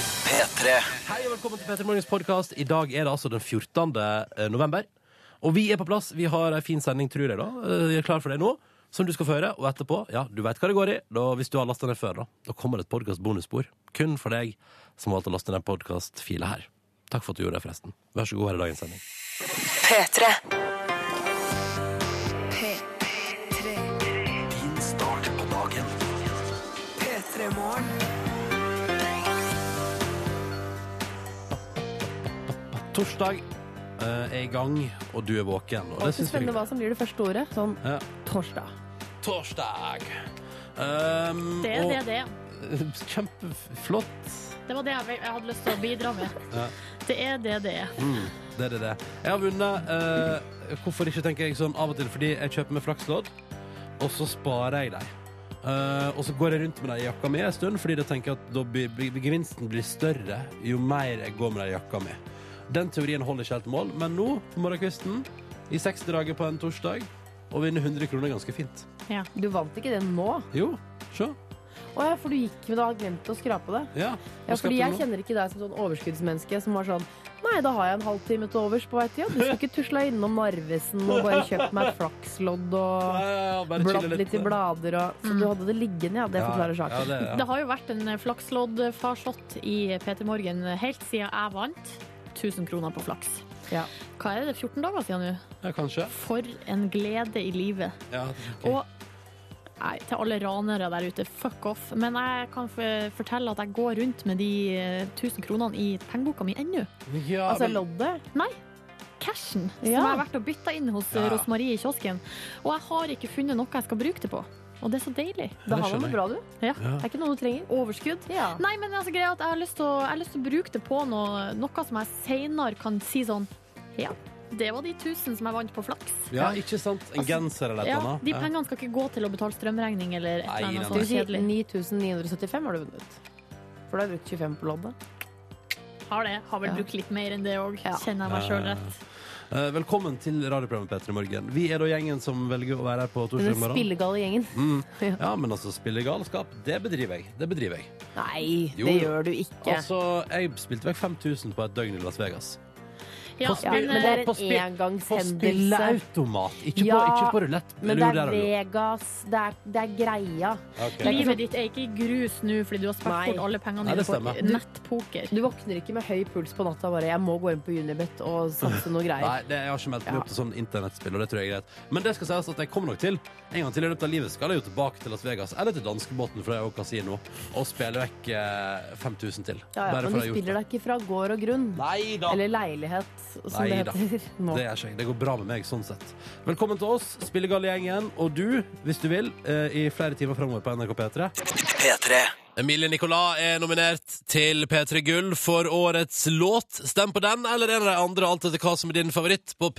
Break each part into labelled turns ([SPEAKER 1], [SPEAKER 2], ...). [SPEAKER 1] P3.
[SPEAKER 2] Hei og velkommen til Petter Morgens podkast. I dag er det altså den 14. november. Og vi er på plass. Vi har ei fin sending, tror jeg, da. Eh, Vi er klar for det nå. Som du skal få høre. Og etterpå, ja, du veit hva det går i. Da, hvis du har lasta ned før, da. Da kommer det et podkast-bonusspor. Kun for deg som valgte å laste ned podkast-fila her. Takk for at du gjorde det, forresten. Vær så god, her er dagens sending.
[SPEAKER 3] P3.
[SPEAKER 1] Din start på dagen.
[SPEAKER 2] Torsdag eh, er i gang, og du er våken. Og det
[SPEAKER 4] Alltid
[SPEAKER 2] syns jeg
[SPEAKER 4] spennende hva som blir det første ordet. Sånn
[SPEAKER 2] Ja.
[SPEAKER 4] torsdag.
[SPEAKER 2] Torsdag. Um,
[SPEAKER 5] Det er det, det. er.
[SPEAKER 2] og kjempeflott.
[SPEAKER 5] Det var det jeg jeg hadde lyst til å bidra med.
[SPEAKER 2] Ja. Mm.
[SPEAKER 5] Det er det det er.
[SPEAKER 2] Det er det, det. Jeg har vunnet eh, Hvorfor ikke, tenker jeg sånn av og til, fordi jeg kjøper meg flakslodd, og så sparer jeg dem. Eh, og så går jeg rundt med dem i jakka mi en stund, fordi da tenker jeg at da blir, blir, gevinsten blir større jo mer jeg går med dem i jakka mi. Den teorien holder ikke helt mål, men nå, på morgenkvisten, i 60-draget på en torsdag, å vinne 100 kroner er ganske fint.
[SPEAKER 4] Du vant ikke den nå?
[SPEAKER 2] Jo, se.
[SPEAKER 4] Å ja, for du gikk men du har glemt å skrape det.
[SPEAKER 2] Ja.
[SPEAKER 4] Ja,
[SPEAKER 2] hva skal
[SPEAKER 4] fordi
[SPEAKER 2] jeg
[SPEAKER 4] jeg
[SPEAKER 2] til nå?
[SPEAKER 4] kjenner ikke deg som sånn overskuddsmenneske som var sånn Nei, da har jeg en halvtime til overs på vei til jobb. Du skulle ikke tusla innom Narvesen og bare kjøpt meg et flakslodd
[SPEAKER 2] Ja,
[SPEAKER 4] og
[SPEAKER 2] ja, ja, bare
[SPEAKER 4] bladd
[SPEAKER 2] chille
[SPEAKER 4] litt i blader og Så du
[SPEAKER 5] Mm.
[SPEAKER 4] hadde det liggende, ja. Det forklarer
[SPEAKER 2] Ja,
[SPEAKER 4] saken.
[SPEAKER 2] det, ja.
[SPEAKER 5] Det har jo vært en eh, flaksloddfarsott i P3 Morgen eh, helt siden jeg vant 1000 kroner på flaks.
[SPEAKER 4] Ja.
[SPEAKER 5] Hva er det, 14 dager siden nå?
[SPEAKER 2] ja, kanskje.
[SPEAKER 5] For en glede i livet.
[SPEAKER 2] Ja, ok.
[SPEAKER 5] Og nei, til alle ranere der ute, fuck off. Men jeg kan f- fortelle at jeg går rundt med de eh, 1000 kronene i pengeboka mi ennå.
[SPEAKER 2] ja,
[SPEAKER 4] Altså
[SPEAKER 2] men-
[SPEAKER 4] loddet?
[SPEAKER 5] Cashen
[SPEAKER 4] Ja.
[SPEAKER 5] som jeg har vært og bytta inn hos eh,
[SPEAKER 2] Ja.
[SPEAKER 5] Rosmarie i kiosken. Og jeg har ikke funnet noe jeg skal bruke det på. Og det er så deilig.
[SPEAKER 2] Ja,
[SPEAKER 4] Da har
[SPEAKER 2] det
[SPEAKER 4] man
[SPEAKER 2] skjønner
[SPEAKER 4] det bra, du.
[SPEAKER 5] Ja.
[SPEAKER 4] Det er ikke noe du trenger.
[SPEAKER 5] Overskudd.
[SPEAKER 4] Ja.
[SPEAKER 5] Nei, men altså, greia er at jeg har lyst til å, jeg har lyst til å bruke det på noe, noe som jeg senere kan si sånn Ja, det var de tusen som jeg vant på flaks.
[SPEAKER 2] Ja, ikke sant?
[SPEAKER 4] Altså,
[SPEAKER 2] En genser eller et
[SPEAKER 5] Ja,
[SPEAKER 2] eller annet.
[SPEAKER 5] de pengene skal ikke gå til å betale strømregning eller et
[SPEAKER 2] Nei,
[SPEAKER 5] eller annet
[SPEAKER 2] nei,
[SPEAKER 4] Skal
[SPEAKER 5] sånt
[SPEAKER 4] vi si
[SPEAKER 5] kjedelig.
[SPEAKER 4] 9975 har du vunnet. For du har brukt 25 på loddet.
[SPEAKER 5] Har det. Har vel
[SPEAKER 4] Ja.
[SPEAKER 5] brukt litt mer enn det òg,
[SPEAKER 4] Ja.
[SPEAKER 5] kjenner jeg meg sjøl rett.
[SPEAKER 2] Eh, velkommen til radioprogrammet Petter i morgen. Vi er da gjengen som velger å være her på
[SPEAKER 4] Den
[SPEAKER 2] torsdag morgen.
[SPEAKER 4] spillegalle gjengen.
[SPEAKER 2] Mm. Ja, men altså, spillegalskap, det bedriver jeg. Det bedriver jeg.
[SPEAKER 4] Nei,
[SPEAKER 2] Jo,
[SPEAKER 4] det
[SPEAKER 2] jo.
[SPEAKER 4] gjør du ikke.
[SPEAKER 2] Altså, jeg spilte vekk 5000 på et døgn i Las Vegas.
[SPEAKER 5] Ja,
[SPEAKER 2] På
[SPEAKER 4] ja,
[SPEAKER 2] spill-
[SPEAKER 5] men,
[SPEAKER 4] men det er
[SPEAKER 5] eh,
[SPEAKER 2] på
[SPEAKER 4] en
[SPEAKER 2] spill- På
[SPEAKER 4] engangshendelse.
[SPEAKER 2] spilleautomat, ikke, på,
[SPEAKER 4] Ja,
[SPEAKER 2] ikke på rulett.
[SPEAKER 4] Men det er Vegas. Det er, det er greia.
[SPEAKER 2] Ok.
[SPEAKER 5] eh, Livet ditt er ikke i grus nå fordi du har
[SPEAKER 4] Nei.
[SPEAKER 5] spilt bort alle pengene
[SPEAKER 2] Nei,
[SPEAKER 5] dine
[SPEAKER 2] det
[SPEAKER 5] på
[SPEAKER 2] stemmer.
[SPEAKER 5] nettpoker.
[SPEAKER 4] Du våkner ikke med høy puls på natta og bare 'jeg må gå inn på Unibet og satse noe greier'.
[SPEAKER 2] Nei, det, jeg har ikke meldt meg
[SPEAKER 4] Ja.
[SPEAKER 2] opp til sånn internettspill, og det tror jeg er greit. Men det skal sies at jeg kommer nok til. En gang til i løpet av livet skal jeg jo tilbake til Las Vegas, eller til danskebåten, for det er jo kasino, og spille vekk eh, 5000 til.
[SPEAKER 4] Ja, ja, men
[SPEAKER 2] for
[SPEAKER 4] du
[SPEAKER 2] jeg har gjort
[SPEAKER 4] spiller deg ikke fra gård og grunn.
[SPEAKER 2] Nei da!
[SPEAKER 4] Eller leilighet, som
[SPEAKER 2] Nei da.
[SPEAKER 4] det heter nå.
[SPEAKER 2] Det, er ikke, jeg. det går bra med meg sånn sett. Velkommen til oss, Spillegallegjengen, og du, hvis du vil, eh, i flere timer framover på NRK P3.
[SPEAKER 1] P3.
[SPEAKER 2] Emilie Nicolas er nominert til P3 Gull for årets låt. Stem på den eller en av de andre, alt etter hva som er din favoritt, på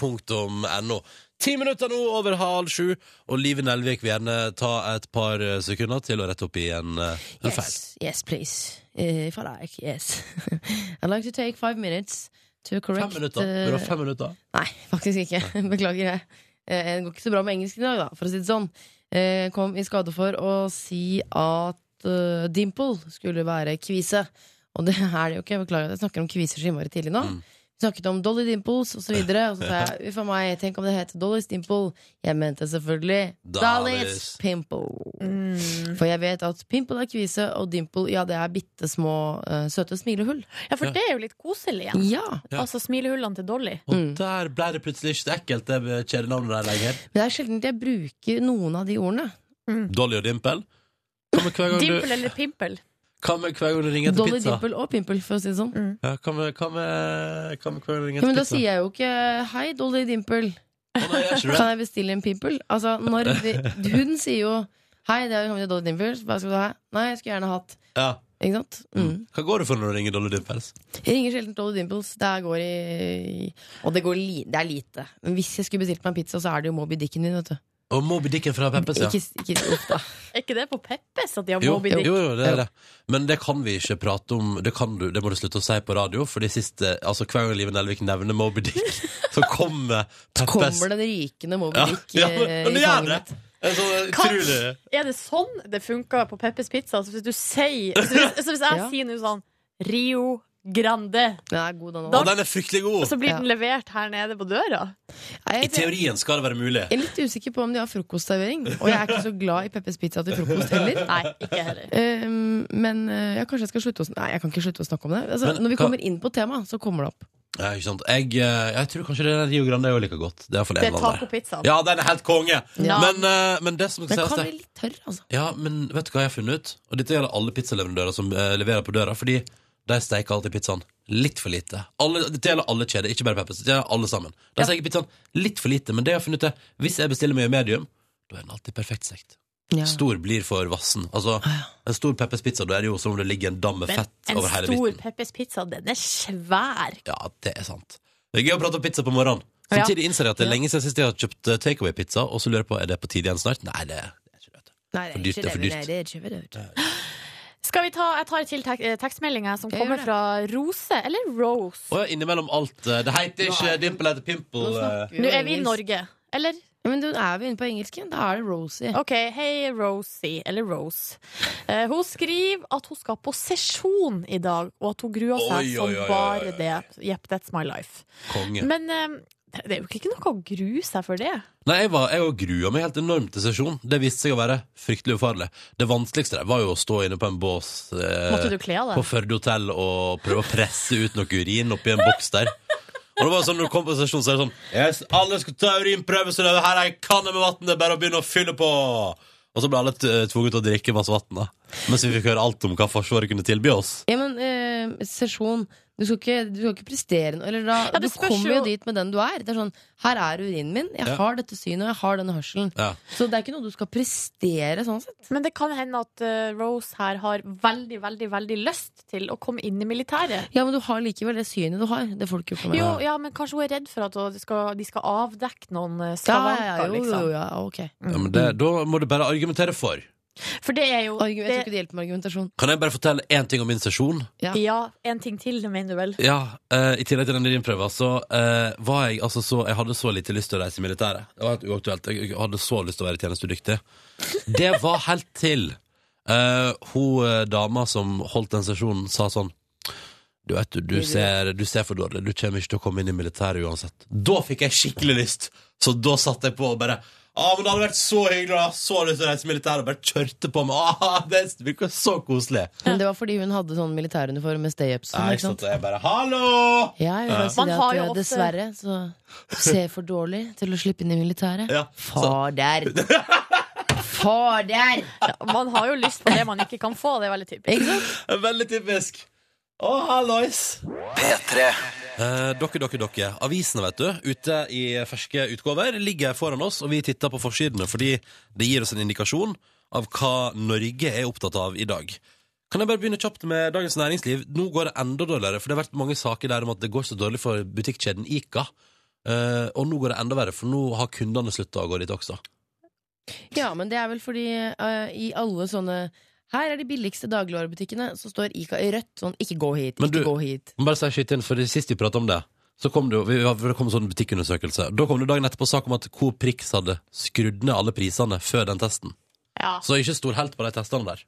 [SPEAKER 2] p3.no. Ti minutter nå over halv sju, og Live Nelvik vil gjerne ta et par eh, sekunder til å rette opp i en, eh, en feil.
[SPEAKER 6] Yes, yes, please.
[SPEAKER 4] Eh,
[SPEAKER 6] Uh, if I like, yes. I'd like to take five minutes to correct
[SPEAKER 2] Fem minutter.
[SPEAKER 6] uh,
[SPEAKER 2] Burde ha fem minutter.
[SPEAKER 6] Nei, faktisk ikke. Beklager det. Eh, det går ikke så bra med engelsken i dag, da, for å si det sånn. Eh, kom i skade for å si at eh, dimple skulle være kvise. Og det er det jo ikke. Jeg beklager at jeg snakker om kviser så innmari tidlig nå.
[SPEAKER 2] Mm.
[SPEAKER 6] Vi snakket om Dolly Dimples og så videre. Og så sa jeg uff a meg, tenk om det het Dolly's Dimple. Jeg mente selvfølgelig Dolly's
[SPEAKER 2] Dolly's.
[SPEAKER 6] Pimple.
[SPEAKER 5] Mm.
[SPEAKER 6] For jeg vet at pimple er kvise, og dimple ja, det er bitte små eh, søte smilehull.
[SPEAKER 5] Ja, for det er jo litt koselig igjen.
[SPEAKER 6] Ja.
[SPEAKER 2] Ja.
[SPEAKER 5] Altså smilehullene til Dolly.
[SPEAKER 2] Og der ble det plutselig ikke så ekkelt, det kjedenavnet der lenger.
[SPEAKER 6] Men det er sjelden jeg bruker noen av de ordene.
[SPEAKER 2] Dolly og Dimple. Hva med hver gang du,
[SPEAKER 5] Dimple eller pimpel?
[SPEAKER 2] hva med hver gang du ringer til
[SPEAKER 6] Dolly
[SPEAKER 2] pizza?
[SPEAKER 6] dimple og pimple, for å si det sånn.
[SPEAKER 2] Ja, hva med, hva med, hva med hver gang du ringer
[SPEAKER 6] Ja,
[SPEAKER 2] til
[SPEAKER 6] men da
[SPEAKER 2] pizza?
[SPEAKER 6] sier jeg jo ikke 'hei, Dolly dimple',
[SPEAKER 2] Å, nei, jeg er ikke det.
[SPEAKER 6] kan jeg bestille en pimple? Altså, når vi, Hun sier jo 'hei, det er kommet til Dolly dimple', hva skal du ha? Nei, jeg skulle gjerne hatt
[SPEAKER 2] Ja.
[SPEAKER 6] Ikke sant? Mm.
[SPEAKER 2] Hva går det for når du ringer Dolly Dimples?
[SPEAKER 6] Jeg ringer sjelden Dolly Dimples. Det er går i Og det, går li, det er lite. Men hvis jeg skulle bestilt meg en pizza, så er det jo Moby Dicken min, vet du.
[SPEAKER 2] Og Moby Dicken fra Peppes, ja.
[SPEAKER 6] Ikke, ikke, uff, da.
[SPEAKER 5] Er ikke det på Peppes at de har
[SPEAKER 2] Jo,
[SPEAKER 5] Moby
[SPEAKER 2] jo,
[SPEAKER 5] Dick?
[SPEAKER 2] jo, det er det. Men det kan vi ikke prate om. Det, kan du, det må du slutte å si på radio, Fordi siste, altså hver gang Live Nelvik nevner Moby Dick, så kommer Peppes.
[SPEAKER 6] Kommer den rykende Moby
[SPEAKER 2] Ja,
[SPEAKER 6] Dick
[SPEAKER 2] ja,
[SPEAKER 6] eh,
[SPEAKER 2] men- men
[SPEAKER 6] i
[SPEAKER 2] det gjør
[SPEAKER 6] fanget
[SPEAKER 2] det.
[SPEAKER 6] mitt?
[SPEAKER 2] Det er Eh, så utrolig.
[SPEAKER 5] Er det sånn det funker på Peppers Pizza? Altså hvis du sier så hvis, så hvis jeg
[SPEAKER 6] Ja.
[SPEAKER 5] sier noe sånn Rio Grande.
[SPEAKER 6] Den er god, den
[SPEAKER 5] Da-
[SPEAKER 6] òg.
[SPEAKER 5] Og
[SPEAKER 2] den er fryktelig god!
[SPEAKER 5] Og så blir
[SPEAKER 6] Ja.
[SPEAKER 5] den levert her nede på døra.
[SPEAKER 2] I teorien skal det være mulig.
[SPEAKER 6] Jeg er litt usikker på om de har frokostservering. Og jeg er ikke så glad i Peppers Pizza til frokost heller.
[SPEAKER 5] Nei, ikke heller.
[SPEAKER 6] Eh, men eh, ja, kanskje jeg skal slutte å, sn- Nei, jeg kan ikke slutte å snakke om det. Altså,
[SPEAKER 2] Men
[SPEAKER 6] når vi
[SPEAKER 2] hva-
[SPEAKER 6] kommer inn på temaet, så kommer det opp.
[SPEAKER 2] Ja, ikke sant? Jeg, eh, jeg tror kanskje det er Rio Grande er jo like godt. Det er,
[SPEAKER 5] Det er tacopizzaen.
[SPEAKER 2] Ja, den er helt konge!
[SPEAKER 5] Ja.
[SPEAKER 2] Men, eh, men det som
[SPEAKER 6] Men
[SPEAKER 2] sies
[SPEAKER 6] kan
[SPEAKER 2] det
[SPEAKER 6] bli litt tørr, altså.
[SPEAKER 2] Ja, men vet du hva jeg har funnet ut? Og dette gjelder alle pizzaleverandører som eh, leverer på døra, fordi de steiker alltid pizzaen litt for lite. Alle, dette gjelder alle kjeder, ikke bare Peppers. Det gjelder alle sammen. De steiker pizzaen litt for lite, men det jeg har funnet ut er, hvis jeg bestiller mye medium, da er den alltid perfekt stekt.
[SPEAKER 6] Ja.
[SPEAKER 2] Stor blir for vassen. Altså, en stor Peppers pizza, da er det jo som om det ligger en dam med
[SPEAKER 5] Ah, Men
[SPEAKER 2] fett
[SPEAKER 5] en
[SPEAKER 2] over hele
[SPEAKER 5] stor
[SPEAKER 2] midten.
[SPEAKER 5] Peppers pizza, den er svær.
[SPEAKER 2] Ja, det er sant. Det er gøy å prate om pizza på morgenen.
[SPEAKER 5] Ja.
[SPEAKER 2] Samtidig innser jeg at det er
[SPEAKER 5] Ja.
[SPEAKER 2] lenge siden sist jeg har kjøpt eh, takeaway-pizza, og så lurer jeg på, er det på tide igjen snart? Nei, det er det er ikke det. vet du.
[SPEAKER 6] Nei,
[SPEAKER 2] For dyrt, det er for dyrt.
[SPEAKER 6] det er ikke for dyrt.
[SPEAKER 5] Skal vi ta, Jeg tar til tek tekstmeldinga som
[SPEAKER 6] Jeg gjør
[SPEAKER 5] kommer
[SPEAKER 6] det.
[SPEAKER 5] fra Rose, eller Rose.
[SPEAKER 2] Og innimellom alt. eh, Det heter ikke dimple, det heter pimple.
[SPEAKER 6] Nå
[SPEAKER 2] eh.
[SPEAKER 6] snakker vi jo
[SPEAKER 5] Nå er vi i
[SPEAKER 6] engelsk.
[SPEAKER 5] Norge, eller?
[SPEAKER 6] Ja, men da er vi inne på engelsken. Da er det Rosie.
[SPEAKER 5] OK, hei Rosie, eller Rose. Eh, hun skriver at hun skal på sesjon i dag, og at hun gruer seg
[SPEAKER 2] Oi, oi,
[SPEAKER 5] som
[SPEAKER 2] oi, oi, oi.
[SPEAKER 5] bare det. Yep, that's my life.
[SPEAKER 2] Konge.
[SPEAKER 5] Men eh, det er jo ikke noe å grue seg for det.
[SPEAKER 2] Nei, jeg, var, jeg var grua meg helt enormt til sesjon. Det viste seg å være fryktelig ufarlig. Det vanskeligste der var jo å stå inne på en bås eh,
[SPEAKER 5] Måtte du kle av
[SPEAKER 2] på
[SPEAKER 5] deg?
[SPEAKER 2] Førde hotell og prøve å presse ut noe urin oppi en boks der. Og det var sånn, når du kom på sesjon, så er det sånn yes, Alle skal ta urinprøve, så det her er ei kanne med vann. Det er bare å begynne å fylle på. Og så ble alle t- eh, tvunget til å drikke masse vann, da. Mens vi fikk høre alt om hva Forsvaret kunne tilby oss.
[SPEAKER 6] Ja, men eh, sesjon du skal, ikke, du skal ikke prestere noe. Eller da,
[SPEAKER 5] Ja,
[SPEAKER 6] du
[SPEAKER 5] det spørs
[SPEAKER 6] kommer jo
[SPEAKER 5] jo-
[SPEAKER 6] dit med den du er. Det er sånn, Her er urinen min, jeg
[SPEAKER 2] Ja.
[SPEAKER 6] har dette synet, og jeg har denne hørselen.
[SPEAKER 2] Ja.
[SPEAKER 6] Så det er ikke noe du skal prestere sånn sett.
[SPEAKER 5] Men det kan hende at eh, Rose her har veldig, veldig, veldig lyst til å komme inn i militæret.
[SPEAKER 6] Ja, men du har likevel det synet du har. Det får du ikke gjort noe med.
[SPEAKER 5] Jo, ja, men kanskje hun er redd for at hun skal, de skal avdekke noen eh,
[SPEAKER 6] Ja,
[SPEAKER 5] skavanker,
[SPEAKER 6] ja, jo, jo,
[SPEAKER 5] liksom.
[SPEAKER 6] ja, ok.
[SPEAKER 2] Ja, men det, da må du bare argumentere for.
[SPEAKER 5] For det er jo
[SPEAKER 6] Argu- Jeg tror
[SPEAKER 5] det,
[SPEAKER 6] ikke det hjelper med argumentasjon.
[SPEAKER 2] Kan jeg bare fortelle én ting om min sesjon?
[SPEAKER 5] Ja, en ting til, mener du vel?
[SPEAKER 2] Ja, eh, I tillegg til den urinprøva, så eh, var jeg altså så Jeg hadde så lite lyst til å reise i militæret. Det var helt uaktuelt. Jeg jeg hadde så lyst til å være tjenestedyktig. Det var helt til eh, hun eh, dama som holdt den sesjonen, sa sånn du vet, du, du, ser, du ser for dårlig. Du kommer ikke til å komme inn i militæret uansett. Da fikk jeg skikkelig lyst! Så da satt jeg på og bare ah, men Det hadde vært så hyggelig! da. Så lyst til å reise i militæret! Og bare kjørte på med ah, Det virker så koselig!
[SPEAKER 6] Men det var fordi hun hadde sånn militæruniform med stay-ups. sånn,
[SPEAKER 2] Nei, ikke sant? Jeg bare Hallo!
[SPEAKER 6] Ja, jeg vil bare si
[SPEAKER 5] Man
[SPEAKER 6] det
[SPEAKER 5] har
[SPEAKER 6] at
[SPEAKER 5] jo
[SPEAKER 6] eh,
[SPEAKER 5] ofte-
[SPEAKER 6] dessverre så ser jeg for dårlig til å slippe inn i militæret.
[SPEAKER 2] Ja,
[SPEAKER 6] Far der! Far der!
[SPEAKER 5] Ja, man har jo lyst på det man ikke kan få, det er veldig typisk.
[SPEAKER 6] Ikke sant?
[SPEAKER 2] Veldig typisk. Å, hallois!
[SPEAKER 1] P3
[SPEAKER 2] Eh, dere, dere, dere. Avisene, vet du, ute i ferske utgaver, ligger foran oss, og vi titter på forsidene fordi det gir oss en indikasjon av hva Norge er opptatt av i dag. Kan jeg bare begynne kjapt med Dagens Næringsliv? Nå går det enda dårligere, for det har vært mange saker der om at det går så dårlig for butikkjeden Ica. Eh, og nå går det enda verre, for nå har kundene slutta å gå dit også.
[SPEAKER 6] Ja, men det er vel fordi eh, i alle sånne her er de billigste dagligvarebutikkene, så står Ica i rødt. Sånn, ikke gå hit,
[SPEAKER 2] Men
[SPEAKER 6] ikke
[SPEAKER 2] du-
[SPEAKER 6] gå hit.
[SPEAKER 2] Men Bare si skyt inn, for Sist vi pratet om det, så kom det jo vi- for det kom en sånn butikkundersøkelse. Da kom det dagen etterpå sak om at Coop Prix hadde skrudd ned alle prisene før den testen.
[SPEAKER 5] Ja.
[SPEAKER 2] Så ikke stor helt på de testene der.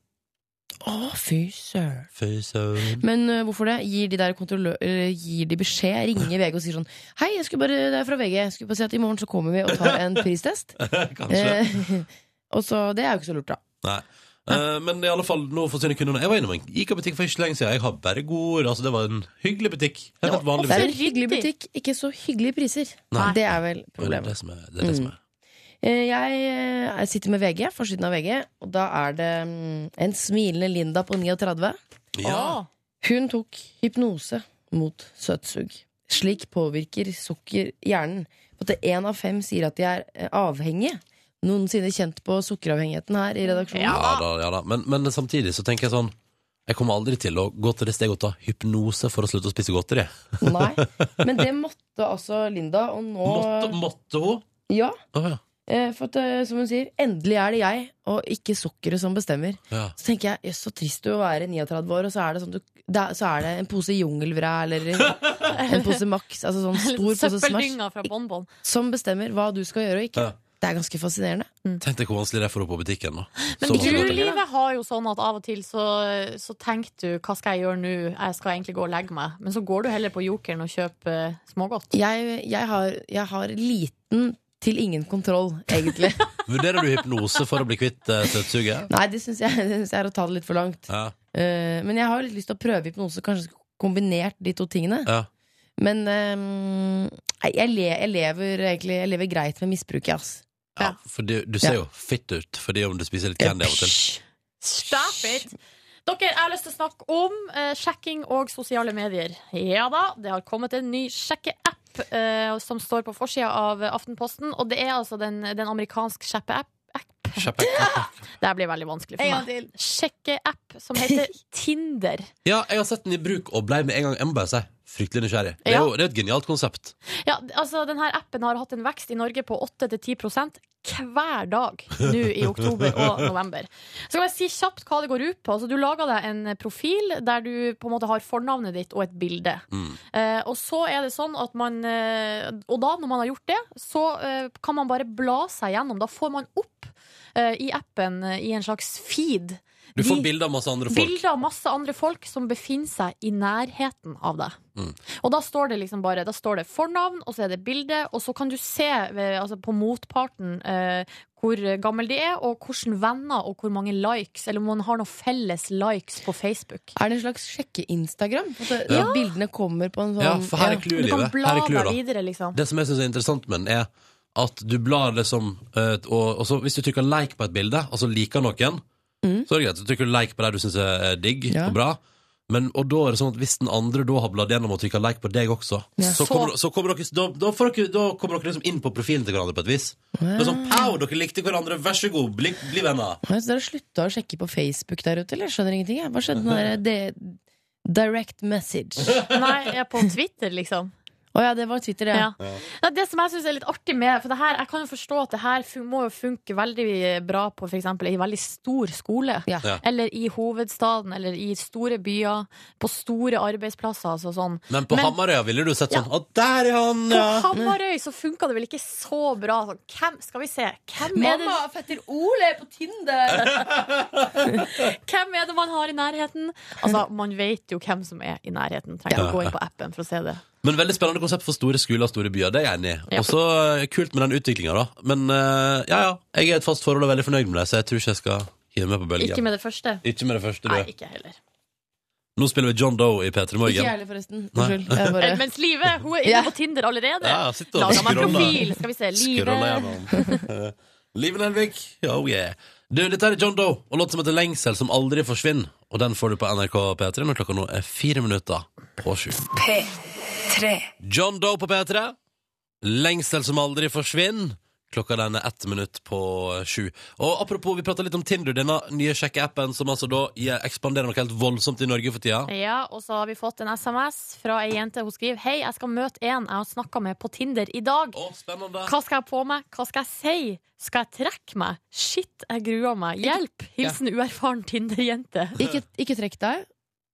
[SPEAKER 6] Å, fy søren.
[SPEAKER 2] Fy søren.
[SPEAKER 6] Men øh, hvorfor det? Gir de der kontrollø- øh, Gir de beskjed? Ringer VG og sier sånn Hei, jeg skulle bare, det er fra VG. Jeg skulle bare si at i morgen så kommer vi og tar en pristest.
[SPEAKER 2] Kanskje.
[SPEAKER 6] Eh, og så, Det er jo ikke så lurt, da.
[SPEAKER 2] Nei. Eh, men i alle fall, nå forsyner kundene Jeg var innom en Ica-butikk for ikke så lenge siden. Jeg har bare gode Altså, det var en hyggelig butikk. En Helt vanlig
[SPEAKER 6] Det er
[SPEAKER 2] butikk.
[SPEAKER 6] en hyggelig butikk, ikke så hyggelige priser.
[SPEAKER 2] Nei.
[SPEAKER 6] Det er vel
[SPEAKER 2] Det er det
[SPEAKER 6] problemet.
[SPEAKER 2] som er. Det er det som er.
[SPEAKER 6] Eh, Jeg eh, sitter med VG, forsiden av VG, og da er det mm, en smilende Linda på 39.
[SPEAKER 2] Ja.
[SPEAKER 6] Hun tok hypnose mot søtsug. Slik påvirker sukker hjernen. At én av fem sier at de er eh, avhengige. Noensinne kjent på sukkeravhengigheten her i redaksjonen?
[SPEAKER 2] ja da, ja da. Men, men samtidig så tenker jeg sånn Jeg kommer aldri til å gå til det steget å ta hypnose for å slutte å spise godteri.
[SPEAKER 6] Nei. Men det måtte altså Linda, og nå
[SPEAKER 2] Måtte, måtte hun?
[SPEAKER 6] Ja.
[SPEAKER 2] Å, ja.
[SPEAKER 6] eh, For at, eh, som hun sier, endelig er det jeg, og ikke sukkeret, som bestemmer.
[SPEAKER 2] Ja.
[SPEAKER 6] Så tenker jeg, jøss, så trist du å være 39 år, og så er det, sånn, du, det, er- så er det en pose jungelvræ eller en pose Max, altså sånn stor pose Smash,
[SPEAKER 5] Søppeldynga fra Bonbon.
[SPEAKER 6] som bestemmer hva du skal gjøre og ikke.
[SPEAKER 2] Ja.
[SPEAKER 6] Det er ganske fascinerende.
[SPEAKER 2] Tenk deg hvor vanskelig det er for henne på butikken. Da.
[SPEAKER 5] Men
[SPEAKER 2] Så
[SPEAKER 5] du,
[SPEAKER 2] vanskelig det er.
[SPEAKER 5] livet har jo sånn at av og til så, så tenker du 'hva skal jeg gjøre nå', jeg skal egentlig gå og legge meg. Men så går du heller på Jokeren og kjøper eh, smågodt.
[SPEAKER 6] jeg, jeg, har, jeg har liten til ingen kontroll, egentlig.
[SPEAKER 2] Vurderer du hypnose for å bli kvitt uh, søtsuget?
[SPEAKER 6] Nei, det syns jeg, det synes jeg er å ta det litt for langt.
[SPEAKER 2] Ja.
[SPEAKER 6] Eh, men jeg har litt lyst til å prøve hypnose, kanskje kombinert de to tingene.
[SPEAKER 2] Ja.
[SPEAKER 6] Men eh, nei, jeg, le, jeg lever egentlig Jeg lever greit med misbruket, ass.
[SPEAKER 2] Ja,
[SPEAKER 5] Ja.
[SPEAKER 2] for du, du ser jo fitt ut fordi om du spiser litt candy av og til.
[SPEAKER 5] Stop it! Dere, jeg har lyst til å snakke om eh, sjekking og sosiale medier. Ja da, det har kommet en ny sjekkeapp eh, som står på forsida av Aftenposten. Og det er altså den, den amerikanske sjekkeapp.
[SPEAKER 2] Kjappe.
[SPEAKER 5] Det her blir veldig vanskelig for meg. Sjekkeapp som heter Tinder.
[SPEAKER 2] Ja, jeg har sett den i bruk og blei med en gang. Jeg må bare si fryktelig nysgjerrig. Det er
[SPEAKER 5] Ja.
[SPEAKER 2] jo det er et genialt konsept.
[SPEAKER 5] Ja, altså denne appen har hatt en vekst i Norge på 8-10 hver dag nå i oktober og november. Så kan jeg si kjapt hva det går ut på. Altså, du lager deg en profil der du på en måte har fornavnet ditt og et bilde.
[SPEAKER 2] Mm.
[SPEAKER 5] Eh, og så er det sånn at man eh, Og da, når man har gjort det, så eh, kan man bare bla seg gjennom. Da får man opp eh, i appen eh, i en slags feed
[SPEAKER 2] Du får
[SPEAKER 5] De-
[SPEAKER 2] bilder av masse andre folk.
[SPEAKER 5] bilder av masse andre folk som befinner seg i nærheten av deg.
[SPEAKER 2] Mm.
[SPEAKER 5] Og da står det liksom bare Da står det fornavn, og så er det bilde, og så kan du se ved, altså på motparten eh, hvor gammel de er, og hvilke venner og hvor mange likes, eller om man har noen felles likes på Facebook.
[SPEAKER 6] Er det en slags sjekke-Instagram? At det-
[SPEAKER 2] Ja.
[SPEAKER 6] at bildene kommer på en sånn
[SPEAKER 2] Ja, for her er
[SPEAKER 5] Du
[SPEAKER 2] clouet, i
[SPEAKER 5] kan
[SPEAKER 2] livet.
[SPEAKER 5] bla
[SPEAKER 2] Her er clouet,
[SPEAKER 5] deg
[SPEAKER 2] da.
[SPEAKER 5] videre, liksom.
[SPEAKER 2] Det som jeg syns er interessant med den, er at du blar liksom eh, og, og så Hvis du trykker like på et bilde, altså liker noen,
[SPEAKER 6] Mm.
[SPEAKER 2] så er det greit. Så trykker du like på det du syns er eh, digg
[SPEAKER 6] Ja.
[SPEAKER 2] og bra. Men, og da er det sånn at hvis den andre da har bladd gjennom og trykka like på deg også,
[SPEAKER 6] Ja.
[SPEAKER 2] så,
[SPEAKER 5] Så-
[SPEAKER 2] kommer, så kommer dere, da, da, får dere, da kommer dere liksom inn på profilen til hverandre på et vis. Det er sånn, Pow, dere likte hverandre, vær så god, bli, bli venner.
[SPEAKER 6] Nei, Så dere slutta å sjekke på Facebook der ute, eller? Jeg Skjønner ingenting, jeg. Hva skjedde med det direct message? Å
[SPEAKER 5] Nei, jeg er på Twitter, liksom.
[SPEAKER 6] ja, det var Twitter,
[SPEAKER 5] Ja. Nei, det som jeg syns er litt artig med For det her, jeg kan jo forstå at det her fun- må jo funke veldig bra på f.eks. ei veldig stor skole.
[SPEAKER 6] Ja.
[SPEAKER 2] Ja.
[SPEAKER 5] Eller i hovedstaden, eller i store byer, på store arbeidsplasser. Altså sånn.
[SPEAKER 2] Men på
[SPEAKER 5] Men-
[SPEAKER 2] Hamarøya ville du sett sånn Å, der er han!
[SPEAKER 5] På
[SPEAKER 2] Ja.
[SPEAKER 5] Hamarøy så funka det vel ikke så bra. Sånn, hvem, skal vi se, hvem er, det,
[SPEAKER 6] Mamma, fetter Ole er på Tinder!
[SPEAKER 5] hvem er det man har i nærheten? Altså, Man vet jo hvem som er i nærheten. Trenger ikke å gå inn på appen for å se det.
[SPEAKER 2] Men veldig spennende konsept for store skoler og store byer. Det er jeg enig i.
[SPEAKER 5] Ja.
[SPEAKER 2] Og så eh, kult med den utviklinga, da. Men eh, ja, ja. Jeg er i et fast forhold og veldig fornøyd med det, så jeg tror ikke jeg skal hive meg på bølgen.
[SPEAKER 5] Ikke med det første.
[SPEAKER 2] Ikke med det første,
[SPEAKER 5] Nei,
[SPEAKER 2] du.
[SPEAKER 5] ikke heller.
[SPEAKER 2] Nå spiller vi John Doe i P3
[SPEAKER 6] Ikke jeg
[SPEAKER 2] Morgen.
[SPEAKER 6] heller, forresten.
[SPEAKER 2] Nei.
[SPEAKER 6] Unnskyld. Jeg
[SPEAKER 5] Eh,
[SPEAKER 6] bare...
[SPEAKER 5] Mens Live hun er
[SPEAKER 6] Ja.
[SPEAKER 5] inne på Tinder allerede.
[SPEAKER 2] Ja, sitter og
[SPEAKER 5] Laga meg
[SPEAKER 2] scroller.
[SPEAKER 5] profil. Skal vi se. Live.
[SPEAKER 2] Skrolla gjennom. Liven Elvik. Eh, Oh yeah. Du, dette er John Doe og låt som heter Lengsel som aldri forsvinner. Og den får du på NRK P3 når klokka nå er fire minutter på sju. John Doe på P3. Lengsel som aldri forsvinner. Klokka den er ett minutt på sju. Og apropos, vi prata litt om Tinder, denne nye sjekkeappen som altså da ja, ekspanderer noe helt voldsomt i Norge for tida.
[SPEAKER 5] Ja, og så har vi fått en SMS fra ei jente. Hun skriver Hei, jeg skal møte en jeg har snakka med på Tinder i dag.
[SPEAKER 2] Å, spennende.
[SPEAKER 5] Hva skal jeg på meg? Hva skal jeg si? Skal jeg trekke meg? Shit, jeg gruer meg. Hjelp! Hilsen uerfaren Tinder-jente.
[SPEAKER 6] Ikke, ikke trekk deg.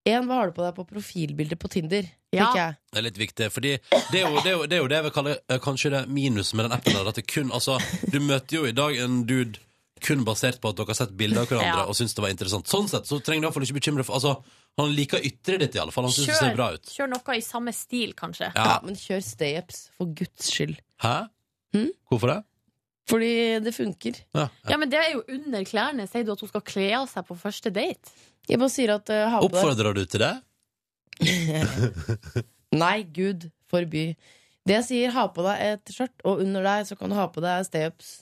[SPEAKER 6] En, hva har du på deg på profilbildet på Tinder?
[SPEAKER 5] Ja.
[SPEAKER 6] Fikk jeg.
[SPEAKER 2] Det er litt viktig, fordi det er jo det, er jo, det, er jo det jeg vil kalle eh, kanskje det minus med den appen. Der, at det kun, altså, du møter jo i dag en dude kun basert på at dere har sett bilder av hverandre
[SPEAKER 5] Ja.
[SPEAKER 2] og syns det var interessant. Sånn sett så trenger du i hvert fall ikke bekymre deg for altså, Han liker ytret ditt, i alle fall. Han syns det ser
[SPEAKER 5] Kjør,
[SPEAKER 2] bra ut.
[SPEAKER 5] kjør noe i samme stil, kanskje.
[SPEAKER 2] Ja.
[SPEAKER 6] Ja, men kjør stay-ups, for guds skyld.
[SPEAKER 2] Hæ?
[SPEAKER 6] Hm?
[SPEAKER 2] Hvorfor det?
[SPEAKER 6] Fordi det funker.
[SPEAKER 2] Ja.
[SPEAKER 5] Ja, men Det er jo under klærne. Sier du at hun skal kle av seg på første date?
[SPEAKER 6] Jeg bare sier at eh, ha på deg
[SPEAKER 2] Oppfordrer du til det?
[SPEAKER 6] Nei, gud forby. Det jeg sier, ha på deg et skjørt, og under deg så kan du ha på deg stay-ups.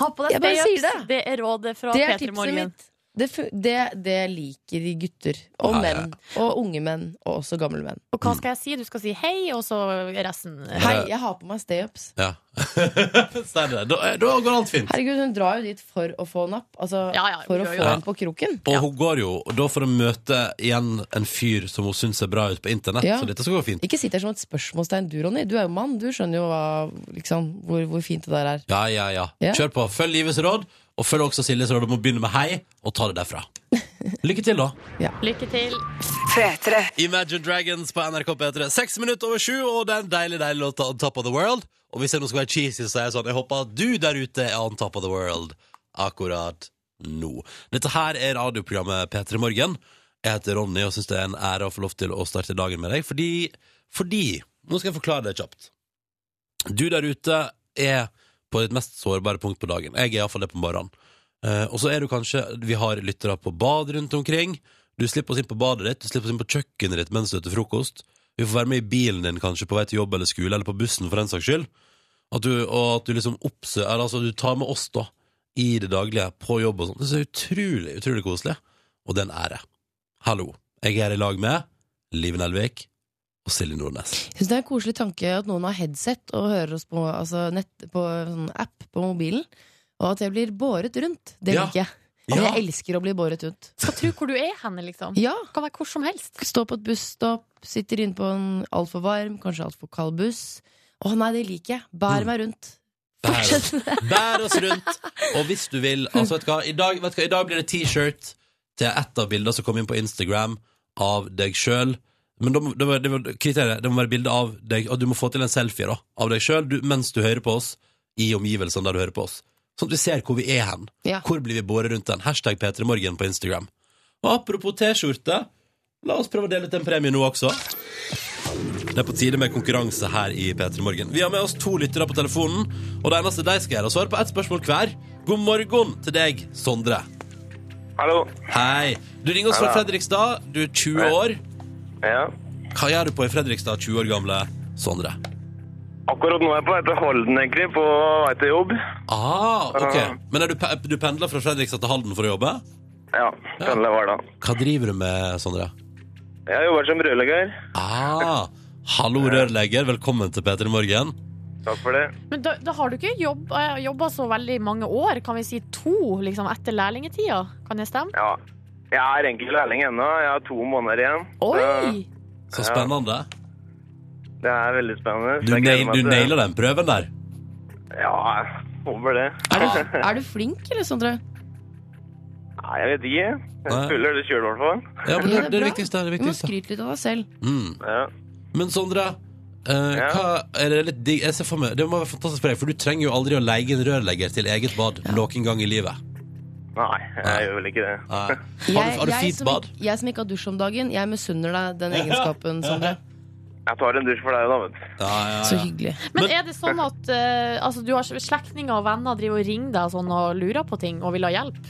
[SPEAKER 5] Ha på deg
[SPEAKER 6] Jeg bare
[SPEAKER 5] stay-ups.
[SPEAKER 6] sier det.
[SPEAKER 5] Det er rådet fra
[SPEAKER 6] Det er
[SPEAKER 5] Peter
[SPEAKER 6] tipset
[SPEAKER 5] Morgen.
[SPEAKER 6] mitt. Det, fu- det, det liker de gutter.
[SPEAKER 2] Ja,
[SPEAKER 6] Og
[SPEAKER 2] ja.
[SPEAKER 6] menn. Og unge menn. Og også gamle menn.
[SPEAKER 5] Og hva skal jeg si? Du skal si hei, og så resten.
[SPEAKER 6] Hei, jeg har på meg stay-ups.
[SPEAKER 2] Ja. Sier du det? Da, eh, da går alt fint.
[SPEAKER 6] Herregud, hun drar jo dit for å få napp. Altså
[SPEAKER 5] Ja, ja, hun
[SPEAKER 6] for å
[SPEAKER 5] gjør jo
[SPEAKER 6] få
[SPEAKER 5] det.
[SPEAKER 6] en på kroken.
[SPEAKER 2] Og hun går jo da for å møte igjen en fyr som hun syns ser bra ut på internett,
[SPEAKER 6] Ja.
[SPEAKER 2] så dette skal gå fint.
[SPEAKER 6] Ikke sitt der som et spørsmålstegn, du, Ronny. Du er jo mann. Du skjønner jo hva, liksom, hvor, hvor fint det der er.
[SPEAKER 2] Ja, ja, ja.
[SPEAKER 6] Ja.
[SPEAKER 2] Kjør på. Følg livets råd, og følg også Siljes råd om å begynne med hei, og ta det derfra. Lykke til, da.
[SPEAKER 5] Lykke til.
[SPEAKER 2] Imagine Dragons på NRK P3. Seks minutter over sju, og det er en deilig, deilig låt av On Top of the World. Og hvis jeg nå skal være cheesy, så er jeg sånn Jeg håper at du der ute er on top of the world akkurat nå. Dette her er radioprogrammet P3 Morgen. Jeg heter Ronny og syns det er en ære å få lov til å starte dagen med deg, fordi, fordi Nå skal jeg forklare det kjapt. Du der ute er på ditt mest sårbare punkt på dagen. Jeg er iallfall det på morgenen. Eh, og så er du kanskje Vi har lyttere på bad rundt omkring. Du slipper oss inn på badet ditt, du slipper oss inn på kjøkkenet ditt mens du spiser frokost. Vi får være med i bilen din kanskje på vei til jobb eller skole, eller på bussen for den saks skyld. At du, og at du liksom oppsøker eller Altså, du tar med oss, da, i det daglige, på jobb og sånn. Det er så utrolig, utrolig koselig. Og det er en ære. Hallo. Jeg er her i lag med Liv Nelvik og Silje Nordnes.
[SPEAKER 6] Jeg synes det er en koselig tanke at noen har headset og hører oss på, altså nett, på sånn app på mobilen. Og at jeg blir båret rundt. Det
[SPEAKER 2] Ja.
[SPEAKER 6] liker jeg. Og
[SPEAKER 2] Ja.
[SPEAKER 6] Jeg elsker å bli båret rundt.
[SPEAKER 5] Skal tro hvor du er hen, liksom.
[SPEAKER 6] Ja,
[SPEAKER 5] Det kan være hvor som helst.
[SPEAKER 6] Stå på et busstopp, sitter inne på en altfor varm, kanskje altfor kald buss. Å nei, det liker jeg. Bær
[SPEAKER 2] Mm.
[SPEAKER 6] meg rundt.
[SPEAKER 2] Bær oss,
[SPEAKER 6] Fortsett med det.
[SPEAKER 2] bær oss rundt. Og hvis du vil altså, vet du hva, i, dag, vet du hva, I dag blir det T-shirt til ett av bildene som kom inn på Instagram av deg sjøl. Men da må- da må- det må- kriteriet det må være bilde av deg, og du må få til en selfie da av deg sjøl mens du hører på oss i omgivelsene der du hører på oss. Sånn at vi ser hvor vi er hen.
[SPEAKER 6] Ja.
[SPEAKER 2] Hvor blir vi båret rundt den? Hashtag P3morgen på Instagram. Og apropos T-skjorte, la oss prøve å dele ut en premie nå også. Det er på tide med konkurranse her i P3 Morgen. Vi har med oss to lyttere på telefonen, og det eneste de skal gjøre, er å svare på ett spørsmål hver. God morgen til deg, Sondre.
[SPEAKER 7] Hallo.
[SPEAKER 2] Hei. Du ringer oss fra Fredrikstad. Du er 20 år.
[SPEAKER 7] Ja.
[SPEAKER 2] Hva gjør du på i Fredrikstad, 20 år gamle Sondre?
[SPEAKER 7] Akkurat nå er jeg på vei til Holden, egentlig, på vei til jobb.
[SPEAKER 2] Ah, ok. Men er du, pe- du pendler fra Fredrikstad til Halden for å jobbe?
[SPEAKER 7] Ja, pendler hver dag.
[SPEAKER 2] Hva driver du med, Sondre?
[SPEAKER 7] Jeg jobber som rørlegger.
[SPEAKER 2] Ah, hallo rørlegger. Velkommen til P3 Morgen.
[SPEAKER 7] Takk for det.
[SPEAKER 5] Men da, da har du ikke jobba, jobba så veldig mange år, kan vi si to, liksom, etter lærlingetida? Kan det stemme?
[SPEAKER 7] Ja. Jeg er egentlig lærling ennå. Jeg har to måneder igjen.
[SPEAKER 6] Eh,
[SPEAKER 5] Oi!
[SPEAKER 2] Så spennende.
[SPEAKER 7] Så Det er veldig spennende.
[SPEAKER 2] Du,
[SPEAKER 7] Så jeg gleder
[SPEAKER 2] nail,
[SPEAKER 7] meg
[SPEAKER 2] du
[SPEAKER 7] til-
[SPEAKER 2] nailer den prøven der.
[SPEAKER 7] Ja, jeg håper det.
[SPEAKER 6] Er du, er du flink, eller, Sondre?
[SPEAKER 7] Nei, jeg vet ikke.
[SPEAKER 2] Nei.
[SPEAKER 7] Jeg føler det sjøl, i hvert fall.
[SPEAKER 2] Ja, men
[SPEAKER 6] Ja,
[SPEAKER 2] det,
[SPEAKER 6] det er
[SPEAKER 2] det er
[SPEAKER 6] bra.
[SPEAKER 2] det viktigste. Det er det
[SPEAKER 6] Du må
[SPEAKER 2] viktigste.
[SPEAKER 6] skryte litt av deg selv.
[SPEAKER 2] Mm.
[SPEAKER 7] Ja.
[SPEAKER 2] Men Sondre, eh,
[SPEAKER 7] Ja.
[SPEAKER 2] hva, er det, litt digg? Jeg ser for meg, det må være fantastisk for deg, for du trenger jo aldri å leie en rørlegger til eget bad noen gang i livet.
[SPEAKER 7] Nei,
[SPEAKER 2] Nei.
[SPEAKER 7] jeg gjør vel ikke det.
[SPEAKER 2] Eh, har, du,
[SPEAKER 6] Jeg,
[SPEAKER 2] har du
[SPEAKER 6] jeg,
[SPEAKER 2] fint
[SPEAKER 6] som,
[SPEAKER 2] bad?
[SPEAKER 6] ikke- jeg som ikke har dusj om dagen, jeg misunner deg den egenskapen, Sondre.
[SPEAKER 7] Jeg tar en dusj for deg, da, vet du.
[SPEAKER 2] Ja, ja,
[SPEAKER 6] Så
[SPEAKER 2] ja.
[SPEAKER 6] hyggelig.
[SPEAKER 5] Men
[SPEAKER 2] Men-
[SPEAKER 5] er det sånn at eh, altså, du har slektninger og venner driver og ringer deg og sånn, og lurer på ting og vil ha hjelp?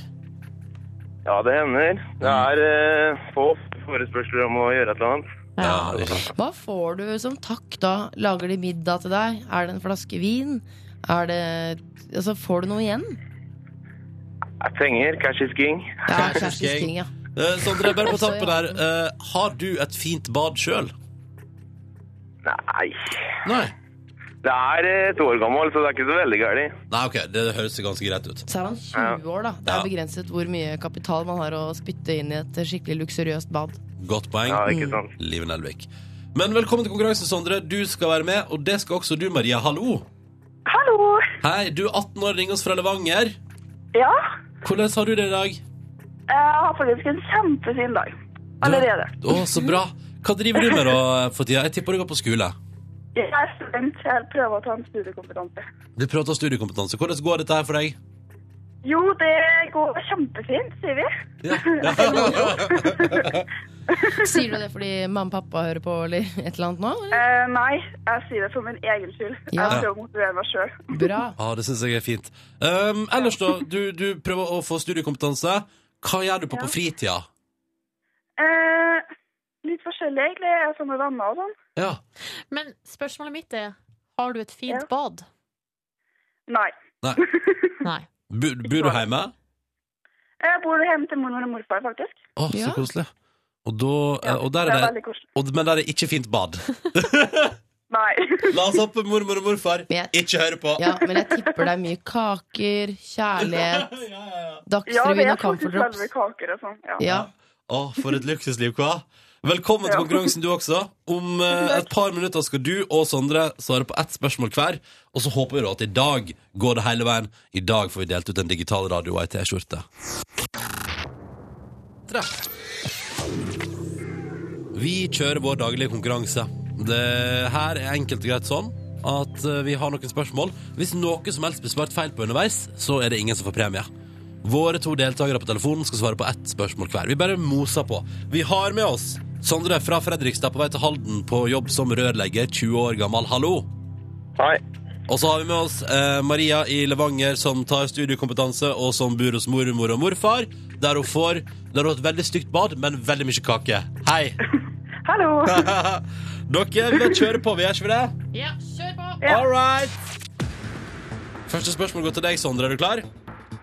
[SPEAKER 7] Ja, det hender. Det
[SPEAKER 2] Mm.
[SPEAKER 7] er eh, få forespørsler om å gjøre et eller annet.
[SPEAKER 2] Ja, ikke sant.
[SPEAKER 6] Hva får du som takk da? Lager de middag til deg? Er det en flaske vin? Er det Altså, får du noe igjen?
[SPEAKER 7] Jeg trenger cash is king.
[SPEAKER 6] Ja, kjærestens ting, ja.
[SPEAKER 2] Eh, Sondre, bare på
[SPEAKER 6] Så, ja.
[SPEAKER 2] tampen der, eh, har du et fint bad sjøl?
[SPEAKER 7] Nei.
[SPEAKER 2] Nei.
[SPEAKER 7] Det er eh, et år gammel, så det er ikke så veldig gærlig.
[SPEAKER 2] Nei, ok, det høres jo ganske greit ut.
[SPEAKER 6] Så er man 20 år, da. Det
[SPEAKER 2] Ja.
[SPEAKER 6] er begrenset hvor mye kapital man har å spytte inn i et skikkelig luksuriøst bad.
[SPEAKER 2] Godt poeng.
[SPEAKER 7] Ja, ikke sant.
[SPEAKER 2] Liven Elvik. Men velkommen til konkurransen, Sondre. Du skal være med, og det skal også du, Maria. Hallo.
[SPEAKER 8] Hallo.
[SPEAKER 2] Hei, du er 18 år, ringer oss fra Levanger.
[SPEAKER 8] Ja,
[SPEAKER 2] Hvordan har du det i dag?
[SPEAKER 8] jeg har faktisk en kjempefin dag. Allerede.
[SPEAKER 2] Du- Å, så bra. Hva driver du med da for tida? Jeg tipper du går på skole.
[SPEAKER 8] Jeg er student, jeg prøver å ta en studiekompetanse.
[SPEAKER 2] Du prøver å ta studiekompetanse. Hvordan går dette her for deg?
[SPEAKER 8] Jo, det går kjempefint, sier vi.
[SPEAKER 2] Ja. Ja.
[SPEAKER 6] Sier du det fordi mamma og pappa hører på eller et eller annet nå? Eller?
[SPEAKER 8] Eh, nei, jeg sier det for min egen skyld.
[SPEAKER 6] Ja.
[SPEAKER 8] Jeg prøver å motivere meg sjøl.
[SPEAKER 6] Bra.
[SPEAKER 2] Ah, det syns jeg er fint. Um, ellers, da. Du, du prøver å få studiekompetanse. Hva gjør du på på fritida?
[SPEAKER 8] Eh, litt forskjellig, egentlig. Jeg er sammen med venner og sånn.
[SPEAKER 2] Ja.
[SPEAKER 5] Men spørsmålet mitt er har du et fint
[SPEAKER 8] Ja.
[SPEAKER 5] bad?
[SPEAKER 8] Nei.
[SPEAKER 5] Nei.
[SPEAKER 2] Bor, bor du hjemme?
[SPEAKER 8] Jeg bor hjemme til mormor og morfar, faktisk.
[SPEAKER 2] Å, så
[SPEAKER 6] Ja.
[SPEAKER 2] koselig. Og, da, eh, og der
[SPEAKER 8] Det
[SPEAKER 2] er
[SPEAKER 8] er
[SPEAKER 2] det,
[SPEAKER 8] veldig koselig.
[SPEAKER 2] og, men der er ikke fint bad.
[SPEAKER 8] Nei.
[SPEAKER 2] La oss hoppe mormor og morfar.
[SPEAKER 6] Men jeg-
[SPEAKER 2] Ikke høre på.
[SPEAKER 6] Ja, men jeg tipper det er mye kaker, kjærlighet,
[SPEAKER 8] Ja, det
[SPEAKER 6] Dagsrevyen
[SPEAKER 8] er
[SPEAKER 6] og Camphor
[SPEAKER 8] faktisk
[SPEAKER 6] Drops.
[SPEAKER 8] veldig kaker og sånn. Ja.
[SPEAKER 6] Ja.
[SPEAKER 2] Å, for et luksusliv, hva? Velkommen til
[SPEAKER 8] Ja.
[SPEAKER 2] konkurransen, du også. Om eh, et par minutter skal du og Sondre svare på ett spørsmål hver. Og så håper vi da at i dag går det hele veien. I dag får vi delt ut en digital radio og ei T-skjorte. Tre. Vi kjører vår daglige konkurranse. Det her er enkelt og greit sånn. at eh, vi har noen spørsmål. Hvis noe som helst blir svart feil på underveis, så er det ingen som får premie. Våre to deltakere på telefonen skal svare på ett spørsmål hver. Vi bare moser på. Vi har med oss Sondre fra Fredrikstad på vei til Halden på jobb som rørlegger, 20 år gammel. Hallo!
[SPEAKER 7] Hei.
[SPEAKER 2] Og så har vi med oss eh, Maria i Levanger som tar studiekompetanse og som bor hos mormor og morfar, der hun får der hun har et veldig stygt bad, men veldig mye kake. Hei!
[SPEAKER 8] Hallo.
[SPEAKER 2] Dere, vi bare kjører på, vi gjør ikke vi det?
[SPEAKER 5] Ja, kjør på!
[SPEAKER 8] Ja.
[SPEAKER 2] All right! Første spørsmål går til deg, Sondre. Er du klar?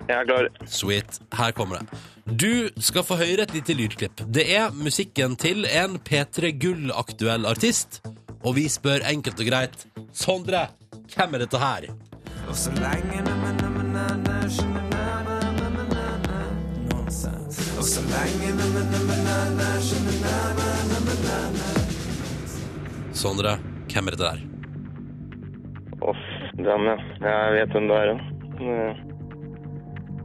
[SPEAKER 7] Jeg er klar.
[SPEAKER 2] Sweet. Her kommer det. Du skal få høre et lite lydklipp. Det er musikken til en P3 Gull-aktuell artist. Og vi spør enkelt og greit Sondre, hvem er dette her? Sondre, hvem er dette der?
[SPEAKER 7] Åh, den, ja. Jeg vet hvem det er, ja. Men, eh,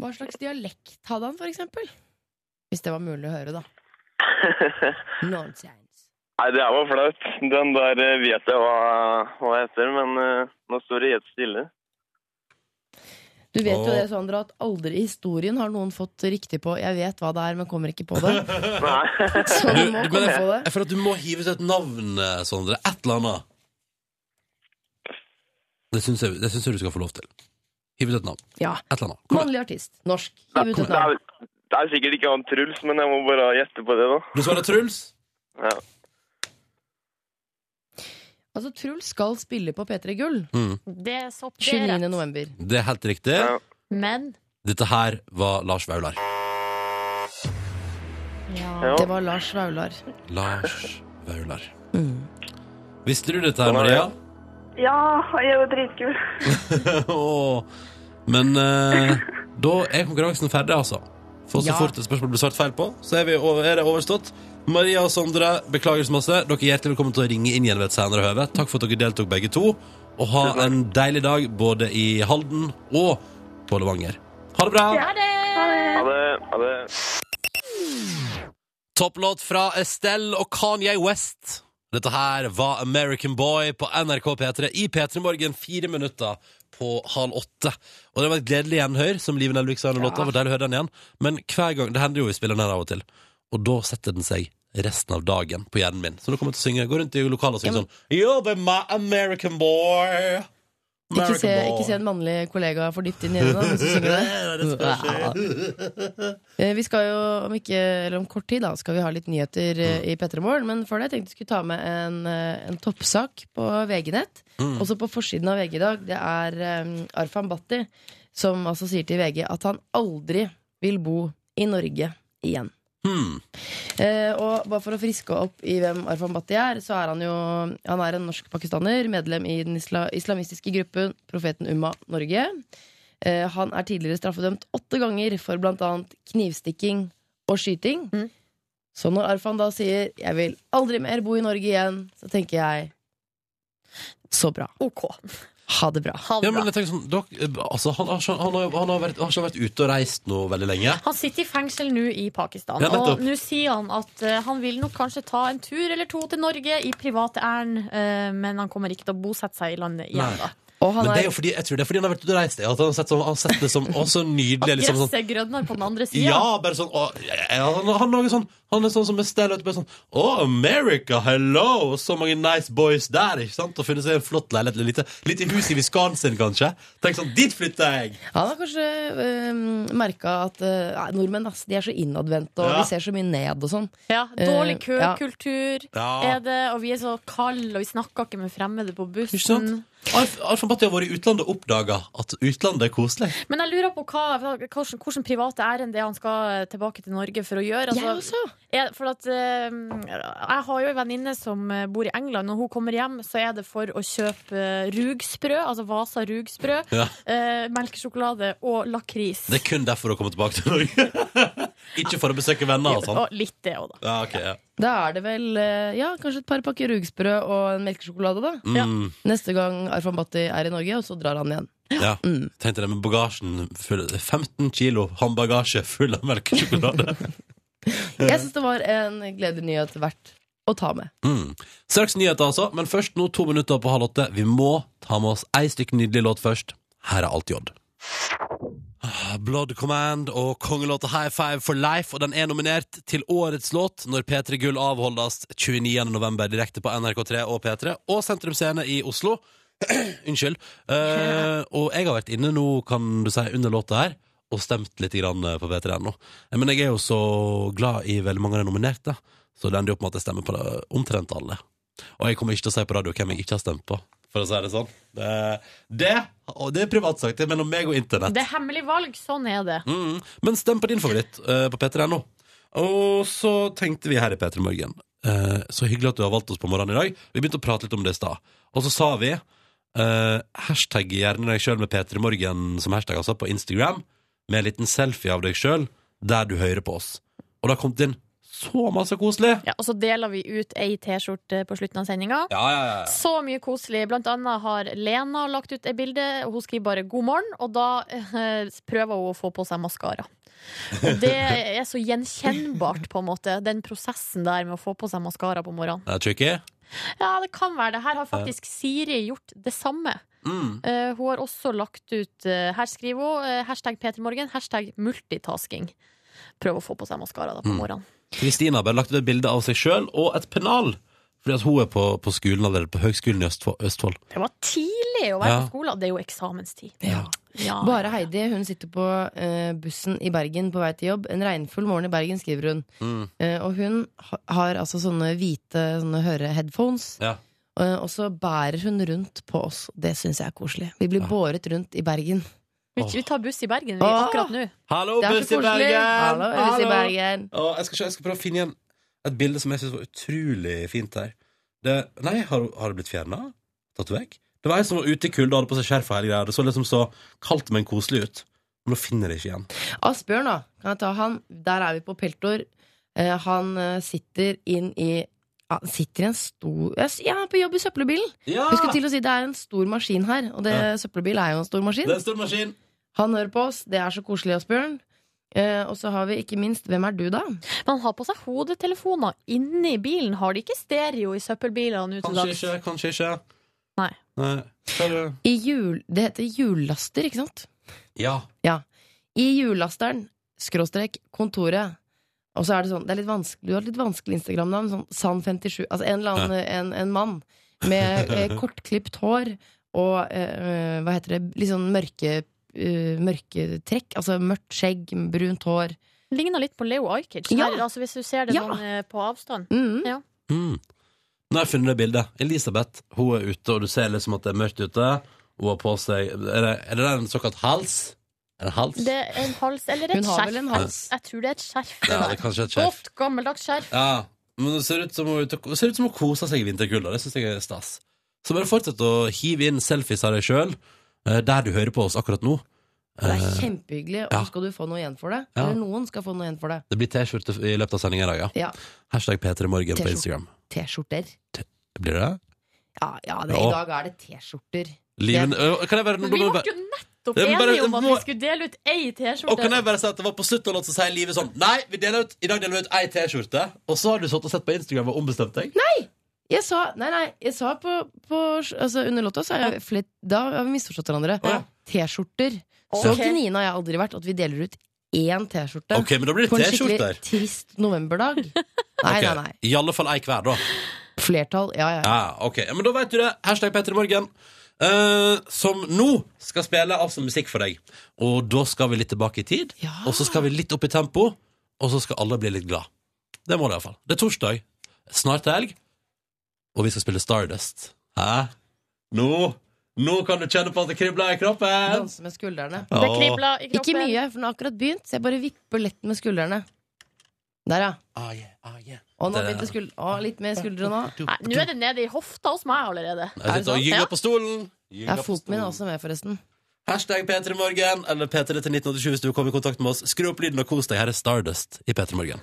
[SPEAKER 6] Hva slags dialekt hadde han, for eksempel? Hvis det var mulig å høre, da. Nonsense.
[SPEAKER 7] Nei, det her var flaut. Den der eh, vet jeg hva, hva heter, men eh, nå står det helt stille.
[SPEAKER 6] Du vet jo
[SPEAKER 2] Åh.
[SPEAKER 6] det, Sandra, at aldri i historien har noen fått riktig på 'jeg vet hva det er, men kommer ikke på det'.
[SPEAKER 7] Nei.
[SPEAKER 6] Så du må
[SPEAKER 2] men
[SPEAKER 6] komme
[SPEAKER 2] jeg,
[SPEAKER 6] på det.
[SPEAKER 2] jeg føler at du må hive ut et navn, eh, Sondre. Et eller annet. Det syns jeg, det syns jeg du skal få lov til. Hive ut et navn.
[SPEAKER 6] Ja.
[SPEAKER 2] Et eller annet. Kom igjen.
[SPEAKER 6] Mannlig artist. Norsk.
[SPEAKER 7] Det
[SPEAKER 6] Hiv ut et navn.
[SPEAKER 7] er, det er sikkert ikke han Truls, men jeg må bare gjette på det, da.
[SPEAKER 2] Du svarer Truls.
[SPEAKER 7] Ja.
[SPEAKER 6] Altså, Truls skal spille på P3 Gull
[SPEAKER 5] Det er så det er
[SPEAKER 6] 29.
[SPEAKER 5] rett.
[SPEAKER 6] november.
[SPEAKER 2] Det er helt riktig.
[SPEAKER 7] Ja.
[SPEAKER 5] Men
[SPEAKER 2] Dette her var Lars Vaular.
[SPEAKER 7] Ja.
[SPEAKER 6] Det var Lars Vaular.
[SPEAKER 2] Lars Vaular.
[SPEAKER 6] Mm.
[SPEAKER 2] Visste du dette her,
[SPEAKER 7] Sånn er
[SPEAKER 2] Maria?
[SPEAKER 8] Ja, jeg er jo dritkul.
[SPEAKER 2] Åh. Men eh, da er konkurransen ferdig, altså. For så
[SPEAKER 6] Ja.
[SPEAKER 2] fort et spørsmål blir svart feil på, så er, vi over, er det overstått. Maria og Sondre, beklager så masse. Dere er hjertelig velkommen til å ringe inn igjen ved et senere høve. Takk for at dere deltok, begge to. Og ha en deilig dag både i Halden og på Levanger. Ha det bra!
[SPEAKER 5] er det
[SPEAKER 7] Ha det. Ha det.
[SPEAKER 2] Topplåt fra Estelle og Kanye West. Dette her var American Boy på NRK P3 i P3 Morgen fire minutter på halv åtte. Og det var et gledelig gjenhør, som Liven Elvik sa under låta. Var deilig å høre den igjen. Men hver gang, det hender jo vi spiller den her av og til, og da setter den seg resten av dagen på hjernen min. Så nå kommer jeg til å synge, gå rundt i lokalet og synge
[SPEAKER 6] Ja, men-
[SPEAKER 2] sånn You'll be my American boy.
[SPEAKER 6] Ikke se,
[SPEAKER 2] American boy.
[SPEAKER 6] ikke se en mannlig kollega for dypt inn i øynene mens du synger det. Eh, Vi skal jo om, ikke, eller om kort tid da, skal vi ha litt nyheter eh, i P3 Morgen. Men før det tenkte jeg skulle ta med en, eh, en toppsak på VG-nett.
[SPEAKER 2] Mm.
[SPEAKER 6] Også på forsiden av VG i dag. Det er eh, Arfan Bhatti som altså sier til VG at han aldri vil bo i Norge igjen.
[SPEAKER 2] Hmm.
[SPEAKER 6] Eh, og bare for å friske opp i hvem Arfan Bhatti er, så er han jo Han er en norsk-pakistaner, medlem i den isla islamistiske gruppen Profeten Umma Norge. Eh, han er tidligere straffedømt åtte ganger for bl.a. knivstikking og skyting.
[SPEAKER 5] Mm.
[SPEAKER 6] Så når Arfan da sier 'jeg vil aldri mer bo i Norge igjen', så tenker jeg så bra.
[SPEAKER 5] OK.
[SPEAKER 6] Ha det bra.
[SPEAKER 5] Ha
[SPEAKER 2] Ja,
[SPEAKER 5] det
[SPEAKER 2] men
[SPEAKER 5] bra.
[SPEAKER 2] jeg tenker sånn, dere, altså, han, har, ikke- han, har, han, har vært, han har ikke vært ute og reist nå veldig lenge.
[SPEAKER 5] Han sitter i fengsel nå i Pakistan,
[SPEAKER 2] Ja, nettopp.
[SPEAKER 5] og nå sier han at eh, han vil nok kanskje ta en tur eller to til Norge i private ærend, eh, men han kommer ikke til å bosette seg i landet igjen,
[SPEAKER 2] Nei.
[SPEAKER 5] da.
[SPEAKER 6] Og han
[SPEAKER 2] Men det er
[SPEAKER 6] er
[SPEAKER 2] jo fordi, jeg tror det er fordi han har vært ute og reist. At han har sett, sånn, han har sett det som å, så nydelig. Liksom, sånn,
[SPEAKER 5] Gresset er grønnere på den andre sida.
[SPEAKER 2] ja, bare sånn å, ja, ja, han, han, er sånn han er sånn som Estelle. vet du, Bare sånn Å, America, hello! Og så mange nice boys der. ikke sant? Og funnet seg en flott leilighet. eller Lite, lite hus i Wisconsin, kanskje. Tenk sånn, Dit flytter jeg!
[SPEAKER 6] Han har kanskje øh, merka at eh, nei, nordmenn ass, de er så innadvendte, og
[SPEAKER 2] Ja.
[SPEAKER 6] de ser så mye ned og sånn.
[SPEAKER 5] Ja, dårlig
[SPEAKER 6] Eh, ja.
[SPEAKER 5] køkultur
[SPEAKER 2] Ja.
[SPEAKER 5] er det, og vi er så kalde, og vi snakker ikke med fremmede på
[SPEAKER 2] Ikke sant?
[SPEAKER 5] bussen.
[SPEAKER 2] Alf, Alf Batti har vært i utlandet og oppdaga at utlandet er koselig.
[SPEAKER 5] Men jeg lurer på hva, hvordan, hvordan private ærend det er han skal tilbake til Norge for å gjøre.
[SPEAKER 6] Jeg
[SPEAKER 5] Altså,
[SPEAKER 6] også!
[SPEAKER 5] er, for at, eh, jeg har jo en venninne som eh, bor i England. Når hun kommer hjem, så er det for å kjøpe eh, rugsprø, altså Vasa rugsprø,
[SPEAKER 2] Ja.
[SPEAKER 5] eh, melkesjokolade og lakris.
[SPEAKER 2] Det er kun derfor å komme tilbake til Norge. Ikke for å besøke venner og sånn.
[SPEAKER 5] Og litt det òg, da.
[SPEAKER 2] Ja, ok, ja.
[SPEAKER 6] Da er det vel eh, ja, kanskje et par pakker rugsprø og en melkesjokolade, da.
[SPEAKER 2] Mm.
[SPEAKER 6] Neste gang Arfan Bhatti er i Norge, og så drar han igjen.
[SPEAKER 2] Ja, tenkte det med bagasjen full, 15 kilo håndbagasje full av melkesjokolade.
[SPEAKER 6] Jeg syns det var en gledelig nyhet verdt å ta med.
[SPEAKER 2] Mm. Straks nyheter, altså. Men først nå to minutter på halv åtte. Vi må ta med oss ei stykke nydelig låt først. Her er alt J. Ah, Blood Command og kongelåta High Five for Life, og den er nominert til årets låt når P3 Gull avholdes 29. november direkte på NRK3 og P3 og Sentrum Scene i Oslo. Unnskyld. Eh, og jeg har vært inne nå, kan du si, under låta her, og stemt litt grann eh, på P3.no. Eh, Men jeg er jo så glad i veldig mange av de nominerte, så det ender jo opp med at jeg stemmer på det, omtrent alle. Og jeg kommer ikke til å si på radio hvem jeg ikke har stemt på, for å si det sånn. Det, det, og det er privatsak, det er mellom meg og internett.
[SPEAKER 5] Det er hemmelig valg, sånn er det.
[SPEAKER 2] Mm. Men stem på din favoritt eh, på p3.no. Og så tenkte vi her i P3 Morgen eh, Så hyggelig at du har valgt oss på morgenen i dag. Vi begynte å prate litt om det i stad. Og så sa vi eh, hashtag gjerne deg sjøl med P3 Morgen som hashtag altså, på Instagram. Med en liten selfie av deg sjøl der du hører på oss. Og da kom det inn så masse koselig.
[SPEAKER 5] Ja, og så deler vi ut ei T-skjorte på slutten av sendinga.
[SPEAKER 2] Ja, ja, ja.
[SPEAKER 5] Så mye koselig. Blant annet har Lena lagt ut et bilde, og hun skriver bare 'god morgen', og da eh, prøver hun å få på seg maskara. Og det er så gjenkjennbart, på en måte, den prosessen der med å få på seg maskara på morgenen.
[SPEAKER 2] Det er tricky.
[SPEAKER 5] Ja, det kan være det. Her har faktisk Siri gjort det samme.
[SPEAKER 2] Mm.
[SPEAKER 5] Eh, hun har også lagt ut eh, Her skriver hun eh, hashtag P3morgen, hashtag multitasking. Prøv å få på seg maskara da på
[SPEAKER 2] Mm.
[SPEAKER 5] morgenen.
[SPEAKER 2] Kristina har bare lagt ut et bilde av seg sjøl og et pennal. Fordi at hun er på, på skolen allerede, på Høgskolen i Østfo- Østfold.
[SPEAKER 5] Det var tidlig å være
[SPEAKER 2] Ja.
[SPEAKER 5] på skolen. Det er jo eksamenstid.
[SPEAKER 6] Ja.
[SPEAKER 2] Ah,
[SPEAKER 5] Ja.
[SPEAKER 6] Bare Heidi hun sitter på eh, bussen i Bergen på vei til jobb. En regnfull morgen i Bergen, skriver hun.
[SPEAKER 2] Mm.
[SPEAKER 6] Eh, og hun ha, har altså sånne hvite sånne høreheadphones.
[SPEAKER 2] Ja.
[SPEAKER 6] Eh, og så bærer hun rundt på oss. Det syns jeg er koselig. Vi blir
[SPEAKER 2] Ja.
[SPEAKER 6] båret rundt i Bergen.
[SPEAKER 5] Vi, vi tar buss i Bergen vi, akkurat nå.
[SPEAKER 2] Hallo,
[SPEAKER 6] Det er
[SPEAKER 2] buss i
[SPEAKER 6] så koselig!
[SPEAKER 2] Bergen!
[SPEAKER 6] Hallo, Øyvind i Bergen.
[SPEAKER 2] Å, jeg, skal, se- jeg skal prøve å finne igjen et bilde som jeg syns var utrolig fint her. Det, nei, har, har det blitt fjerna? Tatt vekk? Det var ei som var ute i kulda og hadde på seg skjerf og hele greia. Det så liksom så kaldt, men koselig ut. Men nå finner jeg det ikke igjen.
[SPEAKER 6] Asbjørn, da. Kan jeg ta han? Der er vi på Peltor. Eh, han eh, sitter inn i ja, han sitter i en stor Jeg s- Ja, han er på jobb i søppelbilen!
[SPEAKER 2] Ja!
[SPEAKER 6] Jeg skulle til å si Det er en stor maskin her, og det,
[SPEAKER 2] Ah! Ja.
[SPEAKER 6] søppelbil er jo en stor
[SPEAKER 2] Det
[SPEAKER 6] maskin.
[SPEAKER 2] er en stor maskin.
[SPEAKER 6] Han hører på oss. Det er så koselig, Asbjørn. Eh, og så har vi ikke minst Hvem er du, da?
[SPEAKER 5] Men han har på seg hodetelefoner inni bilen. Har de ikke stereo i søppelbilene nå til
[SPEAKER 2] Kanskje
[SPEAKER 5] dags?
[SPEAKER 2] ikke, kanskje ikke.
[SPEAKER 5] Nei.
[SPEAKER 2] nei. Hva er det?
[SPEAKER 6] I jul, det heter jullaster, ikke sant?
[SPEAKER 2] Ja.
[SPEAKER 6] I jullasteren, skråstrek, kontoret. Og så er det sånn, det er litt vanskelig, du har et litt vanskelig Instagram-navn, sånn San57. Altså en eller annen, en, en mann med eh, kortklipt hår og eh, eh, hva heter det, litt sånn mørke, eh, mørke trekk. Altså mørkt skjegg, brunt hår.
[SPEAKER 5] Ligner litt på Leo Ajkic.
[SPEAKER 6] Ja.
[SPEAKER 5] her, Altså, hvis du ser det
[SPEAKER 6] Ja.
[SPEAKER 5] sånn eh, på avstand.
[SPEAKER 6] Mm.
[SPEAKER 2] Mm. Nå har jeg funnet det bildet. Elisabeth hun er ute, og du ser liksom at det er mørkt ute. Hun har på seg Er det, er det der en såkalt hals? Er det hals?
[SPEAKER 5] Det er en hals eller et
[SPEAKER 6] Hun har
[SPEAKER 5] skjerf.
[SPEAKER 6] vel en hals.
[SPEAKER 5] Jeg tror det er et skjerf. det
[SPEAKER 2] Ja,
[SPEAKER 5] der.
[SPEAKER 2] det er kanskje et skjerf.
[SPEAKER 5] Godt, gammeldags skjerf.
[SPEAKER 2] Ja, men det ser ut som hun, er ute og- det ser ut som hun koser seg i vinterkulda. Det syns jeg er stas. Så bare fortsett å hive inn selfies av deg sjøl der du hører på oss akkurat nå.
[SPEAKER 6] Det er
[SPEAKER 2] Eh,
[SPEAKER 6] kjempehyggelig, og
[SPEAKER 2] ja.
[SPEAKER 6] så skal du få noe igjen for det.
[SPEAKER 2] Ja.
[SPEAKER 6] Eller noen skal få noe igjen for det.
[SPEAKER 2] Det blir T-skjorte i løpet av sendinga i dag, ja.
[SPEAKER 6] Ja.
[SPEAKER 2] Hashtag P3morgen på
[SPEAKER 6] T-skjorte.
[SPEAKER 2] Instagram.
[SPEAKER 6] T-skjorter.
[SPEAKER 2] Blir det?
[SPEAKER 6] Ja, ja det,
[SPEAKER 2] Ja.
[SPEAKER 6] i dag er det T-skjorter.
[SPEAKER 2] Liven, øh, kan jeg bare,
[SPEAKER 5] Men vi ble jo nettopp
[SPEAKER 2] Ja, men bare-
[SPEAKER 5] enige om at
[SPEAKER 2] må-
[SPEAKER 5] vi skulle dele ut ei
[SPEAKER 2] Og kan
[SPEAKER 5] T-skjorte.
[SPEAKER 2] jeg bare si at det var på slutten av låten så sier livet sånn Nei, vi deler ut, i dag deler vi ut ei T-skjorte, og så har du satt og sett på Instagram og ombestemt deg?
[SPEAKER 6] Jeg sa, nei, nei, jeg sa på, på altså under låta så har jeg flett, Da har vi misforstått hverandre.
[SPEAKER 2] Ja.
[SPEAKER 6] T-skjorter. Så
[SPEAKER 5] Ok.
[SPEAKER 6] gnina har jeg aldri vært at vi deler ut én T-skjorte
[SPEAKER 2] Ok, men da blir det
[SPEAKER 6] på en skikkelig
[SPEAKER 2] T-skjorter.
[SPEAKER 6] trist novemberdag. Nei, nei, nei.
[SPEAKER 2] I alle fall ei hver, da.
[SPEAKER 6] Flertall. Ja, ja.
[SPEAKER 2] Ja, ok, ja, men da vet du det Hashtag Petter i morgen eh, Som nå skal spille altså musikk for deg Og da skal vi litt tilbake i tid
[SPEAKER 6] Ja.
[SPEAKER 2] Og så skal vi litt opp i tempo Og så skal alle bli litt glad Det må det i hvert fall Det er torsdag, snart er helg Og vi skal spille Stardust Hæ? Nå, nå kan du kjenne på at det kribler i kroppen
[SPEAKER 6] Danse med skuldrene.
[SPEAKER 5] Det kribla i kroppen.
[SPEAKER 6] Ikke mye, for den har akkurat begynt, så jeg bare vipper lett med skuldrene. Der, ja.
[SPEAKER 2] Ah, yeah, ah, yeah.
[SPEAKER 6] Og nå
[SPEAKER 2] Der, ja.
[SPEAKER 6] begynte skul- Å, litt mer skuldre nå.
[SPEAKER 5] Nei, nå er det nede i hofta hos meg allerede.
[SPEAKER 2] Jeg sitter og
[SPEAKER 5] sant? Ja.
[SPEAKER 2] gynger på stolen Gynger
[SPEAKER 6] Ja,
[SPEAKER 2] på
[SPEAKER 6] foten min er
[SPEAKER 2] stolen.
[SPEAKER 6] også med, forresten.
[SPEAKER 2] Hashtag P3morgen eller P3 til 1987 hvis du kommer i kontakt med oss. Skru opp lyden og kos deg. Her er Stardust i P3morgen.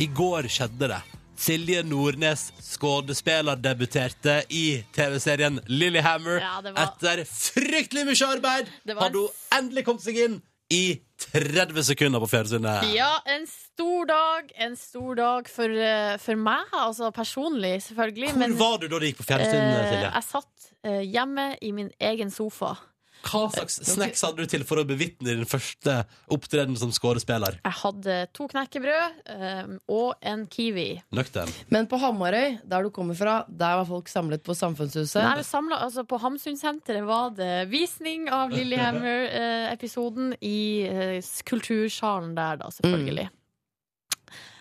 [SPEAKER 2] I går skjedde det. Silje Nordnes, skuespiller, debuterte i TV-serien Lillehammer.
[SPEAKER 5] Ja, det var-
[SPEAKER 2] Etter fryktelig mye arbeid
[SPEAKER 5] Det var
[SPEAKER 2] hadde hun endelig kommet seg inn i 30 sekunder på fjernsynet.
[SPEAKER 5] Ja, en stor dag. En stor dag for, eh, for meg, altså personlig, selvfølgelig.
[SPEAKER 2] Hvor
[SPEAKER 5] men,
[SPEAKER 2] var du da det gikk på
[SPEAKER 5] eh,
[SPEAKER 2] fjernsyn, Silje?
[SPEAKER 5] jeg satt eh, hjemme i min egen sofa.
[SPEAKER 2] Hva slags snacks hadde du til for å bevitne din første opptreden som skårespiller?
[SPEAKER 5] Jeg hadde to knekkebrød eh, og en kiwi.
[SPEAKER 2] Nøktern.
[SPEAKER 6] Men på Hamarøy, der du kommer fra, der var folk samlet på Samfunnshuset.
[SPEAKER 5] Nei, vi samlet, altså, på Hamsunsenteret var det visning av Lillehammer-episoden i eh, kultursalen der, da, selvfølgelig.
[SPEAKER 6] Mm.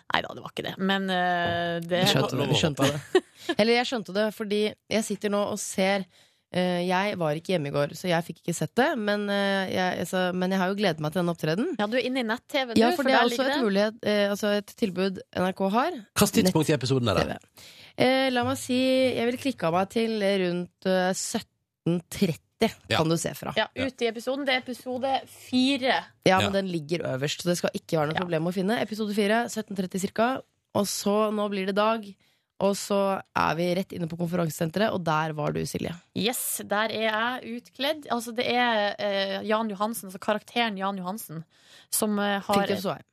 [SPEAKER 5] Nei da, det var ikke det. Men eh, det
[SPEAKER 6] Jeg skjønte det. Jeg skjønte det. Eller jeg skjønte det fordi jeg sitter nå og ser eh, Jeg var ikke hjemme i går, så jeg fikk ikke sett det. Men, eh, jeg, altså, men jeg har jo gledet meg til denne opptredenen.
[SPEAKER 5] Ja, du er inne i nett-TV, du.
[SPEAKER 6] Ja, for det er
[SPEAKER 5] der
[SPEAKER 6] også et,
[SPEAKER 5] ligger det.
[SPEAKER 6] mulighet, eh, altså et tilbud NRK har.
[SPEAKER 2] Hvilket tidspunkt i episoden er det?
[SPEAKER 6] Eh, la meg si Jeg ville klikka meg til rundt eh, 17.30,
[SPEAKER 2] Ja.
[SPEAKER 6] kan du se fra. Ja,
[SPEAKER 5] Ja, ut i episoden. Det er episode fire.
[SPEAKER 6] men
[SPEAKER 2] Ja.
[SPEAKER 6] den ligger øverst, så det skal ikke være noe
[SPEAKER 5] Ja.
[SPEAKER 6] problem å finne. Episode 4, 17.30 ca. Og så, nå blir det dag. Og så er vi rett inne på konferansesenteret, og der var du, Silje.
[SPEAKER 5] Yes, der er jeg utkledd. Altså, det er eh, Jan Johansen, altså karakteren Jan Johansen, som eh, har
[SPEAKER 6] Fridtjof Svaheim.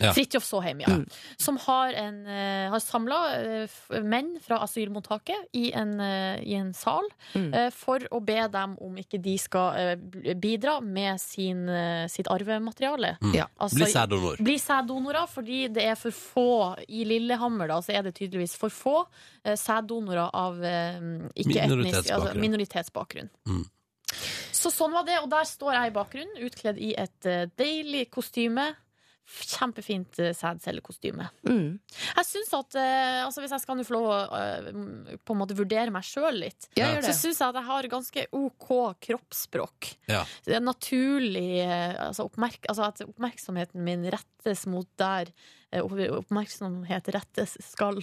[SPEAKER 2] Ja.
[SPEAKER 5] Fridtjof Saaheim, ja.
[SPEAKER 6] Mm.
[SPEAKER 5] Som har, en, eh, har samla menn fra asylmottaket i en, eh, i en sal
[SPEAKER 6] Mm.
[SPEAKER 5] eh, for å be dem om ikke de skal eh, b- bidra med sin, eh, sitt arvemateriale.
[SPEAKER 2] Mm.
[SPEAKER 6] Ja.
[SPEAKER 5] Altså,
[SPEAKER 2] Bli sæddonor.
[SPEAKER 5] bli sæddonorer, fordi det er for få i Lillehammer. Da, så er det tydeligvis for få eh, sæddonorer av eh, ikke-etnisk
[SPEAKER 2] Minoritetsbakgrunn.
[SPEAKER 5] altså, minoritetsbakgrunn.
[SPEAKER 2] Mm.
[SPEAKER 5] Så sånn var det, og der står jeg i bakgrunnen, utkledd i et eh, deilig kostyme. F- Kjempefint eh, sædcellekostyme.
[SPEAKER 6] Mm.
[SPEAKER 5] Jeg syns at eh, altså Hvis jeg skal nå få lov å eh, m- på en måte vurdere meg sjøl litt,
[SPEAKER 2] Ja.
[SPEAKER 6] Ja, gjør
[SPEAKER 5] så
[SPEAKER 6] det.
[SPEAKER 5] syns jeg at jeg har ganske OK kroppsspråk.
[SPEAKER 2] Ja.
[SPEAKER 5] Det er naturlig eh, altså oppmerk, altså At oppmerksomheten min rettes mot der eh, opp- oppmerksomhet rettes skal.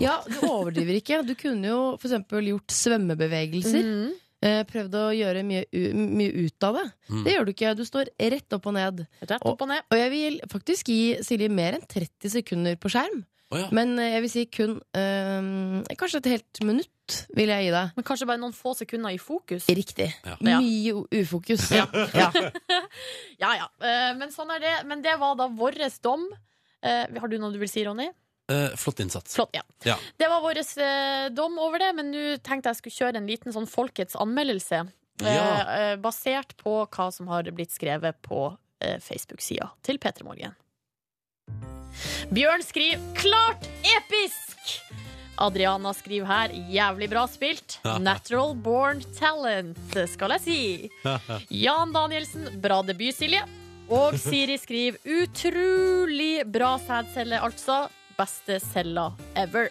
[SPEAKER 6] Ja, du overdriver ikke. Du kunne jo for eksempel gjort svømmebevegelser.
[SPEAKER 5] Mm.
[SPEAKER 6] eh, Prøvd å gjøre mye, u- mye ut av det.
[SPEAKER 2] Mm.
[SPEAKER 6] Det gjør du ikke. Du står rett opp og ned.
[SPEAKER 5] Rett opp og ned.
[SPEAKER 6] Og jeg vil faktisk gi Silje mer enn 30 sekunder på skjerm.
[SPEAKER 2] Å ja.
[SPEAKER 6] Men eh, jeg vil si kun eh, kanskje et helt minutt vil jeg gi deg.
[SPEAKER 5] Men kanskje bare noen få sekunder i fokus.
[SPEAKER 6] Riktig.
[SPEAKER 2] Ja.
[SPEAKER 6] Mye u- ufokus.
[SPEAKER 5] Ja.
[SPEAKER 6] Ja.
[SPEAKER 5] Ja, ja. Eh, Men sånn er det. Men det var da vår dom. Eh, Har du noe du vil si, Ronny?
[SPEAKER 2] Eh, flott innsats.
[SPEAKER 5] Flott, ja.
[SPEAKER 2] Ja.
[SPEAKER 5] Det var vår eh, dom over det, men nå tenkte jeg skulle kjøre en liten sånn folkets anmeldelse. eh,
[SPEAKER 2] Ja.
[SPEAKER 5] eh, basert på hva som har blitt skrevet på eh, Facebook-sida til P3 Morgen. Bjørn skriver 'klart episk'! Adriana skriver her 'jævlig bra spilt'. 'Natural born talent', skal jeg si. Jan Danielsen, bra debut, Silje. Og Siri skriver 'utrolig bra sædcelle', altså. Beste cella ever.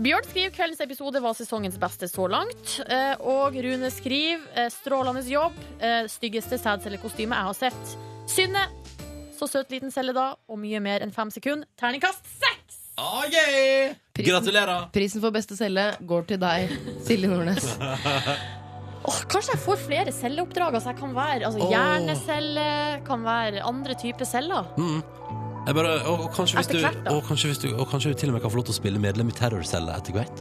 [SPEAKER 5] Bjørn skriver kveldens episode var sesongens beste så langt. Eh, Og Rune skriver eh, strålende jobb. eh, Styggeste sædcellekostyme jeg har sett. Synne. Så søt liten celle, da. Og mye mer enn fem sekunder. Terningkast seks!
[SPEAKER 2] Ah, yeah! Gratulerer!
[SPEAKER 6] Prisen for beste celle går til deg, Silje Nordnes.
[SPEAKER 5] Åh, kanskje jeg får flere celleoppdrag. Altså, jeg kan være altså,
[SPEAKER 2] Åh.
[SPEAKER 5] hjernecelle, kan være andre typer celler.
[SPEAKER 2] Jeg bare, og, og, kanskje hvis
[SPEAKER 5] Etter
[SPEAKER 2] du,
[SPEAKER 5] hvert, da.
[SPEAKER 2] og, kanskje hvis du, og kanskje du til og med kan få lov til å spille medlem i terrorcelle etter hvert.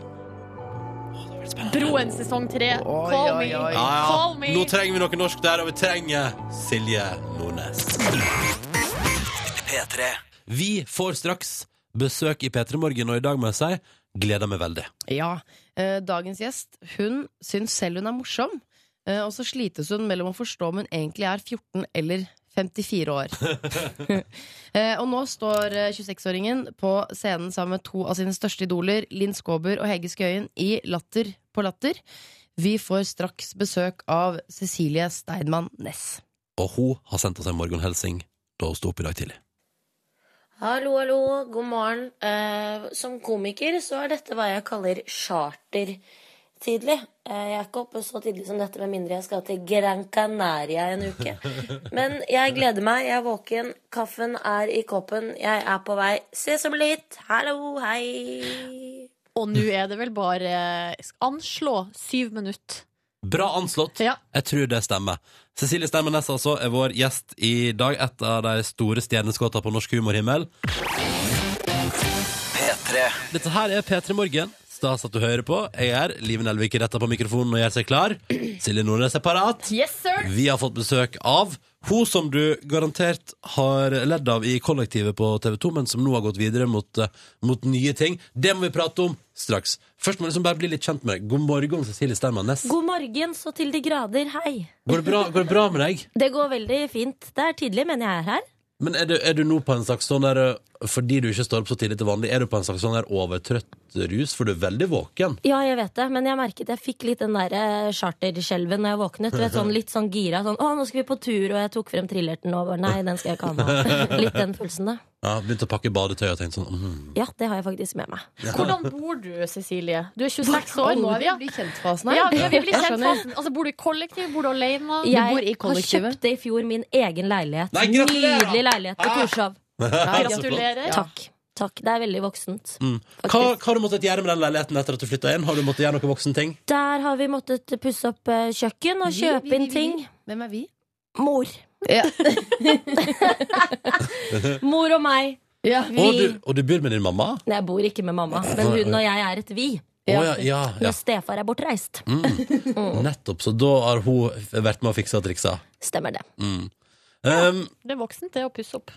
[SPEAKER 5] Broen sesong tre.
[SPEAKER 6] Oi,
[SPEAKER 5] Call
[SPEAKER 6] oi,
[SPEAKER 5] me.
[SPEAKER 6] oi.
[SPEAKER 5] Call me.
[SPEAKER 2] Nå trenger vi noe norsk der, og vi trenger Silje Nordnes.
[SPEAKER 1] P3
[SPEAKER 2] Vi får straks besøk i P3 Morgen, og i dag må jeg si gleder meg veldig.
[SPEAKER 6] Ja. eh, Dagens gjest hun syns selv hun er morsom, eh, og så slites hun mellom å forstå om hun egentlig er 14 eller 54 år. Eh, og nå står eh, 26-åringen på scenen sammen med to av sine største idoler, Linn Skåber og Hege Skøyen, i Latter på latter. Vi får straks besøk av Cecilie Steinmann Næss.
[SPEAKER 2] Og hun har sendt oss en morgenhelsing da hun sto opp i dag tidlig.
[SPEAKER 9] Hallo, hallo, god morgen. Eh, som komiker så er dette hva jeg kaller chartertidlig. Eh, jeg er ikke oppe så tidlig som dette med mindre jeg skal til Gran Canaria en uke. Men jeg gleder meg, jeg er våken, kaffen er i koppen, jeg er på vei. Ses om litt. Hallo, hei.
[SPEAKER 5] Og nå er det vel bare eh, anslå syv minutter.
[SPEAKER 2] Bra anslått.
[SPEAKER 5] Ja.
[SPEAKER 2] Jeg tror det stemmer. Cecilie Stemmenes altså er vår gjest i dag. Et av de store stjerneskuddene på norsk humorhimmel.
[SPEAKER 1] P3
[SPEAKER 2] Dette her er P3 Morgen. Stas at du hører på. Jeg er Live Nelvik retter på mikrofonen og gjør seg klar. Silje Nordnes er parat.
[SPEAKER 5] Yes, sir!
[SPEAKER 2] Vi har fått besøk av hun som du garantert har ledd av i kollektivet på TV 2, men som nå har gått videre mot, eh, mot nye ting. Det må vi prate om straks. Først må vi liksom bare bli litt kjent med deg. God morgen, Cecilie Steinmann Næss.
[SPEAKER 9] God morgen så til de grader, hei.
[SPEAKER 2] Går, det bra- går det bra med deg?
[SPEAKER 9] Det går veldig fint. Det er tidlig, men jeg er her.
[SPEAKER 2] Men er du, er du nå på en slags sånn der eh, Fordi du ikke står opp så tidlig til vanlig, er du på en slags sånn der overtrøtt rus? For du er veldig våken.
[SPEAKER 9] Ja, jeg vet det, men jeg merket jeg fikk litt den der eh, charterskjelven når jeg våknet. Du vet, sånn Litt sånn gira. Sånn 'Å, nå skal vi på tur', og jeg tok frem trillerten og bare 'Nei, den skal jeg ikke ha med'. Litt den følelsen, da.
[SPEAKER 2] Ja, Begynte å pakke badetøy og tenkte sånn mm.
[SPEAKER 9] Ja, det har jeg faktisk med meg.
[SPEAKER 5] Hvordan bor du, Cecilie? Du er 26
[SPEAKER 6] Og
[SPEAKER 5] år.
[SPEAKER 6] nå er vi
[SPEAKER 5] Ja.
[SPEAKER 6] i bli-kjent-fasen her.
[SPEAKER 5] Ja, vi, vi blir
[SPEAKER 6] Jeg
[SPEAKER 5] kjent
[SPEAKER 6] skjønner.
[SPEAKER 5] fasen. Altså, bor du i kollektiv? Bor du alene?
[SPEAKER 6] Ja.
[SPEAKER 9] Jeg
[SPEAKER 6] bor i kollektivet?
[SPEAKER 9] har kjøpte i fjor min egen leilighet.
[SPEAKER 2] Nei, gratulerer! Ah.
[SPEAKER 9] Nydelig leilighet på Torshov.
[SPEAKER 6] Nei,
[SPEAKER 5] Gratulerer.
[SPEAKER 6] Ja.
[SPEAKER 9] Takk. Takk. Det er veldig voksent.
[SPEAKER 2] Hva, hva har du måttet gjøre med den leiligheten etter at du flytta inn? Har du måttet gjøre noen voksen ting?
[SPEAKER 9] Der har vi måttet pusse opp eh, kjøkken og
[SPEAKER 6] Vi, altså, vi,
[SPEAKER 9] kjøpe
[SPEAKER 6] vi, vi.
[SPEAKER 9] inn ting.
[SPEAKER 6] Hvem er vi?
[SPEAKER 9] Mor.
[SPEAKER 6] Ja.
[SPEAKER 9] Mor og meg.
[SPEAKER 6] Ja.
[SPEAKER 9] Vi.
[SPEAKER 2] Og du, og du bor med din mamma?
[SPEAKER 9] Nei, Jeg bor ikke med mamma, men hun og jeg er et vi.
[SPEAKER 2] Å ja, ja, ja. Mm.
[SPEAKER 9] Når stefar er bortreist. Mm.
[SPEAKER 2] Nettopp. Så da har hun vært med og fiksa og triksa.
[SPEAKER 9] Stemmer det.
[SPEAKER 2] Mm. Um,
[SPEAKER 5] Det er voksent, det å pusse opp.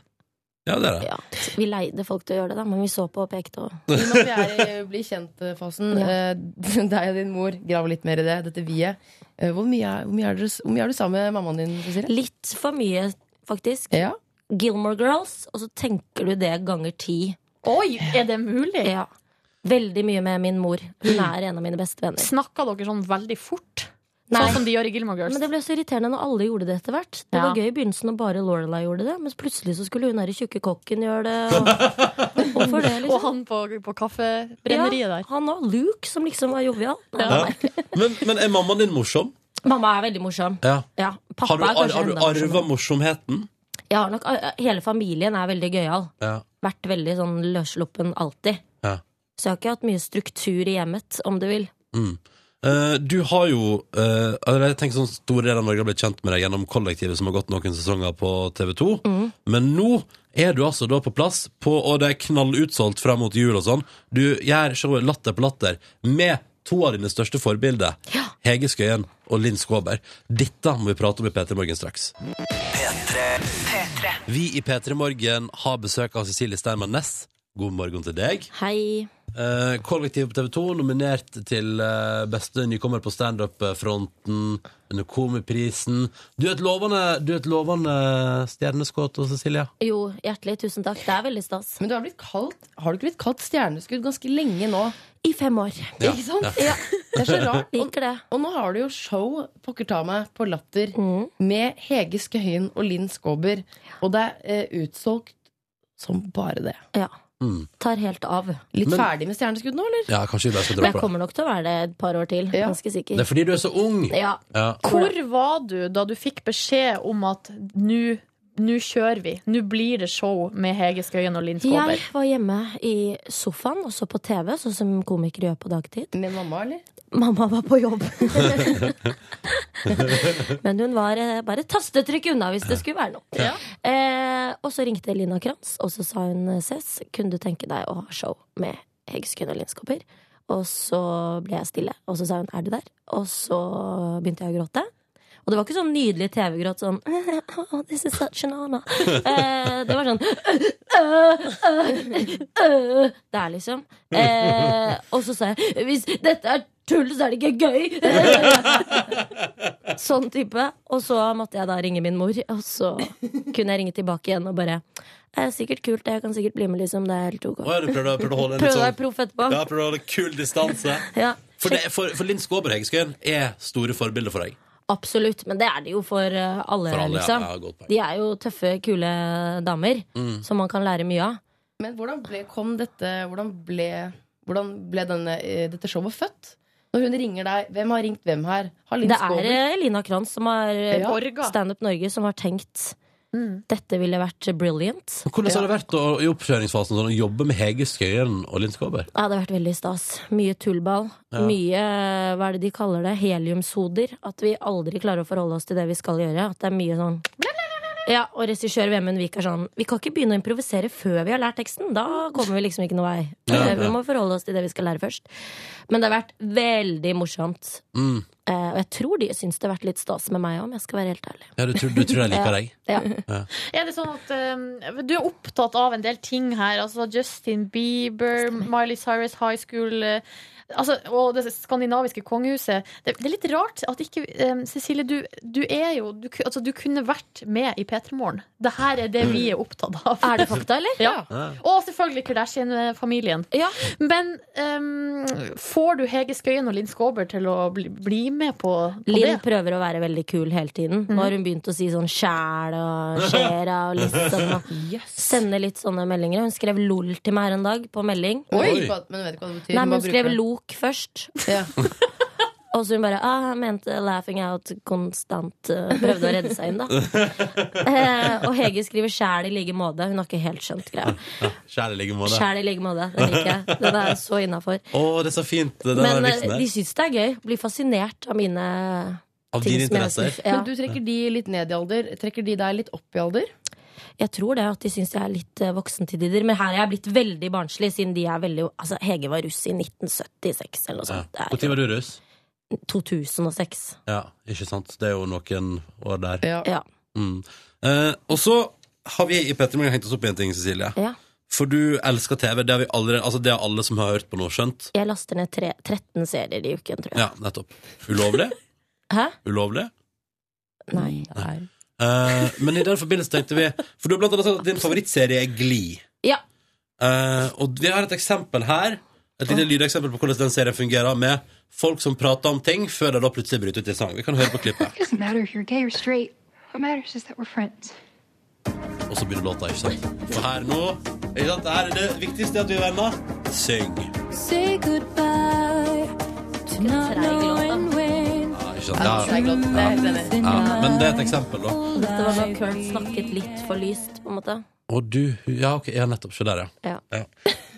[SPEAKER 2] ja, det er det.
[SPEAKER 9] Ja. Vi leide folk til å gjøre det, da, men vi så på og pekte. Og...
[SPEAKER 6] Men Når vi er i bli-kjent-fasen, eh, deg og din mor graver litt mer i det, dette vi-et. Eh, Hvor mye er, hvor mye er, dere s- hvor mye er du sammen med mammaen din, Cecilie?
[SPEAKER 9] Litt for mye, faktisk.
[SPEAKER 6] Ja.
[SPEAKER 9] Gilmore Girls, og så tenker du det ganger ti.
[SPEAKER 5] Oi, er det mulig?
[SPEAKER 9] Ja. Veldig mye med min mor. Hun er en av mine beste venner.
[SPEAKER 5] Snakker dere sånn veldig fort?
[SPEAKER 9] Nei.
[SPEAKER 5] Sånn som de gjør i Gilmore Girls?
[SPEAKER 9] Men det ble så irriterende når alle gjorde det etter hvert. Det
[SPEAKER 5] Ja.
[SPEAKER 9] var gøy i begynnelsen når bare Lorelai gjorde det, men plutselig så skulle hun derre tjukke kokken gjøre det. Og... Hvorfor det,
[SPEAKER 5] Og
[SPEAKER 9] liksom?
[SPEAKER 5] han på, på kaffebrenneriet der.
[SPEAKER 9] Han og Luke, som liksom var jovial. Nei,
[SPEAKER 2] Ja.
[SPEAKER 9] nei.
[SPEAKER 2] Men, men er mammaen din morsom?
[SPEAKER 9] Mamma er veldig morsom.
[SPEAKER 2] Ja.
[SPEAKER 9] Ja, pappa
[SPEAKER 2] Har du,
[SPEAKER 9] er
[SPEAKER 2] ar
[SPEAKER 9] kanskje
[SPEAKER 2] har du
[SPEAKER 9] enda morsommere.
[SPEAKER 2] arva morsomheten?
[SPEAKER 9] Jeg har nok, eh, hele familien er veldig gøyal.
[SPEAKER 2] Ja.
[SPEAKER 9] Vært veldig sånn løssluppen alltid.
[SPEAKER 2] Ja.
[SPEAKER 9] Så jeg har ikke hatt mye struktur i hjemmet, om du vil.
[SPEAKER 2] Mm. Eh, du har jo eh, eller Jeg tenker sånn Store deler av Norge har blitt kjent med deg gjennom kollektivet som har gått noen sesonger på TV2. Men nå er du altså da på plass, på, og det er knallutsolgt fram mot jul og sånn. Du gjør showet Latter på latter med to av dine største forbilder, Hege Skøyen og Linn Skåber. Dette må vi prate om i P3 Morgen straks. Vi i P3 Morgen har besøk av Cecilie Steinmann Næss. God morgen til deg.
[SPEAKER 9] Hei.
[SPEAKER 2] Eh, Kollektivet på TV 2 nominert til eh, beste nykommer på standup-fronten under Komiprisen. Du er et lovende, du er et lovende stjerneskudd, Cecilia.
[SPEAKER 9] Jo, hjertelig tusen takk. Det er veldig stas.
[SPEAKER 6] Men du har, blitt kalt, har du ikke blitt kalt stjerneskudd ganske lenge nå?
[SPEAKER 9] I fem år.
[SPEAKER 2] Ja,
[SPEAKER 6] Ikke sant?
[SPEAKER 9] Ja,
[SPEAKER 6] Det er så rart. Og,
[SPEAKER 9] liker det.
[SPEAKER 6] og nå har du jo show pokker ta meg, på Latter
[SPEAKER 9] Mm.
[SPEAKER 6] med Hege Skøyen og Linn Skåber. Og det er eh, utsolgt som bare det.
[SPEAKER 9] Ja.
[SPEAKER 2] Mm.
[SPEAKER 9] Tar helt av. Men
[SPEAKER 6] Litt
[SPEAKER 2] Men-
[SPEAKER 6] ferdig med stjerneskudd nå, eller?
[SPEAKER 2] Ja, kanskje vi bare skal
[SPEAKER 9] jeg
[SPEAKER 2] droppe det.
[SPEAKER 9] kommer nok til å være det et par år til.
[SPEAKER 6] Ja.
[SPEAKER 9] Ganske
[SPEAKER 2] Det
[SPEAKER 9] sikker.
[SPEAKER 2] er fordi du er så ung.
[SPEAKER 9] Ja.
[SPEAKER 2] Ja.
[SPEAKER 5] Hvor var du da du fikk beskjed om at nå nå kjører vi. Nå blir det show med Hege Skøyen og Linn Skåber.
[SPEAKER 9] Jeg var hjemme i sofaen og så på TV, sånn som komikere gjør på dagtid.
[SPEAKER 6] Med mamma, eller?
[SPEAKER 9] Mamma var på jobb. Men hun var eh, bare et tastetrykk unna hvis det skulle være noe.
[SPEAKER 5] Ja.
[SPEAKER 9] Eh, og så ringte Lina Kranz, og så sa hun eh, Cess, kunne du tenke deg å ha show med Hegeskun og Linskopper? Og så ble jeg stille, og så sa hun er du der? Og så begynte jeg å gråte. Og det var ikke sånn nydelig TV-gråt sånn oh, This is such an honor. Eh, det var sånn Der, liksom. Eh, og så sa jeg hvis dette er tull, så er det ikke gøy. sånn type. Og så måtte jeg da ringe min mor, og så kunne jeg ringe tilbake igjen og bare Det er sikkert kult, jeg kan sikkert bli med, liksom. Det er helt ok.
[SPEAKER 2] Å, ja, du prøvde, prøvde å holde en litt
[SPEAKER 9] Prøv deg
[SPEAKER 2] sånn
[SPEAKER 9] proff etterpå.
[SPEAKER 2] ja, prøvde å holde kul distanse.
[SPEAKER 9] Ja.
[SPEAKER 2] For, det, for, for Linn Skåber Hege Skøyen er store forbilder for deg.
[SPEAKER 9] Absolutt, men det er det jo for eh, alle,
[SPEAKER 2] For alle, ja.
[SPEAKER 9] liksom.
[SPEAKER 2] Ja, Mm. godt poeng.
[SPEAKER 9] De er jo tøffe, kule damer som man kan lære mye av.
[SPEAKER 6] Men hvordan ble, kom dette Hvordan ble, hvordan ble denne, eh, dette showet født? Når hun ringer deg, hvem har ringt hvem her? Har Linn
[SPEAKER 9] Det er
[SPEAKER 6] Skåber?
[SPEAKER 9] eh, Elina Kranz som har eh,
[SPEAKER 6] Ja.
[SPEAKER 5] Orga.
[SPEAKER 9] Standup Norge som har tenkt
[SPEAKER 5] Mm.
[SPEAKER 9] dette ville vært brilliant.
[SPEAKER 2] Men Hvordan har det vært å, i oppkjøringsfasen sånn, å jobbe med Hege Skøyen og Linn Skåber?
[SPEAKER 9] Ja, det har vært veldig stas. Mye tullball.
[SPEAKER 2] Ja.
[SPEAKER 9] Mye eh, hva er det de kaller det, heliumshoder. At vi aldri klarer å forholde oss til det vi skal gjøre. At det er mye sånn Ja, og regissør Vemund Vik er sånn Vi kan ikke begynne å improvisere før vi har lært teksten. Da kommer vi liksom ikke noe vei.
[SPEAKER 2] Ja,
[SPEAKER 9] Eh, Vi
[SPEAKER 2] ja.
[SPEAKER 9] må forholde oss til det vi skal lære først. Men det har vært veldig morsomt.
[SPEAKER 2] Mm.
[SPEAKER 9] Eh, Og jeg tror de syns det har vært litt stas med meg òg, om jeg skal være helt ærlig.
[SPEAKER 2] Ja, du tror, du tror jeg liker deg?
[SPEAKER 9] Ja.
[SPEAKER 5] Er det sånn at eh, Du er opptatt av en del ting her. Altså Justin Bieber, Miley Cyrus High School eh, altså, og det skandinaviske kongehuset. Det, det er litt rart at ikke eh, Cecilie, du, du er jo du, ku- altså, du kunne vært med i P3 Morgen. Det her er det vi er opptatt av.
[SPEAKER 9] Er det fakta, eller?
[SPEAKER 5] Ja. Og selvfølgelig Kardashian-familien.
[SPEAKER 9] Ja.
[SPEAKER 5] Men eh, får du Hege Skøyen og Linn Skåber til å bli, bli med på, på det?
[SPEAKER 9] Linn prøver å være veldig kul hele tiden. Nå har hun begynt å si sånn sjæl og skjæra og liksom. Og sende litt sånne meldinger. Hun skrev lol til meg her en dag på melding.
[SPEAKER 2] Oi.
[SPEAKER 6] Hva- Men hun vet ikke hva det betyr.
[SPEAKER 9] Nei, men
[SPEAKER 6] bare
[SPEAKER 9] hun skrev
[SPEAKER 6] bruker det.
[SPEAKER 9] lok først.
[SPEAKER 6] Ja.
[SPEAKER 9] Og så hun bare ah, jeg mente laughing out konstant. eh, Prøvde å redde seg inn, da. Eh, og Hege skriver sjæl i like måte. Hun har ikke helt skjønt greia.
[SPEAKER 2] Kjære ligge måte.
[SPEAKER 9] Sjæl i like måte. Den liker jeg. Den er så innafor.
[SPEAKER 2] Å, det er så fint. Den der
[SPEAKER 9] Men eh,
[SPEAKER 2] vitsen der.
[SPEAKER 9] de syns det er gøy. Blir fascinert av mine
[SPEAKER 2] Av
[SPEAKER 9] ting
[SPEAKER 2] dine
[SPEAKER 9] som jeg
[SPEAKER 2] interesser.
[SPEAKER 9] syns- Ja.
[SPEAKER 6] Men du trekker de litt ned i alder. Trekker de deg litt opp i alder?
[SPEAKER 9] Jeg tror det, at de syns jeg er litt eh, voksen til tider. Men her er jeg blitt veldig barnslig, siden de er veldig Altså, Hege var russ i 1976 eller noe
[SPEAKER 2] Ja.
[SPEAKER 9] sånt.
[SPEAKER 2] Når var du russ?
[SPEAKER 9] Det er 2006.
[SPEAKER 2] Ja, ikke sant. Det er jo noen år der.
[SPEAKER 6] Ja.
[SPEAKER 9] Ja.
[SPEAKER 2] Mm. Eh, og så har vi i Petter Morgen hengt oss opp i en ting, Cecilie.
[SPEAKER 9] ja.
[SPEAKER 2] For du elsker TV. Det har, vi allerede, altså det har alle som har hørt på nå, skjønt.
[SPEAKER 9] Jeg laster ned tre, 13 serier i uken, tror jeg.
[SPEAKER 2] Ja, nettopp. Ulovlig.
[SPEAKER 9] Hæ?
[SPEAKER 2] Ulovlig.
[SPEAKER 9] Nei.
[SPEAKER 2] Eh, men i den forbindelse tenkte vi For du har blant annet sagt at din favorittserie er Gli.
[SPEAKER 9] Ja.
[SPEAKER 2] Eh, og vi har et eksempel her. Et lite lydeksempel på hvordan den serien fungerer med folk som prater om ting før de da plutselig bryter ut i sang. Vi kan høre på klippet.
[SPEAKER 3] Doesn't matter if you're gay or straight. What matters is that we're friends.
[SPEAKER 2] Og så begynner låta, ikke sant? For her nå ikke sant? Det her er det viktigste at vi er venner. Syng.
[SPEAKER 9] Treig låt,
[SPEAKER 2] Ja,
[SPEAKER 9] da.
[SPEAKER 2] ikke sant? Ja,
[SPEAKER 6] Jeg er glad. Jeg er helt enig.
[SPEAKER 2] ja. Men det er et eksempel, da.
[SPEAKER 9] Det var da Kurt snakket litt for lyst, på en måte.
[SPEAKER 2] Og du Ja, ok, ja, nettopp. Se der, ja.
[SPEAKER 9] Ja.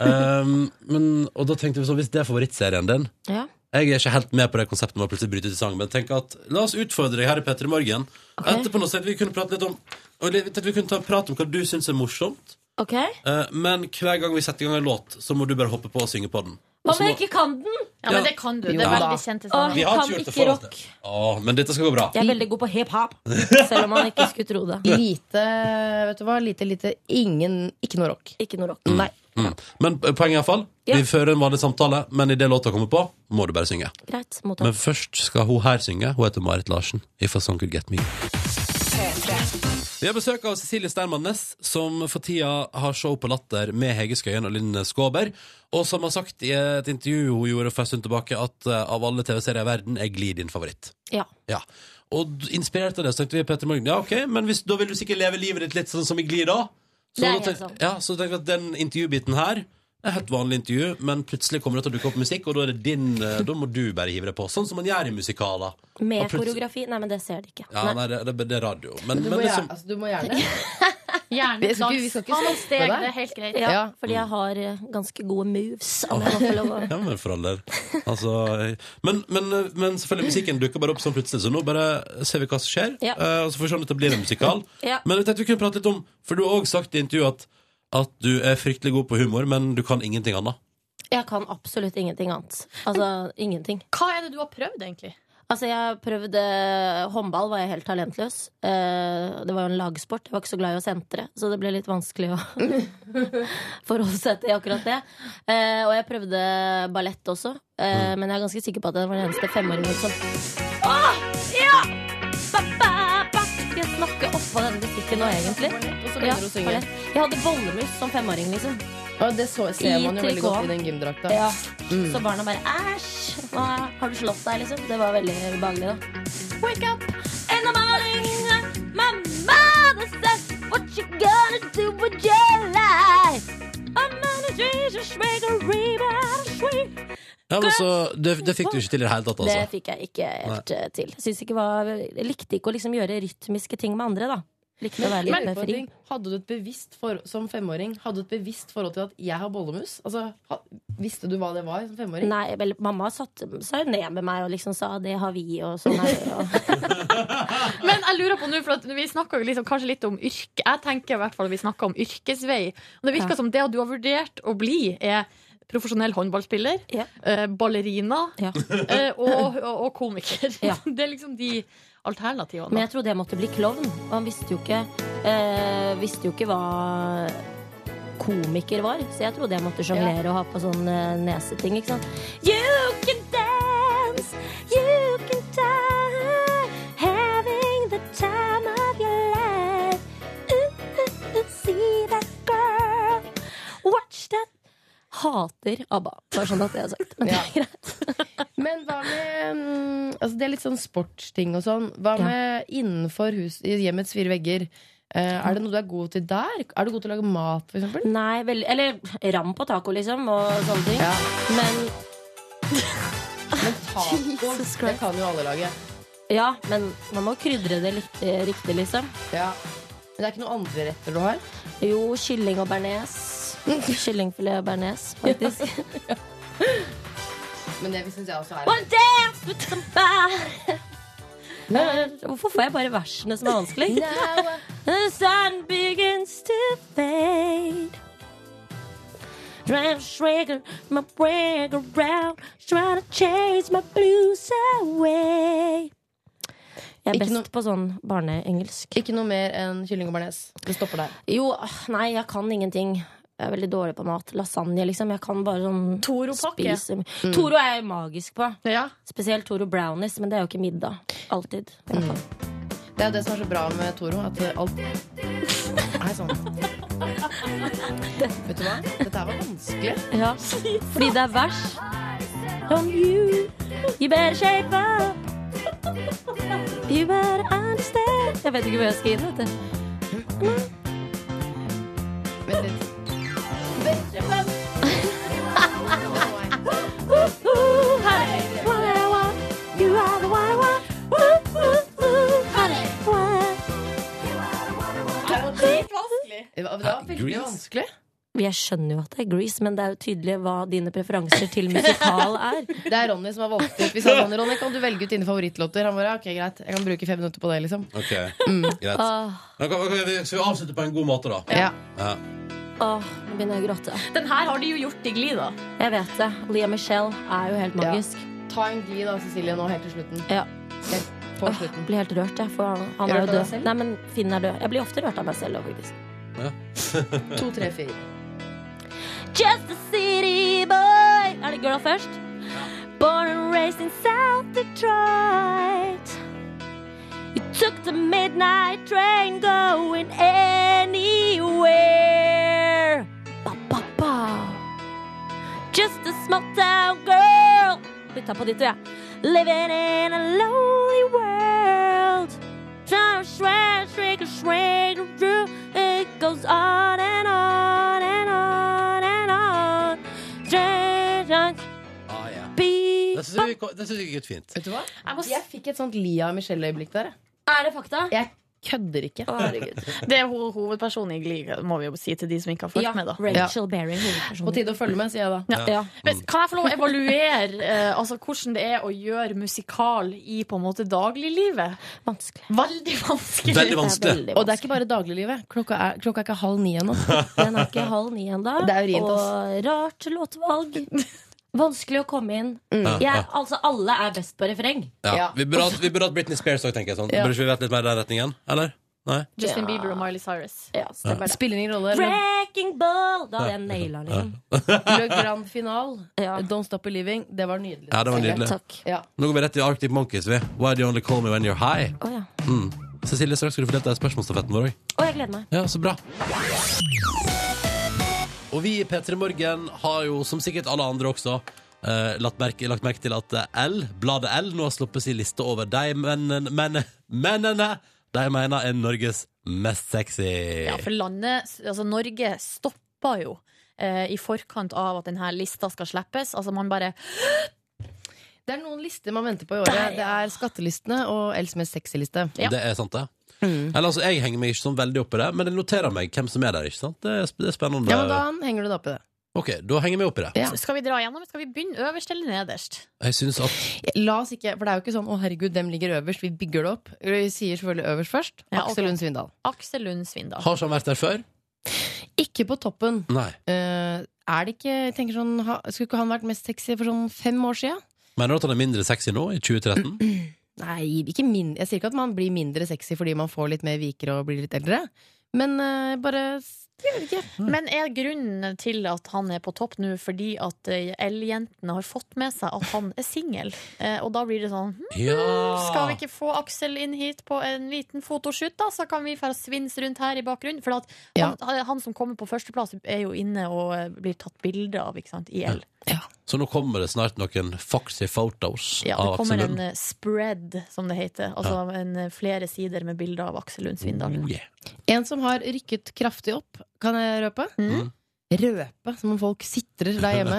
[SPEAKER 2] Ehm, men, og da tenkte vi sånn, hvis det er favorittserien din
[SPEAKER 9] Ja.
[SPEAKER 2] Jeg er ikke helt med på det konseptet med å plutselig bryte ut i sang, men tenk at la oss utfordre deg her i P3 Morgen. Etterpå nå så tenkte vi kunne prate litt om og litt- at vi kunne ta en prat om hva du syns er morsomt,
[SPEAKER 9] Ok?
[SPEAKER 2] eh, men hver gang vi setter i gang en låt, så må du bare hoppe på og synge på den.
[SPEAKER 9] Hva
[SPEAKER 2] Og så
[SPEAKER 9] om
[SPEAKER 2] må-
[SPEAKER 9] jeg ikke kan den?
[SPEAKER 5] Ja, men det kan du. Det
[SPEAKER 6] Jo
[SPEAKER 5] er
[SPEAKER 6] da.
[SPEAKER 5] veldig kjente
[SPEAKER 9] Å,
[SPEAKER 5] sanger.
[SPEAKER 2] Vi
[SPEAKER 9] jeg
[SPEAKER 2] har
[SPEAKER 9] kan
[SPEAKER 2] ikke gjort det
[SPEAKER 9] ikke
[SPEAKER 2] for oss.
[SPEAKER 9] rock.
[SPEAKER 2] det. Å, men dette skal gå bra.
[SPEAKER 9] Jeg er veldig god på hiphop, selv om man ikke skulle tro det.
[SPEAKER 6] Lite, vet du hva? Lite, lite, ingen Ikke noe rock.
[SPEAKER 9] Ikke noe rock. Nei.
[SPEAKER 2] Mm. Men eh, poenget er iallfall,
[SPEAKER 9] Ja.
[SPEAKER 2] vi fører en vanlig samtale, men idet låta kommer på, må du bare synge.
[SPEAKER 9] Greit. Mottatt.
[SPEAKER 2] Men først skal hun her synge. Hun heter Marit Larsen. If a song could get me. Vi har besøk av Cecilie Steinmann Næss, som for tida har show på Latter med Hege Skøyen og Linn Skåber, og som har sagt i et intervju hun gjorde for en stund tilbake, at eh, av alle TV-serier i verden er Glid din favoritt.
[SPEAKER 9] Ja.
[SPEAKER 2] Ja. Og d- inspirert av det så tenkte vi Petter Morgen, ja ok, men hvis, da vil du sikkert leve livet ditt litt sånn som i Glid da. Så
[SPEAKER 9] Det er
[SPEAKER 2] da
[SPEAKER 9] helt
[SPEAKER 2] tenk-
[SPEAKER 9] sant.
[SPEAKER 2] Ja, så tenkte vi at den intervjubiten her er helt vanlig intervju, men plutselig kommer det til å dukke opp musikk, og da er det din, eh, da må du bare hive deg på, sånn som man gjør i musikaler.
[SPEAKER 9] Med
[SPEAKER 2] Og plutselig-
[SPEAKER 9] koreografi? Nei, men det ser de ikke.
[SPEAKER 2] Ja, nei, det, det, det er radio. Men,
[SPEAKER 6] Du
[SPEAKER 2] men
[SPEAKER 6] må,
[SPEAKER 2] liksom,
[SPEAKER 6] gjerne, altså, du må gjerne.
[SPEAKER 5] Gjerne
[SPEAKER 6] Vi skal ikke- vi skal ikke
[SPEAKER 5] dans. Ta noen
[SPEAKER 6] stoppe
[SPEAKER 5] steg,
[SPEAKER 6] deg.
[SPEAKER 5] det er helt greit.
[SPEAKER 9] Ja,
[SPEAKER 6] Ja.
[SPEAKER 2] Mm.
[SPEAKER 9] fordi jeg har eh, ganske gode moves. Om jeg må få lov å
[SPEAKER 2] ja, men for all del. Altså, men, men, men selvfølgelig, musikken dukker bare opp sånn plutselig, så nå bare ser vi hva som skjer.
[SPEAKER 9] Ja.
[SPEAKER 2] eh, Og så får vi se om dette blir en musikal.
[SPEAKER 9] Ja.
[SPEAKER 2] Men jeg tenkte vi kunne prate litt om, for du har òg sagt i intervjuet at, at du er fryktelig god på humor, men du kan ingenting annet.
[SPEAKER 9] Jeg kan absolutt ingenting annet. Altså ingenting.
[SPEAKER 5] Hva er det du har prøvd, egentlig?
[SPEAKER 9] Altså, jeg prøvde håndball, var jeg helt talentløs. Eh, Det var jo en lagsport. Jeg var ikke så glad i å sentre, så det ble litt vanskelig å forholde seg til akkurat det. Eh, Og jeg prøvde ballett også, eh, men jeg er ganske sikker på at det var den eneste femåringen som Åh, ja! Ba, ba, ba. Jeg snakker oppå denne musikken nå, egentlig.
[SPEAKER 6] Og så
[SPEAKER 9] Ja,
[SPEAKER 6] begynner du å synge.
[SPEAKER 9] ballett. jeg hadde bollemus som femåring, liksom.
[SPEAKER 6] Og det så, ser
[SPEAKER 9] I
[SPEAKER 6] man jo veldig godt i
[SPEAKER 9] trikot.
[SPEAKER 6] den gymdrakta.
[SPEAKER 9] Ja.
[SPEAKER 6] Mm.
[SPEAKER 9] Så barna bare æsj, hva- har du slått deg, liksom? Det var veldig ubehagelig, da. Wake up in the morning, my mother says, what you gonna do with your life? I'm gonna change a swig of rebound, sweet.
[SPEAKER 2] Ja, men så, det, det fikk du ikke til i det hele tatt,
[SPEAKER 9] Det
[SPEAKER 2] altså.
[SPEAKER 9] fikk jeg ikke helt eh, til. Syns ikke var, jeg likte ikke å liksom gjøre rytmiske ting med andre, da. Likte å være litt
[SPEAKER 6] Men-
[SPEAKER 9] mer fri.
[SPEAKER 6] Hadde du et bevisst for, som femåring Hadde du et bevisst forhold til at jeg har bollemus? Altså, ha, visste du hva det var som femåring?
[SPEAKER 9] Nei, vel, mamma satte seg jo ned med meg og liksom sa 'det har vi', og sånn her. Og.
[SPEAKER 5] Men jeg lurer på nå, for at vi snakker jo liksom, kanskje litt om yrke. Jeg tenker i hvert fall vi snakker om yrkesvei. Og det virker
[SPEAKER 9] Ja.
[SPEAKER 5] som det du har vurdert å bli, er profesjonell håndballspiller, eh, ballerina eh, og, og, og komiker. Det er liksom de alternativene.
[SPEAKER 9] Men jeg trodde jeg måtte bli klovn, og han visste jo ikke, eh, visste jo ikke hva komiker var, så jeg trodde jeg måtte sjonglere og ha på sånn eh, neseting, ikke sant. You can dance, you can die, having the time of your life. Ooh, ooh, ooh, see that girl, watch that. Hater ABBA. Bare sånn at det er sagt. Men det er greit.
[SPEAKER 6] Men hva med mm, altså Det er litt sånn sportsting og sånn. Hva med innenfor hus, i hjemmets fire vegger? Eh, er det noe du er god til der? Er du god til å lage mat, for eksempel?
[SPEAKER 9] Nei, vel, eller ram på taco, liksom, og sånne ting. Men
[SPEAKER 6] Taco, det kan jo alle lage.
[SPEAKER 9] ja, men man må krydre det litt eh, riktig, liksom.
[SPEAKER 6] Ja. Men det er ikke noen andre retter du har?
[SPEAKER 9] Jo, kylling og bearnés. Kyllingfilet og bearnés, faktisk.
[SPEAKER 6] Men det syns jeg også er
[SPEAKER 9] One dance with somebody. Hvorfor får jeg bare versene som er vanskelig?
[SPEAKER 6] Now
[SPEAKER 9] The sun begins to fade. Drive swagger, my brag around. Try to chase my blues away. Jeg er
[SPEAKER 6] Ikke
[SPEAKER 9] best
[SPEAKER 6] noe-
[SPEAKER 9] på sånn barneengelsk.
[SPEAKER 6] Ikke noe mer enn kylling og bearnés. Det stopper der.
[SPEAKER 9] Jo, ah, nei, jeg kan ingenting. Jeg er veldig dårlig på mat. Lasagne, liksom. Jeg kan bare sånn
[SPEAKER 5] Toro-pakke.
[SPEAKER 9] spise mye. Toro er jeg magisk på.
[SPEAKER 5] Ja.
[SPEAKER 9] Spesielt Toro brownies, men det er jo ikke middag. Alltid. tenker jeg.
[SPEAKER 6] Det er jo det som er så bra med Toro, at alt er sånn. Vet du hva? Dette her var vanskelig.
[SPEAKER 9] Ja. Fordi det er vers. Don't you, you better shape up. You better understand. Jeg vet ikke hvor jeg skal inn, vet du.
[SPEAKER 6] Vent litt.
[SPEAKER 9] Ooh, honey, what I want. You are the one I want. Ooh, ooh, ooh, honey, what
[SPEAKER 6] Det var, det var veldig
[SPEAKER 2] Grease.
[SPEAKER 6] vanskelig.
[SPEAKER 9] I- Jeg skjønner jo at det er Grease, men det er jo tydelig hva dine preferanser til musikal er.
[SPEAKER 6] Det er Ronny som har valgt ut. Vi sa sånn, Ronny, kan du velge ut dine favorittlåter? Han bare, ok, greit, jeg kan bruke fem minutter på det, liksom.
[SPEAKER 2] Ok, greit. Da kan- kan vi- Skal vi avslutte på en god måte, da?
[SPEAKER 6] Ja.
[SPEAKER 2] Ja.
[SPEAKER 9] Åh, nå begynner jeg å gråte.
[SPEAKER 5] Den her har de jo gjort i glid, da.
[SPEAKER 9] Jeg vet det. Lea Michelle er jo helt magisk.
[SPEAKER 6] Ta en glid da, Cecilie, nå helt til slutten.
[SPEAKER 9] Ja.
[SPEAKER 6] Helt på slutten.
[SPEAKER 9] Jeg blir helt rørt, jeg. For han, han
[SPEAKER 6] Rørt
[SPEAKER 9] er
[SPEAKER 6] av
[SPEAKER 9] jo
[SPEAKER 6] deg
[SPEAKER 9] død.
[SPEAKER 6] selv?
[SPEAKER 9] Nei, men Finn er død. Jeg blir ofte rørt av meg selv, faktisk.
[SPEAKER 6] To, tre, fire.
[SPEAKER 9] Just a city boy. Er det girl først? Born and raised in South Detroit. You took the midnight train going anywhere. Ba, ba, ba. Just a small town girl. Vi tar på ditt og jeg. Living in a lonely world. Trying to shrink, shrink, shrink, shrink. It goes on and on and on and on. Shrink, shrink,
[SPEAKER 2] Ah, ja.
[SPEAKER 9] beep.
[SPEAKER 2] Det syns jeg, det synes jeg gikk fint.
[SPEAKER 6] Vet du hva?
[SPEAKER 5] Jeg må s-
[SPEAKER 6] Jeg fikk et sånt Lia Michelle-øyeblikk der. jeg.
[SPEAKER 9] Er det fakta?
[SPEAKER 6] Jeg kødder ikke.
[SPEAKER 9] Å, herregud.
[SPEAKER 5] Det er ho hovedpersonen i glid, må vi jo si til de som ikke har fulgt
[SPEAKER 9] Ja,
[SPEAKER 5] med, da.
[SPEAKER 9] Rachel Berry,
[SPEAKER 6] På
[SPEAKER 9] hovedpersonen.
[SPEAKER 6] tide å følge med, sier jeg da.
[SPEAKER 9] Ja.
[SPEAKER 5] Men kan jeg få lov å evaluere eh, altså, hvordan det er å gjøre musikal i på en måte dagliglivet?
[SPEAKER 9] Vanskelig.
[SPEAKER 5] Veldig vanskelig.
[SPEAKER 2] Veldig
[SPEAKER 9] Det er
[SPEAKER 2] vanskelig.
[SPEAKER 9] veldig
[SPEAKER 6] Og det er ikke bare dagliglivet. Klokka er, klokka er ikke halv ni ennå.
[SPEAKER 9] Den er ikke halv ni ennå.
[SPEAKER 6] Det er urint,
[SPEAKER 9] Og rart låtvalg. Vanskelig å komme inn. Jeg, altså, alle er best på refreng.
[SPEAKER 2] Ja.
[SPEAKER 6] Ja.
[SPEAKER 2] Vi burde hatt- vi burde hatt Britney Spears òg, tenker jeg. sånn Burde ikke vi vært litt mer i den retningen? Eller? Nei?
[SPEAKER 5] Justin Bieber og Miley Cyrus.
[SPEAKER 9] Ja, stemmer det.
[SPEAKER 6] Spiller ingen rolle. Le,
[SPEAKER 9] Wrecking ball! Da hadde jeg naila den.
[SPEAKER 6] Le Grand Final.
[SPEAKER 9] Ja.
[SPEAKER 6] Don't Stop Believing. Det var nydelig.
[SPEAKER 2] Ja, det var nydelig.
[SPEAKER 9] Takk.
[SPEAKER 6] Ja.
[SPEAKER 2] Nå går vi rett i Arctic Monkeys. Vi. Why do you only call me when you're high?
[SPEAKER 9] Å ja.
[SPEAKER 2] Mm. Cecilie, straks skal du få delta i spørsmålsstafetten vår òg.
[SPEAKER 9] Å, jeg gleder meg.
[SPEAKER 2] Ja, så bra. Og vi i P3 Morgen har jo, som sikkert alle andre også, eh, lagt, merke, lagt merke til at eh, L, bladet L nå har sluppet sin liste over de mennene, mennene, mennene de mener er Norges mest sexy.
[SPEAKER 5] Ja, for landet, altså Norge stoppa jo eh, i forkant av at denne lista skal slippes. Altså man bare
[SPEAKER 6] Det er noen lister man venter på i året. Det er skattelistene og Els mest sexy-liste.
[SPEAKER 5] Ja.
[SPEAKER 2] Det er sant, det.
[SPEAKER 5] Mm.
[SPEAKER 2] Eller altså, Jeg henger meg ikke sånn veldig opp i det, men jeg noterer meg hvem som er der. ikke sant? Det er, sp- det er spennende.
[SPEAKER 6] Ja, men da henger du deg opp i det.
[SPEAKER 2] Ok, da henger jeg meg opp i det.
[SPEAKER 6] Ja.
[SPEAKER 5] Skal vi dra gjennom? Skal vi begynne øverst eller nederst?
[SPEAKER 2] Jeg synes at
[SPEAKER 6] La oss ikke, for det er jo ikke sånn 'Å, herregud, dem ligger øverst'. Vi bygger det opp. Vi sier selvfølgelig øverst først.
[SPEAKER 5] Ja, ok.
[SPEAKER 6] Aksel Lund Svindal.
[SPEAKER 5] Aksel Lund Svindal.
[SPEAKER 2] Har ikke han vært der før?
[SPEAKER 6] Ikke på toppen.
[SPEAKER 2] Nei.
[SPEAKER 6] Eh, er det ikke jeg tenker sånn, ha, Skulle ikke han vært mest sexy for sånn fem år siden?
[SPEAKER 2] Mener du at han er mindre sexy nå, i
[SPEAKER 5] Mm-hmm.
[SPEAKER 2] 2013?
[SPEAKER 6] Nei, ikke min, jeg sier ikke at man blir mindre sexy fordi man får litt mer viker og blir litt eldre. Men eh, bare Jeg vet ikke.
[SPEAKER 5] Men er grunnen til at han er på topp nå fordi at eh, L-jentene har fått med seg at han er singel? Eh, Og da blir det sånn hm,
[SPEAKER 2] Ja!
[SPEAKER 5] Skal
[SPEAKER 2] Ah.
[SPEAKER 5] vi ikke få Aksel inn hit på en liten fotoshoot, da? Så kan vi få svinse rundt her i bakgrunnen. For at han, han som kommer på førsteplass, er jo inne og eh, blir tatt bilde av ikke sant, i L.
[SPEAKER 2] Så nå kommer det snart noen foxy photos
[SPEAKER 5] Ja,
[SPEAKER 2] av
[SPEAKER 5] det
[SPEAKER 2] Aksel
[SPEAKER 5] kommer en
[SPEAKER 2] Lund.
[SPEAKER 5] eh, spread, som det heter. Altså en, eh, flere sider med bilder av Aksel Lund Svindal.
[SPEAKER 2] Oh, yeah.
[SPEAKER 6] En som har rykket kraftig opp, kan jeg røpe?
[SPEAKER 5] Mm.
[SPEAKER 6] Røpe, som om folk sitrer der hjemme.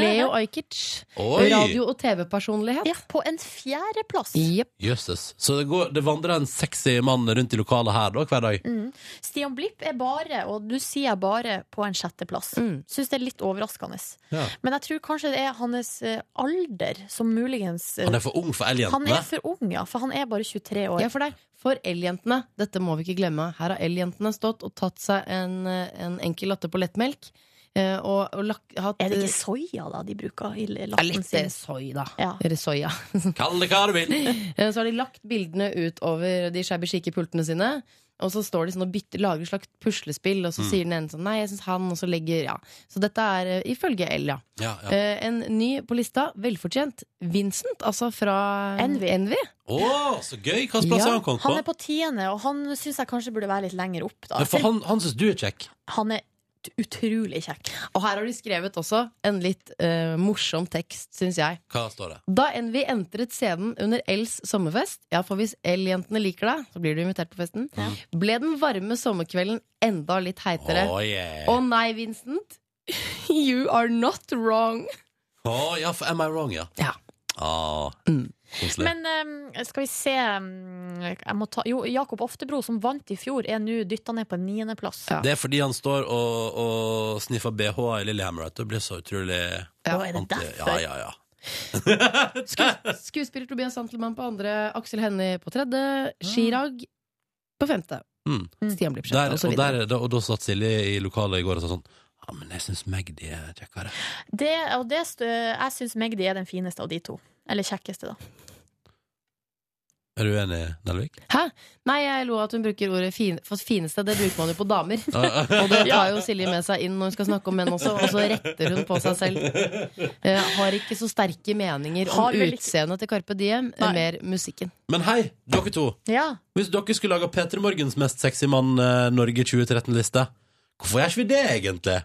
[SPEAKER 6] Leo Ajkic.
[SPEAKER 2] Oi!
[SPEAKER 6] Radio- og TV-personlighet.
[SPEAKER 5] Ja, på en fjerdeplass!
[SPEAKER 6] Jepp.
[SPEAKER 2] Jøsses. Så det, går, det vandrer en sexy mann rundt i lokalet her da, hver dag?
[SPEAKER 5] Mm. Stian Blipp er bare, og du sier jeg bare, på en sjetteplass.
[SPEAKER 6] Mm.
[SPEAKER 5] Syns det er litt overraskende.
[SPEAKER 2] Ja.
[SPEAKER 5] Men jeg tror kanskje det er hans eh, alder som muligens eh,
[SPEAKER 2] Han er for ung for
[SPEAKER 5] han
[SPEAKER 2] elgjentene.
[SPEAKER 5] er for ung, ja, for han er bare 23 år.
[SPEAKER 6] Ja, for der, for L-jentene, dette må vi ikke glemme. Her har L-jentene stått og tatt seg en, eh, en enkel latte på lettmelk. eh, Og, og lak, hatt eh,
[SPEAKER 5] Er det ikke soya da de bruker i
[SPEAKER 6] Ja,
[SPEAKER 5] lappen
[SPEAKER 6] litt eh,
[SPEAKER 5] sin?
[SPEAKER 6] soy, da.
[SPEAKER 5] Ja.
[SPEAKER 6] Eller soya.
[SPEAKER 2] Kall det hva du vil!
[SPEAKER 6] Eh, Så har de lagt bildene ut over de shabby chique pultene sine. Og så står de sånn og bytter, lager et slags puslespill, og så sier den ene sånn Nei, jeg syns han, og så legger Ja. Så dette er eh, ifølge L, ja.
[SPEAKER 2] Ja, ja.
[SPEAKER 6] Eh, en ny på lista, velfortjent. Vincent, altså fra
[SPEAKER 5] Envy.
[SPEAKER 6] Envy.
[SPEAKER 2] Å, så gøy! Hvilken plass
[SPEAKER 6] Ja,
[SPEAKER 2] har han kommet på?
[SPEAKER 5] Han er på tiende, og han syns jeg kanskje burde være litt lenger opp, da.
[SPEAKER 2] Men for han, han syns du er kjekk.
[SPEAKER 5] Han er ut- utrolig kjekk.
[SPEAKER 6] Og her har de skrevet også en litt eh, morsom tekst, syns jeg.
[SPEAKER 2] Hva står det?
[SPEAKER 6] Da Envy entret scenen under Els sommerfest Ja, for hvis L-jentene liker deg, så blir du invitert på festen.
[SPEAKER 5] Ja.
[SPEAKER 6] Ble den varme sommerkvelden enda litt heitere.
[SPEAKER 2] Å, yeah.
[SPEAKER 6] Å nei, Vincent. You are not wrong.
[SPEAKER 2] Å, ja, for am I wrong, ja?
[SPEAKER 6] Ja.
[SPEAKER 2] Ah,
[SPEAKER 6] Mm.
[SPEAKER 2] Koselig.
[SPEAKER 5] Men eh, skal vi se eh, jeg må ta, Jo, Jakob Oftebro, som vant i fjor, er nå dytta ned på en niendeplass.
[SPEAKER 6] Ja.
[SPEAKER 2] Det er fordi han står og, og sniffer BH-a i Lillehammer at det blir så utrolig
[SPEAKER 5] Å, er det
[SPEAKER 2] anti... Ja,
[SPEAKER 5] derfor?
[SPEAKER 2] ja, ja.
[SPEAKER 6] Skuespiller Tobias Santelmann på andre, Aksel Hennie på tredje, Chirag på femte.
[SPEAKER 2] Mm.
[SPEAKER 6] Stian Blipp
[SPEAKER 2] Der,
[SPEAKER 6] sjette, og så
[SPEAKER 2] og, der,
[SPEAKER 6] videre.
[SPEAKER 2] er det- og da satt Silje i lokalet i går og sa sånn Ja, men jeg syns Magdi er kjekkere.
[SPEAKER 5] Det, og det, stø- jeg syns Magdi er den fineste av de to. Eller kjekkeste, da.
[SPEAKER 2] Er du uenig, Nelvik?
[SPEAKER 6] Nei, jeg lo at hun bruker ordet fin, for fineste. Det bruker man jo på damer.
[SPEAKER 2] Ah, ah.
[SPEAKER 6] Og det tar jo Silje med seg inn når hun skal snakke om menn også, og så retter hun på seg selv. Eh, har ikke så sterke meninger
[SPEAKER 5] Har
[SPEAKER 6] om
[SPEAKER 5] vel ikke-
[SPEAKER 6] utseendet til Carpe Diem, eh,
[SPEAKER 5] Nei.
[SPEAKER 6] mer musikken.
[SPEAKER 2] Men hei, dere to.
[SPEAKER 5] Ja.
[SPEAKER 2] Hvis dere skulle laga P3 Morgens mest sexy mann eh, Norge 2013-liste, hvorfor gjør ikke vi det, egentlig?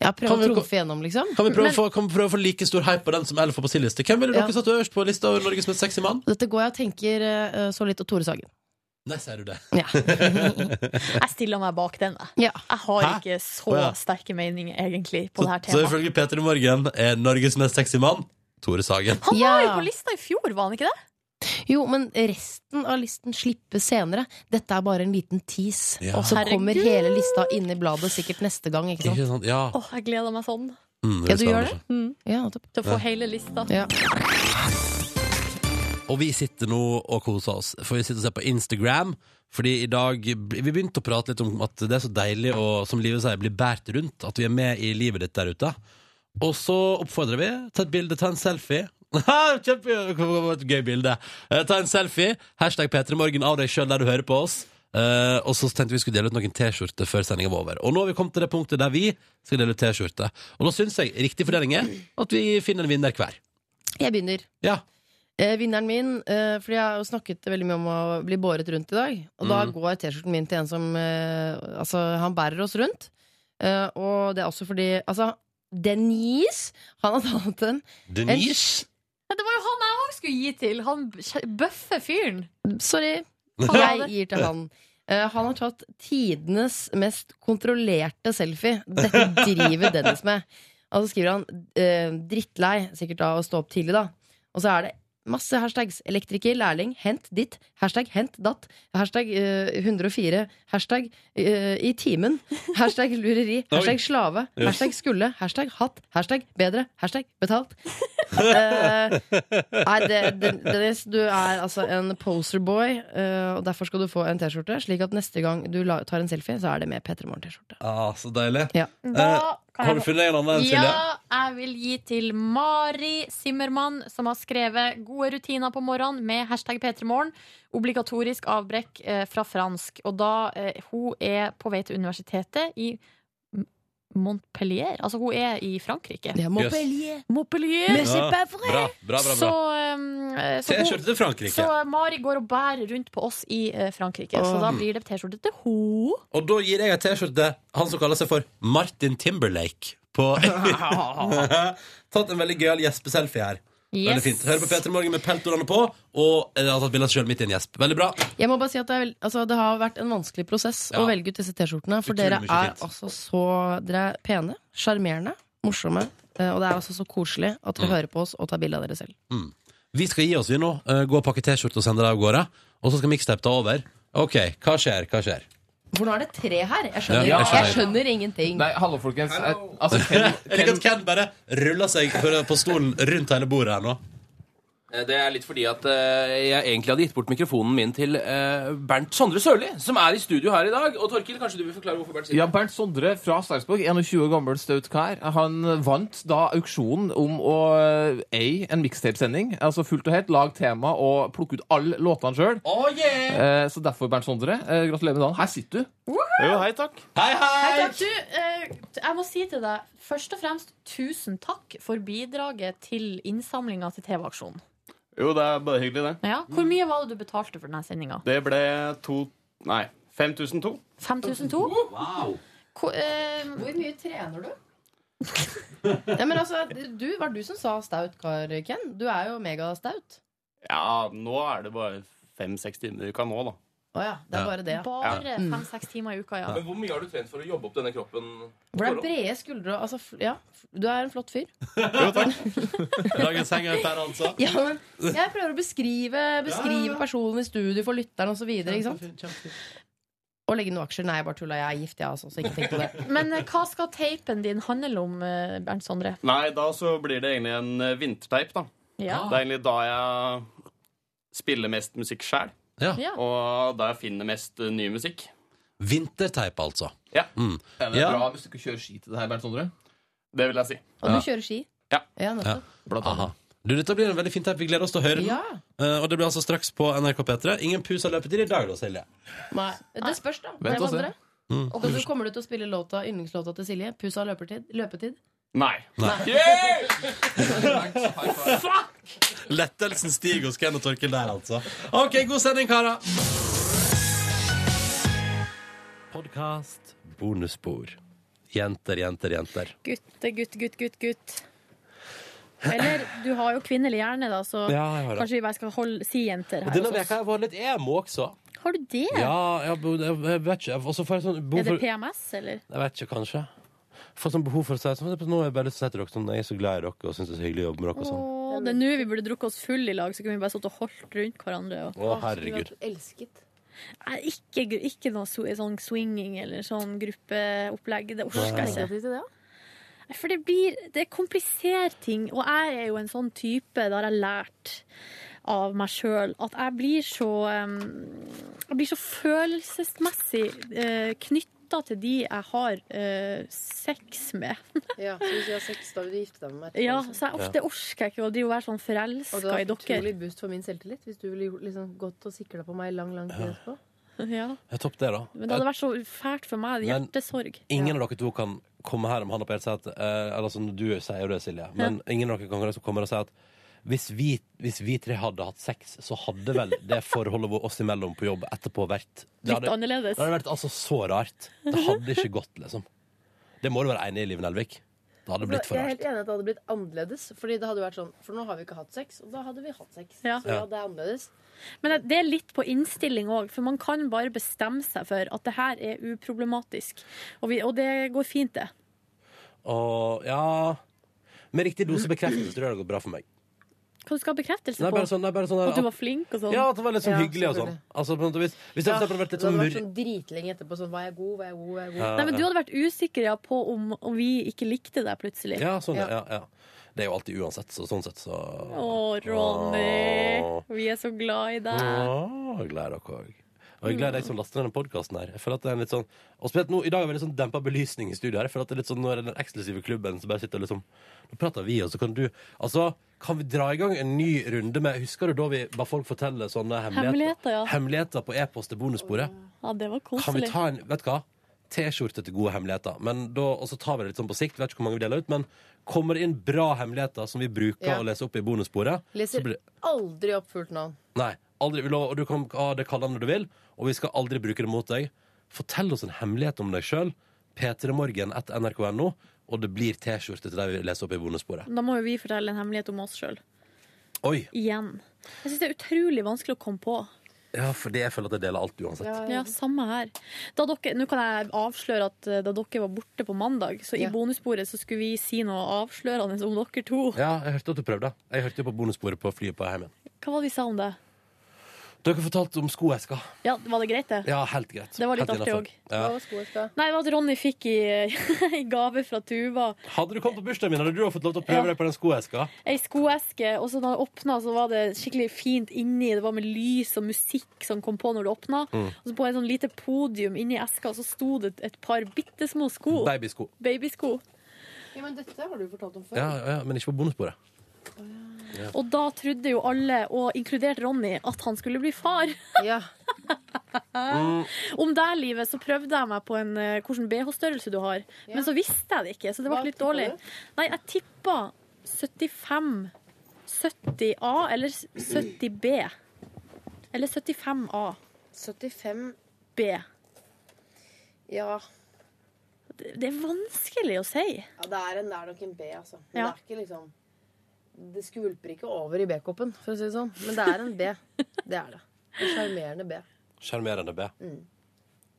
[SPEAKER 6] Ja, prøv
[SPEAKER 2] Kan vi
[SPEAKER 6] å
[SPEAKER 2] gå-
[SPEAKER 6] trumfe gjennom, liksom.
[SPEAKER 2] Kan vi prøve,
[SPEAKER 5] Men-
[SPEAKER 2] å få, kan vi prøve å få like stor hype på den som Elf på sin liste? Hvem ville dere
[SPEAKER 6] Ja.
[SPEAKER 2] satt øverst på lista over Norges mest sexy mann?
[SPEAKER 6] Dette går jeg og tenker eh, så litt, og Tore Sagen.
[SPEAKER 2] Nei, sier du det.
[SPEAKER 6] Ja.
[SPEAKER 5] Jeg stiller meg bak den. Jeg,
[SPEAKER 6] ja.
[SPEAKER 5] jeg har
[SPEAKER 2] Hæ?
[SPEAKER 5] ikke så
[SPEAKER 2] Å, ja.
[SPEAKER 5] sterke meninger, egentlig, på
[SPEAKER 2] Så,
[SPEAKER 5] det her
[SPEAKER 2] så
[SPEAKER 5] temaet.
[SPEAKER 2] ifølge P3 Morgen er Norges mest sexy mann Tore Sagen.
[SPEAKER 6] Altså.
[SPEAKER 5] Han var jo
[SPEAKER 6] Ja.
[SPEAKER 5] på lista i fjor, var han ikke det?
[SPEAKER 6] Jo, men resten av listen slippes senere. Dette er bare en liten tease.
[SPEAKER 2] Ja.
[SPEAKER 6] Og så
[SPEAKER 5] Herregud.
[SPEAKER 6] kommer hele lista inn i bladet sikkert neste gang. Ikke sant?
[SPEAKER 2] Ikke sant? Ja.
[SPEAKER 5] Åh, jeg gleder meg sånn
[SPEAKER 2] Mm,
[SPEAKER 6] Ja,
[SPEAKER 2] det
[SPEAKER 6] du
[SPEAKER 2] blir
[SPEAKER 6] gjør
[SPEAKER 2] spennende.
[SPEAKER 6] Ja, nettopp.
[SPEAKER 5] til å få hele lista.
[SPEAKER 6] Ja.
[SPEAKER 2] Og vi sitter nå og koser oss, for vi sitter og ser på Instagram. Fordi i dag Vi begynte å prate litt om at det er så deilig å, som livet sier, bli båret rundt. At vi er med i livet ditt der ute. Og så oppfordrer vi ta et bilde, ta en selfie. Kjempegøy! Et gøy bilde. Eh, Ta en selfie. Hashtag P3morgen av deg sjøl der du hører på oss. Eh, og så tenkte vi skulle dele ut noen T-skjorter før sendinga var over. Og nå har vi kommet til det punktet der vi skal dele ut T-skjorte. Og da syns jeg riktig fordeling er at vi finner en vinner hver.
[SPEAKER 6] Jeg begynner.
[SPEAKER 2] Ja.
[SPEAKER 6] Eh, vinneren min, eh, fordi jeg har jo snakket veldig mye om å bli båret rundt i dag. Og da
[SPEAKER 2] Mm.
[SPEAKER 6] går T-skjorten min til en som eh, Altså, han bærer oss rundt. Eh, og det er også fordi Altså, Denise, han har tatt en
[SPEAKER 2] Denise.
[SPEAKER 5] Men det var jo han jeg òg skulle gi til! Han kje- bøffe fyren.
[SPEAKER 6] Sorry.
[SPEAKER 5] Ha
[SPEAKER 6] Jeg
[SPEAKER 5] det.
[SPEAKER 6] gir til han. Eh, han har tatt tidenes mest kontrollerte selfie. Dette driver Dennis med. Og så skriver han eh, 'drittlei', sikkert av å stå opp tidlig, da. Og så er det Masse hashtags. Elektriker, lærling, hent ditt. Hashtag hent datt. Hashtag eh, 104. Hashtag eh, i timen. Hashtag lureri.
[SPEAKER 10] Oi.
[SPEAKER 6] Hashtag slave.
[SPEAKER 10] Yes.
[SPEAKER 6] Hashtag skulle. Hashtag hatt. Hashtag bedre. Hashtag betalt. Eh, nei, det, det, Dennis, du er altså en poserboy, eh, og derfor skal du få en T-skjorte. Slik at neste gang du la, tar en selfie, så er det med P3 Morgen-T-skjorte.
[SPEAKER 2] Ah, så deilig.
[SPEAKER 5] Da
[SPEAKER 2] Eh,
[SPEAKER 5] kan
[SPEAKER 2] har
[SPEAKER 5] jeg-
[SPEAKER 2] du funnet en annen enn Silje?
[SPEAKER 5] Ja, jeg vil gi til Mari Simmermann, som har skrevet 'Gode rutiner på morgenen' med hashtag P3morgen. Obligatorisk avbrekk eh, fra fransk. Og da eh, hun er på vei til universitetet i M- Montpellier. Altså, hun er i Frankrike.
[SPEAKER 6] Det er
[SPEAKER 2] Montpellier.
[SPEAKER 5] Montpellier.
[SPEAKER 2] Men c'est pas vrai. Bra, bra, bra, bra.
[SPEAKER 5] Så, eh, så,
[SPEAKER 2] T-skjorte til
[SPEAKER 5] hun-
[SPEAKER 2] Frankrike.
[SPEAKER 5] så Mari går og bærer rundt på oss i eh, Frankrike. Så
[SPEAKER 2] Åh.
[SPEAKER 5] da blir det T-skjorte til henne.
[SPEAKER 2] Og da gir jeg en T-skjorte til han som kaller seg for Martin Timberlake. På Tatt en veldig gøyal gjespeselfie her. Veldig
[SPEAKER 6] Yes.
[SPEAKER 2] fint. Hører på P3 Morgen med peltorene på, og jeg har tatt bilde av seg sjøl midt i en gjesp. Veldig bra.
[SPEAKER 6] Jeg må bare si at det, er vel, altså, det har vært en vanskelig prosess
[SPEAKER 2] Ja.
[SPEAKER 6] å velge ut disse T-skjortene. For
[SPEAKER 2] Utrolig
[SPEAKER 6] dere
[SPEAKER 2] mye
[SPEAKER 6] er
[SPEAKER 2] fint.
[SPEAKER 6] altså så Dere er pene, sjarmerende, morsomme. eh, Og det er altså så koselig at dere
[SPEAKER 2] Mm.
[SPEAKER 6] hører på oss og tar bilde av dere selv.
[SPEAKER 2] Mm. Vi skal gi oss, vi nå. Eh, Gå og pakke T-skjorte og sende det av gårde. Og så skal mixtape ta over. OK, hva skjer? Hva skjer?
[SPEAKER 6] For nå er det tre her. Jeg
[SPEAKER 2] skjønner- Ja, jeg skjønner. jeg
[SPEAKER 6] ingenting.
[SPEAKER 11] Nei, hallo, folkens. Eh, Altså, Ken,
[SPEAKER 2] Jeg liker at Ken bare ruller seg på på stolen rundt hele bordet her nå.
[SPEAKER 11] eh, det er litt fordi at eh, jeg egentlig hadde gitt bort mikrofonen min til eh, Bernt Sondre Sørli, som er i studio her i dag. Og Torkil, kanskje du vil forklare hvorfor Bernt sitter
[SPEAKER 12] Ja, Bernt Sondre fra Sarpsborg, 21 år gammel staut kar. Han vant da auksjonen om å eh, eie en mixtapesending. Altså fullt og helt, lag tema og plukke ut alle låtene sjøl.
[SPEAKER 11] Oh, yeah!
[SPEAKER 12] Eh, så derfor, Bernt Sondre, eh, gratulerer med dagen. Her sitter du. Jo, hei takk.
[SPEAKER 2] Hei,
[SPEAKER 5] Hei, takk. Du, eh, jeg må si til deg først og fremst tusen takk for bidraget til innsamlinga til TV-aksjonen.
[SPEAKER 13] Jo, det er bare hyggelig, det.
[SPEAKER 5] Ja. Hvor mye var det du betalte for denne sendinga?
[SPEAKER 13] Det ble to Nei, 5002.
[SPEAKER 5] 5002?
[SPEAKER 13] Wow.
[SPEAKER 5] Hvor, eh,
[SPEAKER 6] Hvor mye trener du? ja, men altså, du, var det du som sa staut kar, Ken? Du er jo megastaut.
[SPEAKER 13] Ja, nå er det bare fem-seks timer i uka nå, da.
[SPEAKER 6] Å ja, det er bare det. ja.
[SPEAKER 5] Bare
[SPEAKER 13] Ja.
[SPEAKER 5] fem-seks timer i uka, ja.
[SPEAKER 11] Men hvor mye har du trent for å jobbe opp denne kroppen?
[SPEAKER 6] For det er brede skuldre og altså, fl- Ja, f- du er en flott fyr.
[SPEAKER 2] Dagens henger der, altså.
[SPEAKER 6] Ja, men jeg prøver å beskrive, beskrive personen i studio for lytteren osv. Og legge noen aksjer. Nei, jeg bare tulla. Jeg er gift, jeg altså. Så ikke tenk på det.
[SPEAKER 5] Men eh, hva skal teipen din handle om, eh, Bernt Sondre?
[SPEAKER 13] Nei, da så blir det egentlig en eh, vinterteip, da.
[SPEAKER 5] Ja.
[SPEAKER 2] Ah.
[SPEAKER 13] Det er egentlig da jeg spiller mest musikk sjæl.
[SPEAKER 5] Ja.
[SPEAKER 13] Og da jeg finner mest eh, ny musikk.
[SPEAKER 2] Vinterteip, altså.
[SPEAKER 13] Ja.
[SPEAKER 2] Mm.
[SPEAKER 13] Er det bra
[SPEAKER 11] hvis du ikke kjører ski til det her, Bernt Sondre?
[SPEAKER 13] Det vil jeg si.
[SPEAKER 6] Og du kjører ski.
[SPEAKER 13] Ja.
[SPEAKER 6] nettopp.
[SPEAKER 2] Aha. Du, dette blir en veldig fin teip. Vi gleder oss til å høre den.
[SPEAKER 6] Ja.
[SPEAKER 2] Eh, og det blir altså straks på NRK P3. Ingen pus av løpetid i dag, da, Silje.
[SPEAKER 6] Nei. Det spørs, da.
[SPEAKER 2] Vent
[SPEAKER 6] Det
[SPEAKER 2] og se.
[SPEAKER 6] vandrer.
[SPEAKER 2] Mm.
[SPEAKER 6] Og du kommer du til å spille låta, yndlingslåta til Silje? Pusa løpetid? løpetid?
[SPEAKER 13] Nei.
[SPEAKER 11] Fuck!
[SPEAKER 2] Lettelsen stiger hos Ken og Torkil der, altså. OK, god sending, karer. Podkast. Bonusspor. Jenter, jenter, jenter.
[SPEAKER 5] Gutte, gutt, gutt, gutt, gutt. Eller du har jo kvinnelig hjerne, da, så
[SPEAKER 2] Ja, jeg har det.
[SPEAKER 5] kanskje vi bare skal holde, si jenter
[SPEAKER 2] Og
[SPEAKER 5] her.
[SPEAKER 2] denne
[SPEAKER 5] hos
[SPEAKER 2] veka har jeg vært litt emo også.
[SPEAKER 5] oss. Har du det?
[SPEAKER 2] Ja, jeg, bo- jeg, jeg vet ikke. Jeg, også får jeg sånn behov
[SPEAKER 5] Er det
[SPEAKER 2] for-
[SPEAKER 5] PMS, eller?
[SPEAKER 2] Jeg vet ikke, kanskje. Får sånn behov for å si sånn, Nå er jeg bare så sett dere sånn, jeg er så glad i dere og syns det er så hyggelig å jobbe med dere og sånn.
[SPEAKER 5] Åh, det er nå vi burde drukket oss full i lag, så kunne vi bare stått og holdt rundt hverandre. Og...
[SPEAKER 2] Å, herregud.
[SPEAKER 6] Elsket.
[SPEAKER 5] Nei, ikke, gru- ikke noe so- sånn swinging eller sånn gruppeopplegg. Det orker jeg ikke. Nei, For det blir Det kompliserer ting. Og jeg er jo en sånn type, det har jeg lært av meg sjøl, at jeg blir så em, Jeg blir så følelsesmessig uh, knytta til de jeg har eh, sex med.
[SPEAKER 6] Ja, så hvis jeg har sex, da vil du gifte deg med meg? liksom.
[SPEAKER 5] Ja, så jeg ofte orker jeg ikke å drive og være sånn
[SPEAKER 6] Og det
[SPEAKER 5] forelska
[SPEAKER 6] var
[SPEAKER 5] i dere.
[SPEAKER 6] utrolig boost for min selvtillit hvis du ville gjort- liksom, gått og sikla på meg i lang, lang tid
[SPEAKER 2] Ja.
[SPEAKER 6] etterpå.
[SPEAKER 5] Ja.
[SPEAKER 2] Ja, topp det, da.
[SPEAKER 5] Men det hadde vært så fælt for meg.
[SPEAKER 2] Men-
[SPEAKER 5] Hjertesorg.
[SPEAKER 2] Ingen av dere to kan komme her om handa på hjertet og si at eh, Eller sånn, du sier jo det, Silje, men ingen av dere kan liksom komme her og si at hvis vi, hvis vi tre hadde hatt sex, så hadde vel det forholdet vår oss imellom på jobb etterpå vært det
[SPEAKER 5] Litt annerledes.
[SPEAKER 2] Det hadde vært altså så rart. Det hadde ikke gått, liksom. Det må du være enig i, Liv Nelvik. Det hadde blitt for
[SPEAKER 6] jeg er
[SPEAKER 2] rart.
[SPEAKER 6] helt enig i at det hadde blitt annerledes. Fordi det hadde vært sånn, For nå har vi ikke hatt sex, og da hadde vi hatt sex.
[SPEAKER 5] Ja.
[SPEAKER 6] Så ja,
[SPEAKER 5] Ja.
[SPEAKER 6] det er annerledes.
[SPEAKER 5] Men det- det er litt på innstilling òg, for man kan bare bestemme seg for at det her er uproblematisk. Og, vi, og det går fint, det.
[SPEAKER 2] Og ja Med riktig dose bekreftelse tror jeg det går bra for meg.
[SPEAKER 5] hva du skal ha bekreftelse
[SPEAKER 2] Nei,
[SPEAKER 5] på?
[SPEAKER 2] bare sånn- nei, bare sånn der-
[SPEAKER 5] at du var flink og sånn?
[SPEAKER 2] Ja, at det var litt sånn hyggelig og sånn.
[SPEAKER 6] selvfølgelig.
[SPEAKER 2] Altså, på en måte, hvis, hvis det hadde for eksempel vært litt sånn mur...
[SPEAKER 6] sånn dritlenge etterpå sånn Var jeg god, var jeg god, var jeg god?
[SPEAKER 2] Ja,
[SPEAKER 5] Nei, men Du
[SPEAKER 2] ja.
[SPEAKER 5] hadde vært usikker ja, på om, om vi ikke likte deg plutselig.
[SPEAKER 2] Ja, sånn, ja. ja, Det er jo alltid uansett, så sånn sett, så
[SPEAKER 5] Å, Ronny. Vi er så glad i deg.
[SPEAKER 2] Åh, jeg gleder dere òg. Og jeg gleder deg som laster denne podkasten her. Jeg føler at det er en litt sånn Og spesielt nå, I dag er det litt sånn dempa belysning i studio her. Jeg føler at det er litt sånn Nå er det den eksklusive klubben som bare sitter og liksom Nå prater vi, og så kan du Altså, kan vi dra i gang en ny runde med Husker du da vi ba folk fortelle sånne hemmeligheter?
[SPEAKER 5] Hemmeligheter, ja.
[SPEAKER 2] Hemmeligheter på e-post til bonussporet?
[SPEAKER 5] Ja, Det var
[SPEAKER 2] Kan vi
[SPEAKER 5] koselig.
[SPEAKER 2] ta en Vet du hva? T-skjorte til gode hemmeligheter. Men da, og så tar vi det litt sånn på sikt. Vet ikke hvor mange vi deler ut, men kommer det inn bra hemmeligheter som vi bruker
[SPEAKER 6] Ja.
[SPEAKER 2] å lese opp i bonussporet, så
[SPEAKER 6] Leser
[SPEAKER 2] blir det
[SPEAKER 6] aldri opp fullt navn.
[SPEAKER 2] Nei, aldri, vi lover, og du kan ha det kallenavnet du vil, og vi skal aldri bruke det mot deg. Fortell oss en hemmelighet om deg sjøl. P3morgen etter nrk.no, og det blir T-skjorte til deg vi leser opp i bonussporet.
[SPEAKER 5] Da må jo vi fortelle en hemmelighet om oss sjøl.
[SPEAKER 2] Oi!
[SPEAKER 5] Igjen. Jeg syns det er utrolig vanskelig å komme på.
[SPEAKER 2] Ja, for det jeg føler at jeg deler alt uansett.
[SPEAKER 5] Ja, samme her. Da dere, nå kan jeg avsløre at eh, da dere var borte på mandag, så i bonussporet så skulle vi si noe avslørende om dere to.
[SPEAKER 2] Ja, jeg hørte at du prøvde. Jeg hørte jo på bonussporet på flyet på hjem igjen.
[SPEAKER 5] Hva var det vi sa om det?
[SPEAKER 2] Dere fortalte om skoeska.
[SPEAKER 5] Ja, Var det greit, det?
[SPEAKER 2] Ja, helt greit.
[SPEAKER 5] Det var litt
[SPEAKER 2] Helt
[SPEAKER 5] artig
[SPEAKER 2] innenfor.
[SPEAKER 5] òg.
[SPEAKER 2] Ja.
[SPEAKER 5] Nei, det var at Ronny fikk i, i gave fra Tuva
[SPEAKER 2] Hadde du kommet på bursdagen min, hadde du fått lov til å prøve
[SPEAKER 5] Ja.
[SPEAKER 2] deg på den skoeska.
[SPEAKER 5] ei skoeske, og så da jeg åpna, så var det skikkelig fint inni. Det var med lys og musikk som kom på når du åpna.
[SPEAKER 2] Mm.
[SPEAKER 5] Og så på et sånn lite podium inni eska, så sto det et par bitte små sko.
[SPEAKER 2] Babysko.
[SPEAKER 5] Babysko.
[SPEAKER 6] Ja, men dette har du fortalt om
[SPEAKER 2] Ja, ja, men ikke på bonussporet. Ja.
[SPEAKER 5] Og da trodde jo alle, og inkludert Ronny, at han skulle bli far. Om det livet så prøvde jeg meg på en, eh, hvilken BH-størrelse du har, men så visste jeg det ikke, så det ble
[SPEAKER 6] Hva
[SPEAKER 5] litt
[SPEAKER 6] tippet
[SPEAKER 5] dårlig.
[SPEAKER 6] du?
[SPEAKER 5] Nei, jeg tippa 75 70A eller 70B. Eller 75A.
[SPEAKER 6] 75
[SPEAKER 5] B.
[SPEAKER 6] Ja.
[SPEAKER 5] Det, det er vanskelig å si.
[SPEAKER 6] Ja, det er, en, det er nok en B, altså. Men
[SPEAKER 5] Ja.
[SPEAKER 6] det er ikke liksom Det skvulper ikke over i B-koppen, for å si det sånn. Men det er en B. Det er det. En sjarmerende B.
[SPEAKER 2] Sjarmerende B.
[SPEAKER 6] Mm.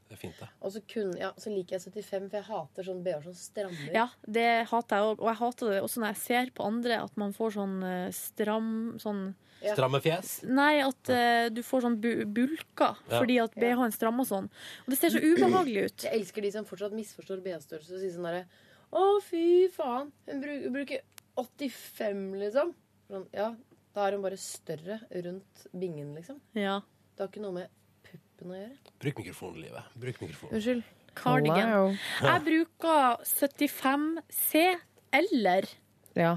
[SPEAKER 2] Det er fint, det.
[SPEAKER 6] Og så, kun, ja, så liker jeg 75, for jeg hater sånn B-er som strammer.
[SPEAKER 5] Ja, det hater jeg òg. Og jeg hater det også når jeg ser på andre at man får sånn eh, stram sånn
[SPEAKER 6] Ja.
[SPEAKER 2] Stramme fjes?
[SPEAKER 5] Nei, at eh, du får sånn bu bulker
[SPEAKER 2] Ja.
[SPEAKER 5] fordi at BH-en strammer sånn. Og det ser så ubehagelig ut.
[SPEAKER 6] Jeg elsker de som fortsatt misforstår B-størrelse og sier sånn derre Å, fy faen. Hun bru- bruker 85, liksom. Sånn, ja, da er hun bare større rundt bingen, liksom.
[SPEAKER 5] Ja.
[SPEAKER 6] Det har ikke noe med puppen å gjøre.
[SPEAKER 2] Bruk mikrofonen, Livet. Bruk mikrofonen.
[SPEAKER 6] Unnskyld.
[SPEAKER 5] Cardigan.
[SPEAKER 6] Hello.
[SPEAKER 5] Jeg bruker 75C eller
[SPEAKER 6] Ja.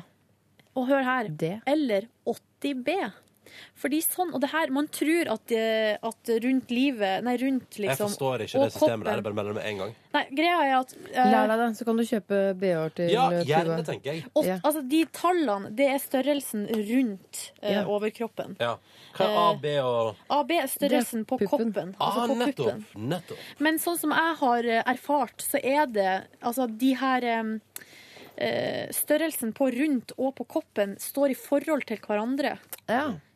[SPEAKER 5] Og hør her.
[SPEAKER 6] Det.
[SPEAKER 5] Eller 80B. Fordi sånn, og det her, Man tror at, eh, at rundt livet Nei, rundt liksom
[SPEAKER 2] Jeg forstår ikke
[SPEAKER 5] og
[SPEAKER 2] det systemet der.
[SPEAKER 5] kroppen-
[SPEAKER 2] Jeg bare melder med en gang.
[SPEAKER 5] Nei, greia er at eh,
[SPEAKER 6] Lær deg det, så kan du kjøpe BH-er til
[SPEAKER 2] Ja,
[SPEAKER 6] Tuva.
[SPEAKER 2] gjerne, tenker jeg.
[SPEAKER 5] åt- altså, De tallene, det er størrelsen rundt eh,
[SPEAKER 2] Ja.
[SPEAKER 5] overkroppen.
[SPEAKER 2] Ja. Hva er A, B og
[SPEAKER 5] AB er størrelsen på koppen. Altså
[SPEAKER 2] Ah,
[SPEAKER 5] på puppen.
[SPEAKER 2] nettopp! nettopp.
[SPEAKER 5] Men sånn som jeg har eh, erfart, så er det altså de her em, eh, Størrelsen på rundt og på koppen står i forhold til hverandre.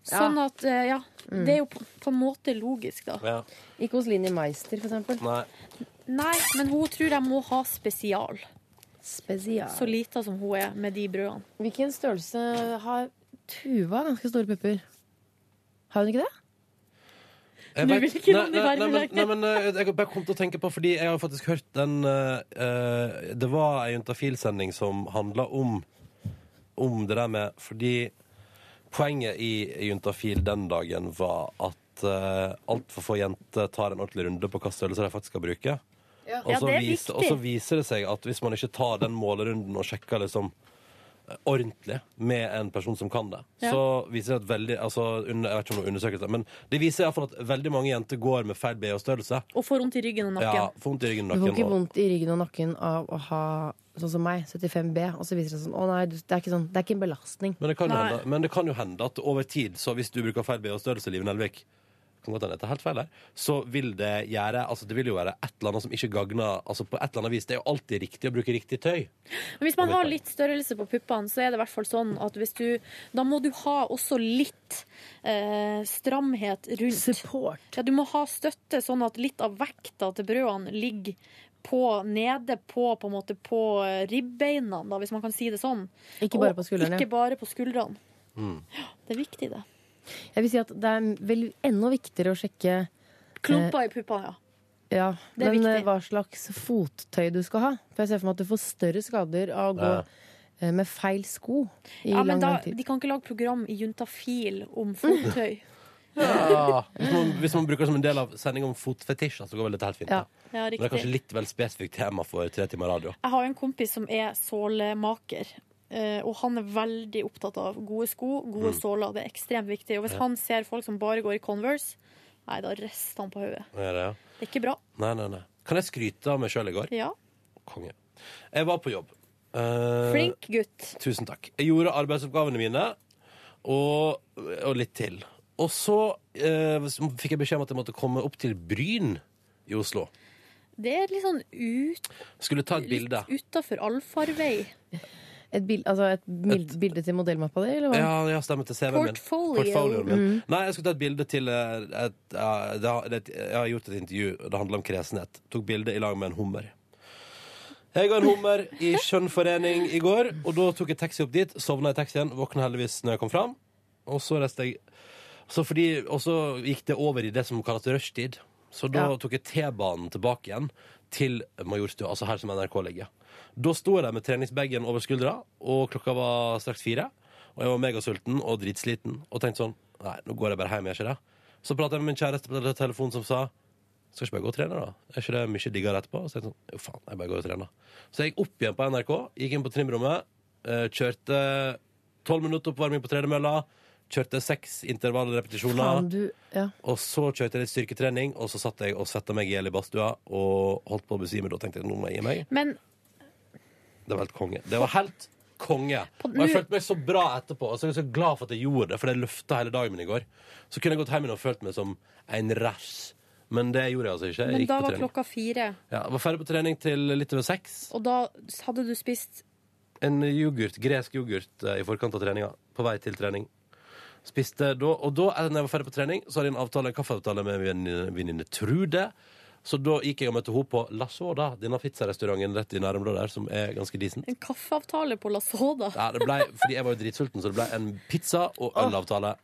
[SPEAKER 5] Sånn at, eh, ja.
[SPEAKER 6] Mm.
[SPEAKER 5] Det er jo på, på en måte logisk, da.
[SPEAKER 6] Ikke hos Linni Meister, for eksempel.
[SPEAKER 2] Nei.
[SPEAKER 5] Nei, men hun tror jeg må ha spesial.
[SPEAKER 6] Spesial.
[SPEAKER 5] Så lita som hun er med de brødene.
[SPEAKER 6] Hvilken størrelse har Tuva? Ganske store pupper. Har hun ikke det?
[SPEAKER 2] Jeg
[SPEAKER 6] Nå
[SPEAKER 2] vet-
[SPEAKER 6] vil ikke
[SPEAKER 2] nei,
[SPEAKER 6] Ronny
[SPEAKER 2] nei,
[SPEAKER 6] være
[SPEAKER 2] nei,
[SPEAKER 6] med
[SPEAKER 2] men- nei, men eh, Jeg bare kom til å tenke på, fordi jeg har faktisk hørt den eh, eh, Det var ei Juntafil-sending som handla om Om det der med Fordi poenget i Juntafil den dagen var at uh, altfor få jenter tar en ordentlig runde på hva størrelse de faktisk skal bruke.
[SPEAKER 14] Ja.
[SPEAKER 2] Og, så
[SPEAKER 14] Ja, det er
[SPEAKER 2] viser, og
[SPEAKER 14] viktig.
[SPEAKER 2] så viser det seg at hvis man ikke tar den målerunden og sjekker liksom eh, ordentlig med en person som kan det,
[SPEAKER 14] Ja.
[SPEAKER 2] så viser det at veldig altså, under, Jeg vet ikke om det er undersøkelse, men det viser iallfall at veldig mange jenter går med feil BH-størrelse.
[SPEAKER 5] Og får vondt i ryggen og nakken.
[SPEAKER 2] Ja, får vondt i ryggen
[SPEAKER 6] Du
[SPEAKER 2] og
[SPEAKER 6] får ikke
[SPEAKER 2] nakken. og-
[SPEAKER 6] vondt i ryggen og nakken av å ha sånn som meg, 75B, og så viser det seg sånn Å nei, du- det er ikke, sånn, det er ikke en belastning.
[SPEAKER 2] Men det, kan jo
[SPEAKER 6] Nei.
[SPEAKER 2] hende, men det kan jo hende at over tid, så hvis du bruker feil BH-størrelse, Liv Nelvik kan godt hende jeg tar helt feil her, så vil det gjøre altså Det vil jo være et eller annet som ikke gagner altså på et eller annet vis. Det er jo alltid riktig å bruke riktig tøy.
[SPEAKER 5] Men hvis man har litt størrelse på puppene, så er det i hvert fall sånn at hvis du Da må du ha også litt eh, stramhet rundt.
[SPEAKER 6] Support.
[SPEAKER 5] Ja, du må ha støtte, sånn at litt av vekta til brødene ligger på, nede på, på, en måte, på eh, ribbeina, da, hvis man kan si det sånn.
[SPEAKER 6] Ikke bare
[SPEAKER 5] Og
[SPEAKER 6] på skuldrene.
[SPEAKER 5] Ikke bare på skuldrene. Det er viktig, det.
[SPEAKER 6] Eh. Jeg vil si at det er vel enda viktigere å sjekke
[SPEAKER 5] Klumper i puppene, ja.
[SPEAKER 6] eh, ja,
[SPEAKER 5] Det er
[SPEAKER 6] men eh, hva slags fottøy du skal ha. For jeg ser for meg at du får større skader av å gå
[SPEAKER 5] Ja.
[SPEAKER 6] eh, med feil sko i
[SPEAKER 5] ja men
[SPEAKER 6] lang,
[SPEAKER 5] da,
[SPEAKER 6] lang tid.
[SPEAKER 5] de kan ikke lage program i juntafil om fottøy.
[SPEAKER 2] Ja. Hvis, man, hvis man bruker det som en del av sending om fotfetisjer, så går vel dette helt fint.
[SPEAKER 5] Ja.
[SPEAKER 2] da.
[SPEAKER 5] Ja,
[SPEAKER 2] Men det er
[SPEAKER 5] riktig.
[SPEAKER 2] kanskje litt vel spesifikt tema for tre timer radio.
[SPEAKER 5] Jeg har jo en kompis som er sålemaker. eh, Og han er veldig opptatt av gode sko, gode
[SPEAKER 2] Mm.
[SPEAKER 5] såler. Det er ekstremt viktig. Og hvis
[SPEAKER 2] Ja.
[SPEAKER 5] han ser folk som bare går i Converse, nei, da rister han på hodet.
[SPEAKER 2] Hva er det, ja?
[SPEAKER 5] Det er ikke bra.
[SPEAKER 2] Nei, nei, nei. Kan jeg skryte av meg sjøl i går?
[SPEAKER 5] Ja.
[SPEAKER 2] Konge. Jeg var på jobb. Eh,
[SPEAKER 5] Flink gutt.
[SPEAKER 2] Tusen takk. Jeg gjorde arbeidsoppgavene mine, og, og litt til. Og så eh, fikk jeg beskjed om at jeg måtte komme opp til Bryn i Oslo.
[SPEAKER 5] Det er litt sånn ut,
[SPEAKER 2] Skulle ta et bilde.
[SPEAKER 5] utafor allfarvei.
[SPEAKER 6] Et, bil, altså et mil- bilde til modellmappa di, eller hva?
[SPEAKER 2] Ja, ja stemmer til CV-en min.
[SPEAKER 6] Portfolio.
[SPEAKER 2] Portfolioen min.
[SPEAKER 6] Mm.
[SPEAKER 2] Nei, jeg skulle ta et bilde til eh, et, ja, det har- det, Jeg har gjort et intervju, og det handler om kresenhet. Tok bilde i lag med en hummer. Jeg og en hummer i skjønnforening i går, og da tok jeg taxi opp dit. Sovna i taxien, våkna heldigvis når jeg kom fram. Og så reiste jeg så fordi, Og så gikk det over i det som kalles rushtid. Så da
[SPEAKER 15] Ja.
[SPEAKER 2] tok jeg T-banen tilbake igjen til Majorstua, altså her som NRK ligger. Da sto jeg der med treningsbagen over skuldra, og klokka var straks fire. Og jeg var megasulten og dritsliten og tenkte sånn Nei, nå går jeg bare hjem, gjør ikke det? Så pratet jeg med min kjæreste på telefonen som sa skal ikke bare gå og trene, da? Er ikke det mye diggere etterpå? Så jeg sånn, jo faen, jeg bare går og trener. Så jeg gikk opp igjen på NRK, gikk inn på trimrommet, eh, kjørte tolv minutter oppvarming på tredemølla, kjørte seks
[SPEAKER 6] Faen,
[SPEAKER 2] intervallrepetisjoner,
[SPEAKER 6] du Ja.
[SPEAKER 2] og så kjørte jeg litt styrketrening, og så satt jeg og svetta meg i hjel i badstua og holdt på å besvime. Da tenkte jeg nå må jeg gi meg.
[SPEAKER 5] Men
[SPEAKER 2] Det var helt konge. Det var helt konge.
[SPEAKER 5] På-
[SPEAKER 2] Og jeg følte meg så bra etterpå. Og så er jeg så glad for at jeg gjorde det, for det løfta hele dagen min i går. Så kunne jeg gått hjem igjen og følt meg som en ræsj. Men det gjorde jeg altså ikke. Jeg
[SPEAKER 5] Men
[SPEAKER 2] gikk
[SPEAKER 5] da
[SPEAKER 2] på
[SPEAKER 5] var
[SPEAKER 2] trening.
[SPEAKER 5] klokka fire,
[SPEAKER 2] Ja, jeg var ferdig på trening til litt over seks.
[SPEAKER 5] og da hadde du spist
[SPEAKER 2] En yoghurt, gresk yoghurt eh, i forkant av treninga. På vei til trening. Spiste da, og da, eh, når jeg var ferdig på trening, så hadde jeg en avtale, en kaffeavtale med min venninne Trude. Så da gikk jeg og møtte henne på La Soda, denne pizzarestauranten rett i nærområdet her, som er ganske decent.
[SPEAKER 5] en kaffeavtale på La Soda.
[SPEAKER 2] Ja, det ble, fordi jeg var jo dritsulten, så det ble en pizza og ølavtale.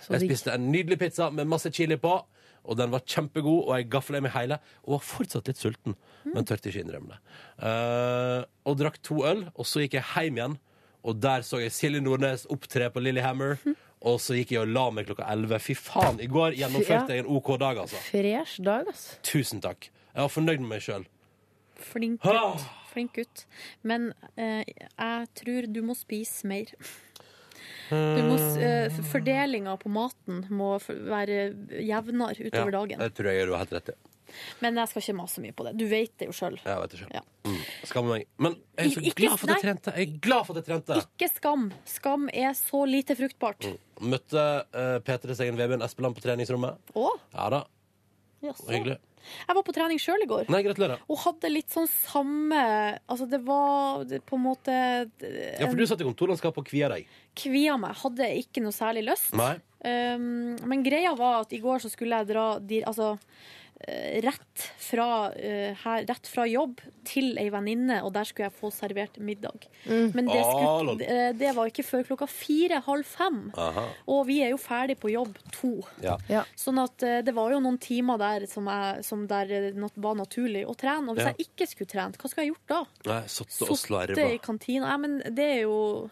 [SPEAKER 5] Så
[SPEAKER 2] Jeg
[SPEAKER 5] digg.
[SPEAKER 2] spiste en nydelig pizza med masse chili på, og den var kjempegod, og jeg gafla i meg hele, og var fortsatt litt sulten,
[SPEAKER 5] Mm.
[SPEAKER 2] men tørte ikke innrømme det. Eh, og drakk to øl, og så gikk jeg hjem igjen, og der så jeg Silje Nordnes opptre på Lillehammer,
[SPEAKER 5] Mhm.
[SPEAKER 2] og så gikk jeg og la meg klokka 11. Fy faen, i går
[SPEAKER 6] Ja.
[SPEAKER 2] gjennomførte jeg en OK dag, altså.
[SPEAKER 6] Fresh dag, ass.
[SPEAKER 2] Tusen takk. Jeg var fornøyd med meg sjøl.
[SPEAKER 5] Flink gutt. Flink gutt. Men eh, jeg tror du må spise mer. Du må, s- eh, f- fordelinga på maten må f- være jevnere utover dagen.
[SPEAKER 2] Det tror jeg du har helt rett i.
[SPEAKER 5] Men jeg skal ikke mase mye på det. Du vet det jo sjøl.
[SPEAKER 2] Jeg vet det selv. Mm. Skammer meg. Men jeg er så
[SPEAKER 5] Ikke-
[SPEAKER 2] glad for at jeg
[SPEAKER 5] nei.
[SPEAKER 2] trente. Jeg er glad for at jeg trente.
[SPEAKER 5] Ikke skam. Skam er så lite fruktbart.
[SPEAKER 2] Mm. Møtte uh, P3s egen Vebjørn Espeland på treningsrommet.
[SPEAKER 5] Å,
[SPEAKER 2] Ja da,
[SPEAKER 5] jaså.
[SPEAKER 2] hyggelig.
[SPEAKER 5] Jeg var på trening sjøl i går.
[SPEAKER 2] Nei, gratulerer.
[SPEAKER 5] Og hadde litt sånn samme Altså, det var det- på en måte det-
[SPEAKER 2] Ja, for du satt i kontorlandskapet og kvia deg.
[SPEAKER 5] Kvia meg. Hadde ikke noe særlig lyst.
[SPEAKER 2] Nei.
[SPEAKER 5] Um, men greia var at i går så skulle jeg dra dir- altså, eh, rett, fra, eh, her, rett fra jobb til ei venninne, og der skulle jeg få servert middag.
[SPEAKER 16] Mm.
[SPEAKER 5] Men det, skulle,
[SPEAKER 16] Ah, lol.
[SPEAKER 5] eh, det var ikke før klokka fire-halv fem.
[SPEAKER 16] Aha.
[SPEAKER 5] Og vi er jo ferdig på jobb to.
[SPEAKER 16] Ja.
[SPEAKER 5] Sånn at eh, det var jo noen timer der som, jeg, som der eh, nat var naturlig å trene. Og hvis
[SPEAKER 2] Ja.
[SPEAKER 5] jeg ikke skulle trent, hva skulle jeg gjort da?
[SPEAKER 2] Nei, satt og
[SPEAKER 5] Sitte
[SPEAKER 2] slarva.
[SPEAKER 5] eh, i kantina. Nei, men det er jo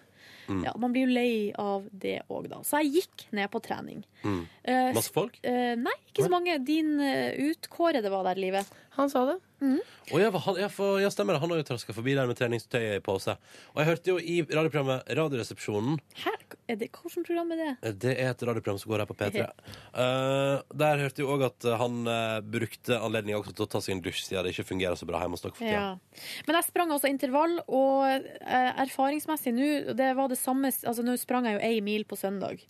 [SPEAKER 2] Mm.
[SPEAKER 5] ja, Man blir jo lei av det òg, da. Så jeg gikk ned på trening.
[SPEAKER 2] Mm.
[SPEAKER 5] Eh,
[SPEAKER 2] Masse folk?
[SPEAKER 5] Eh, nei, ikke så mange. Din eh, utkårede var der, Live.
[SPEAKER 6] Han sa det.
[SPEAKER 2] Og jeg, var- han, jeg, får- ja, stemmer det. Han har jo traska forbi der med treningstøyet i pose. Og jeg hørte jo i radioprogrammet Radioresepsjonen eh,
[SPEAKER 5] Er det, hvordan program er det?
[SPEAKER 2] Det er et radioprogram som går her på P3. Eh, der hørte jeg òg at eh, han eh, brukte anledninga også til å ta seg en dusj, siden det ikke fungerer så bra hjemme hos dere for tida.
[SPEAKER 5] Ja. Men jeg sprang altså intervall, og eh, erfaringsmessig nå Det var det samme Altså, nå sprang jeg jo ei mil på søndag.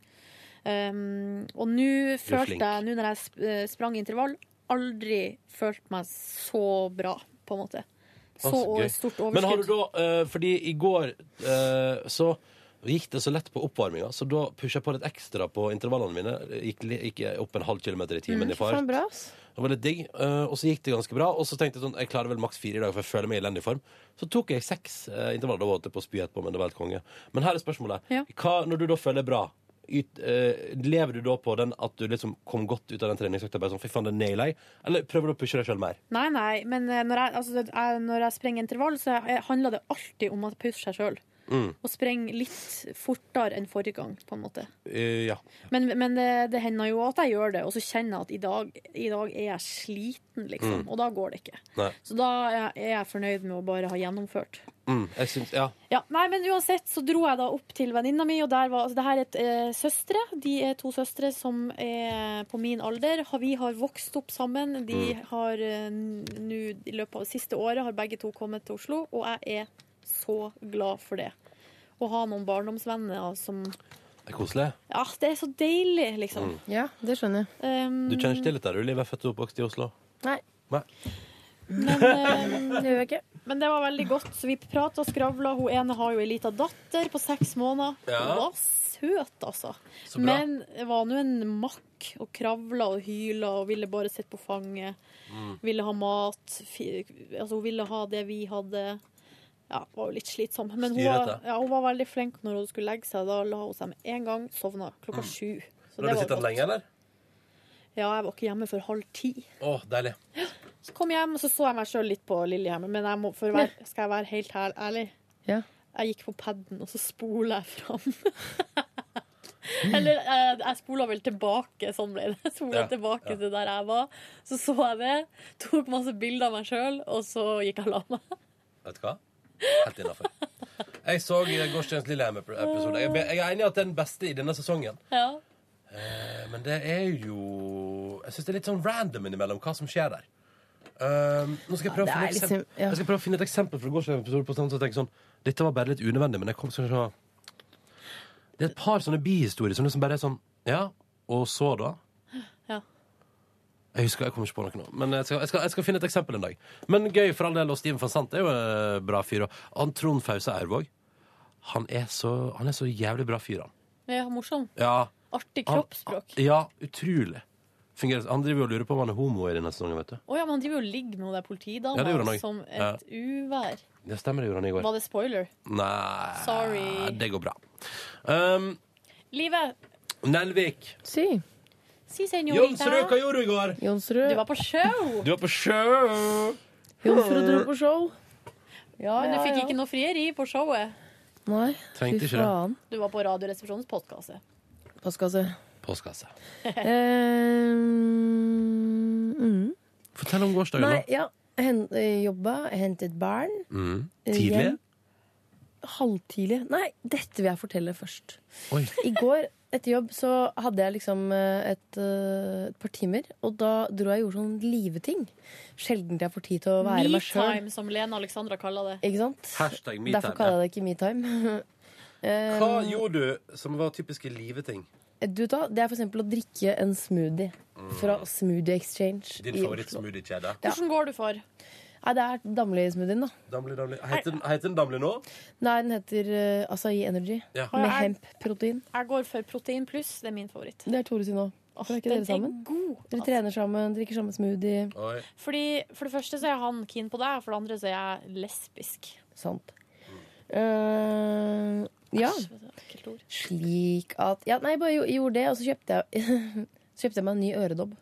[SPEAKER 5] Um, og nå følte
[SPEAKER 16] flink.
[SPEAKER 5] jeg, nå når jeg sp eh, sprang intervall, aldri følt meg så bra, på en måte. Så
[SPEAKER 2] Ah, gøy.
[SPEAKER 5] stort
[SPEAKER 2] Men har
[SPEAKER 5] overskudd.
[SPEAKER 2] du da, eh, fordi i går eh, så gikk det så lett på oppvarminga, så da pusha jeg på litt ekstra på intervallene mine. Gikk, li- gikk jeg opp en halv kilometer i
[SPEAKER 5] Mm,
[SPEAKER 2] timen i fart.
[SPEAKER 6] bra, ass.
[SPEAKER 2] Det var litt digg, eh, og så gikk det ganske bra. Og så tenkte jeg sånn, jeg klarer vel maks fire i dag, for jeg føler meg i elendig form. Så tok jeg seks eh, intervaller. Da var det på å spy etterpå, men det var helt konge. Men her er spørsmålet. Hva, når du da føler bra, yt, eh, lever du da på den at du liksom kom godt ut av den treningsøkta? Bare sånn, fy faen, det naila jeg. Eller prøver du å pushe deg sjøl mer?
[SPEAKER 5] Nei, nei, men eh, når jeg, altså, det- jeg, når jeg sprenger intervall, så jeg- handler det alltid om å pushe seg sjøl.
[SPEAKER 2] Mm.
[SPEAKER 5] Og sprenge litt fortere enn forrige gang, på en måte.
[SPEAKER 2] Eh, ja.
[SPEAKER 5] Men, men det, det hender jo at jeg gjør det, og så kjenner jeg at i dag, i dag er jeg sliten, liksom.
[SPEAKER 2] Mm.
[SPEAKER 5] Og da går det ikke.
[SPEAKER 2] Nei.
[SPEAKER 5] Så da er jeg- er jeg fornøyd med å bare ha gjennomført.
[SPEAKER 2] Mm, jeg syns Ja.
[SPEAKER 5] Ja, nei, men uansett så dro jeg da opp til venninna mi, og der var altså, det her er et, eh, søstre. De er to søstre som er på min alder. Har- Vi har vokst opp sammen. De
[SPEAKER 17] Mm.
[SPEAKER 5] har eh, nå i løpet av det siste året har begge to kommet til Oslo, og jeg er så glad for det. Å ha noen barndomsvenner som
[SPEAKER 2] Det er koselig.
[SPEAKER 5] Ja, det er så deilig,
[SPEAKER 2] Mm.
[SPEAKER 5] liksom.
[SPEAKER 6] Ja, det skjønner jeg.
[SPEAKER 5] Um,
[SPEAKER 2] Du kjenner ikke til dette, du, Liv? Jeg er født og oppvokst i Oslo.
[SPEAKER 5] Nei.
[SPEAKER 2] Nei.
[SPEAKER 5] Men, eh, Men det var veldig godt. Så vi prata og skravla. Hun ene har jo ei lita datter på seks måneder.
[SPEAKER 2] Ja.
[SPEAKER 5] Hun var søt, altså.
[SPEAKER 2] Så bra.
[SPEAKER 5] Men det var nå en makk og kravla og hyla og ville bare sitte på fanget.
[SPEAKER 2] Mm.
[SPEAKER 5] Ville ha mat. Fi, altså, hun ville ha det vi hadde. Ja, var jo litt slitsom. Men hun var,
[SPEAKER 2] Styrete.
[SPEAKER 5] ja, hun var veldig flink når hun skulle legge seg. Da la hun seg med en gang. Sovna klokka
[SPEAKER 2] Mm.
[SPEAKER 5] sju. Så
[SPEAKER 2] Har
[SPEAKER 5] det
[SPEAKER 2] du
[SPEAKER 5] var
[SPEAKER 2] sittet
[SPEAKER 5] godt.
[SPEAKER 2] lenge, eller?
[SPEAKER 5] Ja, jeg var ikke hjemme før halv ti.
[SPEAKER 2] Å, deilig.
[SPEAKER 5] Så kom jeg hjem, og så så jeg meg sjøl litt på Lillehammer. Men jeg må, for å være, skal jeg være helt hæl- ærlig Jeg gikk på paden, og så spola jeg fram. Eller eh, jeg spola vel tilbake, sånn ble det. Jeg spola
[SPEAKER 17] Ja,
[SPEAKER 5] tilbake
[SPEAKER 17] ja.
[SPEAKER 5] til der jeg var. Så så jeg det, tok masse bilder av meg sjøl, og så gikk jeg og la meg.
[SPEAKER 2] Vet du hva? Helt innafor. Jeg så eh, gårsdagens Lillehammer-episode. Jeg jeg er enig i at det er den beste i denne sesongen.
[SPEAKER 5] Ja.
[SPEAKER 2] Eh, Men det er jo Jeg syns det er litt sånn random innimellom hva som skjer der. Um, nå skal jeg prøve,
[SPEAKER 6] Ja,
[SPEAKER 2] å finne, et
[SPEAKER 6] det er
[SPEAKER 2] eksempel-
[SPEAKER 6] liksom- ja.
[SPEAKER 2] jeg skal prøve å finne et eksempel fra gårsdagens episode. På sånn, så jeg tenker sånn, Dette var bare litt unødvendig, men jeg kom skal vi se Det er et par sånne bihistorier som liksom bare er sånn Ja, og så, da?
[SPEAKER 5] Ja.
[SPEAKER 2] Jeg husker, jeg kommer ikke på noe nå. Men jeg skal, jeg, skal, jeg skal finne et eksempel en dag. Men gøy for all del. Og Steven van Sant er jo en bra fyr. Og han Trond Fause Aurvåg, han, er så- han er så jævlig bra fyr, han.
[SPEAKER 5] Ja, morsom.
[SPEAKER 2] Ja,
[SPEAKER 5] Artig
[SPEAKER 2] Han-
[SPEAKER 5] kroppsspråk.
[SPEAKER 2] ja utrolig. Fungerer, han driver jo og lurer på om han er homo i denne sesongen, vet du.
[SPEAKER 5] Å ja, men han driver jo og ligger med hun der
[SPEAKER 2] Ja, det gjorde han
[SPEAKER 5] politidama
[SPEAKER 2] også.
[SPEAKER 5] som et uvær.
[SPEAKER 2] Det stemmer, det gjorde han i går.
[SPEAKER 5] Var det spoiler?
[SPEAKER 2] Nei,
[SPEAKER 5] Sorry.
[SPEAKER 2] det går bra. Um,
[SPEAKER 5] Livet,
[SPEAKER 2] Nelvik.
[SPEAKER 6] Si.
[SPEAKER 5] si senorita.
[SPEAKER 2] Jonsrud, hva gjorde du i går?
[SPEAKER 6] Jonsrud.
[SPEAKER 5] Du var på show!
[SPEAKER 2] Du var på show.
[SPEAKER 6] Jonsrud dro på show.
[SPEAKER 5] Men du
[SPEAKER 6] ja,
[SPEAKER 5] fikk
[SPEAKER 6] ja.
[SPEAKER 5] ikke noe frieri på showet.
[SPEAKER 6] Nei,
[SPEAKER 2] Trengte
[SPEAKER 6] fy
[SPEAKER 2] ikke det.
[SPEAKER 6] faen.
[SPEAKER 5] Du var på Radioresepsjonens postkasse.
[SPEAKER 6] Postkasse.
[SPEAKER 2] Postkasse.
[SPEAKER 6] Eh, mm.
[SPEAKER 2] Fortell om gårsdagen,
[SPEAKER 6] Nei,
[SPEAKER 2] da.
[SPEAKER 6] ja. Hen, eh, jobba, hentet barn.
[SPEAKER 2] Mm.
[SPEAKER 6] Eh,
[SPEAKER 2] Tidlig?
[SPEAKER 6] hjem. Halvtidlig. Nei, dette vil jeg fortelle først.
[SPEAKER 2] Oi.
[SPEAKER 6] I går etter jobb så hadde jeg liksom eh, et, eh, et par timer, og da dro jeg og gjorde sånn liveting. Sjelden jeg får tid til å være meg sjøl.
[SPEAKER 5] Metime, som Lene Alexandra kaller det.
[SPEAKER 6] Ikke sant?
[SPEAKER 2] Hashtag me
[SPEAKER 6] Derfor
[SPEAKER 2] time,
[SPEAKER 6] kaller jeg det ikke metime.
[SPEAKER 2] Hva gjorde du som var typiske liveting?
[SPEAKER 6] Du da, Det er for eksempel å drikke en smoothie fra Smoothie Exchange.
[SPEAKER 2] Mm. Din
[SPEAKER 6] i Oslo.
[SPEAKER 2] favorittsmoothie-kjede?
[SPEAKER 5] Hvordan går du for?
[SPEAKER 6] Nei, det er Damli-smoothien, da.
[SPEAKER 2] Damli, damli. Heter, den- heter den Damli nå?
[SPEAKER 6] Nei, den heter eh, Acai Energy.
[SPEAKER 2] Ja.
[SPEAKER 6] Med
[SPEAKER 5] Jeg-
[SPEAKER 6] hemp-protein.
[SPEAKER 5] Jeg går for Protein Pluss. Det er min favoritt.
[SPEAKER 6] Det er Tore sin òg. Er ikke
[SPEAKER 5] den
[SPEAKER 6] dere sammen?
[SPEAKER 5] er god. altså.
[SPEAKER 6] Dere trener sammen, drikker samme smoothie.
[SPEAKER 5] Fordi For det første så er han keen på deg, og for det andre så er jeg lesbisk.
[SPEAKER 6] Sant. Eh, ja.
[SPEAKER 5] Ekkelt ord.
[SPEAKER 6] Slik at Ja, nei, bare gjo- gjorde det, og så kjøpte jeg Så kjøpte jeg meg en ny øredobb.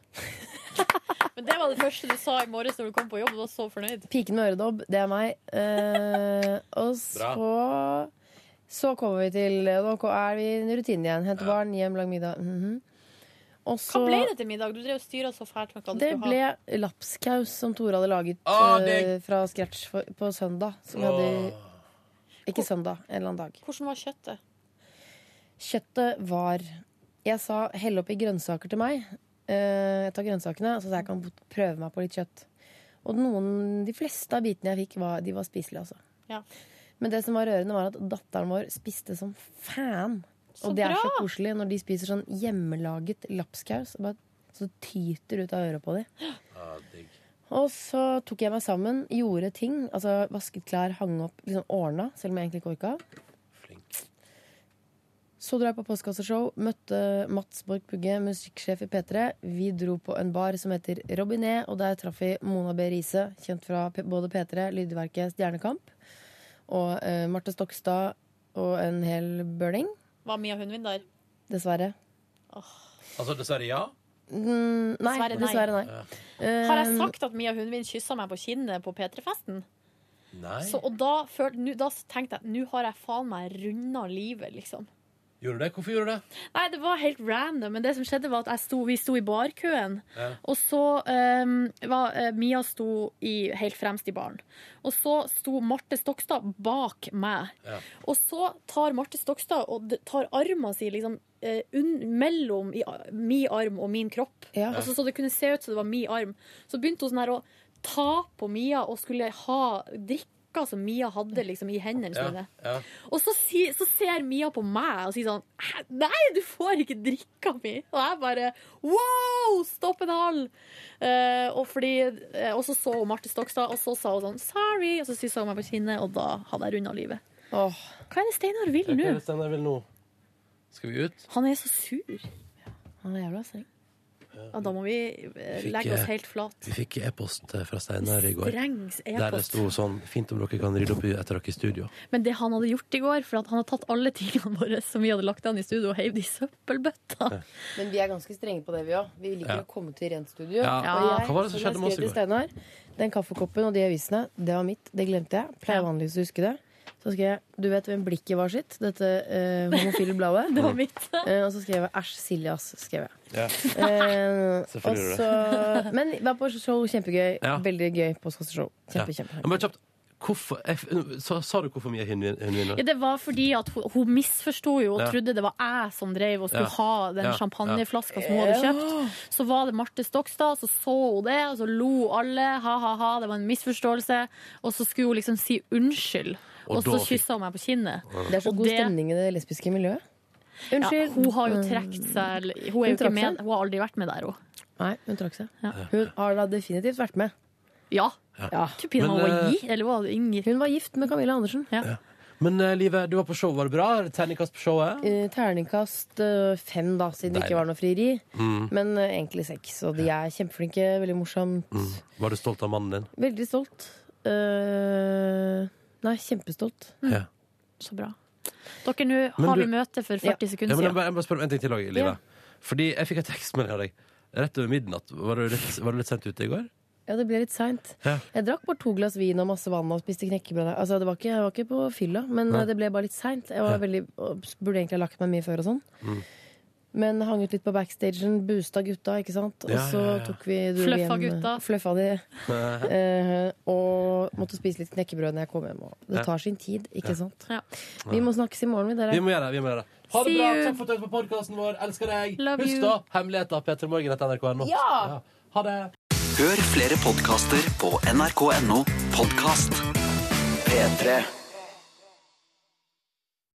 [SPEAKER 5] Men det var det første du sa i morges når du kom på jobb. Du var så fornøyd.
[SPEAKER 6] Piken med øredobb, det er meg. Eh, og så Så kommer vi til Nå ko- er vi i rutinen igjen. Hente barn, hjem, lag middag. Mhm. Og
[SPEAKER 5] Hva
[SPEAKER 6] så
[SPEAKER 5] ble det til middag? Du drev og styra så fælt med hva du
[SPEAKER 6] Det
[SPEAKER 5] skulle ha.
[SPEAKER 6] ble lapskaus som Tore hadde laget
[SPEAKER 5] Ah,
[SPEAKER 6] eh,
[SPEAKER 5] det-
[SPEAKER 6] fra scratch for, på søndag. Som vi hadde Ikke søndag, en eller annen dag.
[SPEAKER 5] Hvordan var kjøttet?
[SPEAKER 6] Kjøttet var Jeg sa hell oppi grønnsaker til meg. Eh, Jeg tar grønnsakene, så jeg kan prøve meg på litt kjøtt. Og noen, de fleste av bitene jeg fikk, var, de var spiselige, altså.
[SPEAKER 5] Ja.
[SPEAKER 6] Men det som var rørende, var at datteren vår spiste som fan.
[SPEAKER 5] Så
[SPEAKER 6] og det er så
[SPEAKER 5] bra!
[SPEAKER 6] koselig når de spiser sånn hjemmelaget lapskaus. og Bare, så det tyter ut av øret på dem. Og så tok jeg meg sammen, gjorde ting. Altså Vasket klær, hang opp, liksom ordna, selv om jeg egentlig ikke orka. Så dro jeg på postkasseshow, møtte Mats Borch Pugge, musikksjef i P3. Vi dro på en bar som heter Robinet, og der traff vi Mona B. Riise, kjent fra P både P3, Lydverket, Stjernekamp, og eh, Marte Stokstad og en hel bøling,
[SPEAKER 5] Var Mia Hundvin der?
[SPEAKER 6] dessverre.
[SPEAKER 2] Altså, dessverre, ja.
[SPEAKER 6] Mm, nei,
[SPEAKER 5] Dessverre nei.
[SPEAKER 6] dessverre nei.
[SPEAKER 2] Ja.
[SPEAKER 5] Har jeg
[SPEAKER 6] Eh,
[SPEAKER 5] sagt at Mia Hundvin kyssa meg på kinnet på P3-festen?
[SPEAKER 2] Nei.
[SPEAKER 5] Så, og da, føl- nu- da tenkte jeg nå har jeg faen meg runda livet, liksom.
[SPEAKER 2] Gjorde du det? Hvorfor gjorde du det?
[SPEAKER 5] Nei, det var helt random, men det som skjedde var at jeg sto, vi sto i barkøen.
[SPEAKER 2] Ja.
[SPEAKER 5] Og så ehm, var eh, Mia sto i, helt fremst i baren. Og så sto Marte Stokstad bak meg. Og så tar Marte Stokstad og d- tar armen sin liksom, eh, unn- mellom i, a- min arm og min kropp.
[SPEAKER 6] Ja.
[SPEAKER 5] Altså, så det kunne se ut som det var min arm. Så begynte hun sånn her å ta på Mia og skulle ha drikka som Mia hadde liksom, i hendene sine. Og så, si, så ser Mia på meg og sier sånn "Hæ? Nei, du får ikke drikka mi! Og jeg bare wow! Stopp en hal! Eh, og, fordi, eh, og så så hun Marte Stokstad, og så sa hun sånn sorry, og så kyssa hun meg på kinnet, og da hadde jeg runda livet. Hva er det Steinar vil nå?
[SPEAKER 2] Skal vi ut?
[SPEAKER 5] Han er så sur.
[SPEAKER 6] Han er jævla streng.
[SPEAKER 5] Ja, da må vi eh,
[SPEAKER 2] Fikk,
[SPEAKER 5] legge
[SPEAKER 2] eh,
[SPEAKER 5] oss helt flat.
[SPEAKER 2] Vi fikk e-post eh, fra Steinar i går.
[SPEAKER 5] Strengs
[SPEAKER 2] Der det
[SPEAKER 5] e-post.
[SPEAKER 2] sto sånn Fint om dere kan rydde opp i- etter dere i studio.
[SPEAKER 5] Men det han hadde gjort i går, for at han hadde tatt alle tingene våre som vi hadde lagt an i studio, og heiv det i søppelbøtta.
[SPEAKER 6] Men vi er ganske strenge på det, vi òg. Vi liker
[SPEAKER 5] Ja.
[SPEAKER 6] å komme til rent studio.
[SPEAKER 5] Ja.
[SPEAKER 6] Og jeg,
[SPEAKER 5] Hva var det som
[SPEAKER 6] jeg
[SPEAKER 5] skjedde med oss
[SPEAKER 6] skrev
[SPEAKER 5] i
[SPEAKER 6] til Steinar, Den kaffekoppen og de avisene, det var mitt. Det glemte jeg. Pleier vanligvis å huske det. Så skrev jeg 'Du vet hvem blikket var sitt', dette eh, homofile bladet.
[SPEAKER 5] Det var mitt.
[SPEAKER 6] Eh, og så skrev jeg 'Æsj, Silje, ass'. skrev jeg.
[SPEAKER 2] Ja.
[SPEAKER 6] Eh, og
[SPEAKER 2] Selvfølgelig gjorde
[SPEAKER 6] så, men var på show, kjempegøy.
[SPEAKER 2] Ja.
[SPEAKER 6] Veldig gøy postkasseshow. Kjempe, kjempe.
[SPEAKER 2] Ja, men kjapt. Hvorfor, jeg, så, sa du hvorfor mye hun vinner?
[SPEAKER 5] Ja, det var fordi at hun, hun misforsto jo og
[SPEAKER 2] Ja.
[SPEAKER 5] trodde det var jeg som drev og skulle
[SPEAKER 2] Ja.
[SPEAKER 5] ha den
[SPEAKER 2] Ja. Ja.
[SPEAKER 5] champagneflaska som hun hadde
[SPEAKER 2] Ja.
[SPEAKER 5] kjøpt. Så var det Marte Stokstad, så så hun det, og så lo alle. Ha-ha-ha, det var en misforståelse. Og så skulle hun liksom si unnskyld,
[SPEAKER 6] Og
[SPEAKER 5] og,
[SPEAKER 6] da
[SPEAKER 5] så
[SPEAKER 6] fikk-
[SPEAKER 5] kyssa hun meg på kinnet.
[SPEAKER 6] Det er så god stemning i det lesbiske miljøet. Unnskyld. Mm.
[SPEAKER 5] Ja, hun har jo trukket seg Hun, er
[SPEAKER 6] Hun
[SPEAKER 5] jo ikke
[SPEAKER 6] trakk seg.
[SPEAKER 5] med, hun har aldri vært med der, hun.
[SPEAKER 6] Nei, hun trakk seg. Hun har da definitivt vært med.
[SPEAKER 5] Ja.
[SPEAKER 6] Ja.
[SPEAKER 5] Tuppina
[SPEAKER 2] Men,
[SPEAKER 5] var,
[SPEAKER 2] eh,
[SPEAKER 5] gi, eller var det Inger?
[SPEAKER 6] Hun var gift med Camilla Andersen.
[SPEAKER 5] Ja.
[SPEAKER 2] Men eh, Live, du var på show, var det bra? Terningkast på showet?
[SPEAKER 6] Eh, terningkast eh, fem, da, siden det
[SPEAKER 2] Deilig.
[SPEAKER 6] ikke var noe frieri.
[SPEAKER 2] Mm.
[SPEAKER 6] Men eh, egentlig seks. Og de er kjempeflinke. Veldig morsomt.
[SPEAKER 2] Mm. Var du stolt av mannen din?
[SPEAKER 6] Veldig stolt. Eh, nei, kjempestolt.
[SPEAKER 2] Ja.
[SPEAKER 5] Så bra. Dere, nå
[SPEAKER 2] Men
[SPEAKER 5] har
[SPEAKER 2] du-
[SPEAKER 5] vi møte for 40
[SPEAKER 2] Ja,
[SPEAKER 5] sekunder
[SPEAKER 2] men jeg,
[SPEAKER 5] siden.
[SPEAKER 2] bare, jeg bare spør om en ting til, også, Live. Fordi jeg fikk en tekstmelding av deg rett over midnatt. Var du litt, var du litt sent ute i går?
[SPEAKER 6] Ja, det ble litt seint.
[SPEAKER 2] Ja.
[SPEAKER 6] Jeg drakk bare to glass vin og masse vann og spiste knekkebrød. Altså, det var ikke, jeg var ikke på fylla, men
[SPEAKER 2] Nei.
[SPEAKER 6] eh, det ble bare litt seint. Jeg var veldig, og burde egentlig ha lagt meg mye før og sånn. Men hang ut litt på backstagen, boosta gutta, ikke sant? Og
[SPEAKER 18] Ja,
[SPEAKER 6] så
[SPEAKER 18] ja, ja.
[SPEAKER 6] tok vi dro
[SPEAKER 18] Fluffa
[SPEAKER 6] hjem-
[SPEAKER 18] gutta.
[SPEAKER 6] Fluffa de. Eh, og måtte spise litt knekkebrød når jeg kom hjem. Og
[SPEAKER 2] Ja.
[SPEAKER 6] det tar sin tid, ikke
[SPEAKER 2] Ja.
[SPEAKER 6] sant? Vi må snakkes i morgen, vi, dere.
[SPEAKER 2] Vi må gjøre det. vi må gjøre det Ha det
[SPEAKER 6] See
[SPEAKER 2] bra.
[SPEAKER 6] you.
[SPEAKER 2] Takk for at du hørte på podkasten vår. Elsker deg.
[SPEAKER 6] Love
[SPEAKER 2] Husk
[SPEAKER 6] you.
[SPEAKER 2] da, hemmeligheter p3morgen.nrk.no.
[SPEAKER 6] Ja.
[SPEAKER 2] Ha det.
[SPEAKER 1] Hør flere podkaster på nrk.no podkast. P3.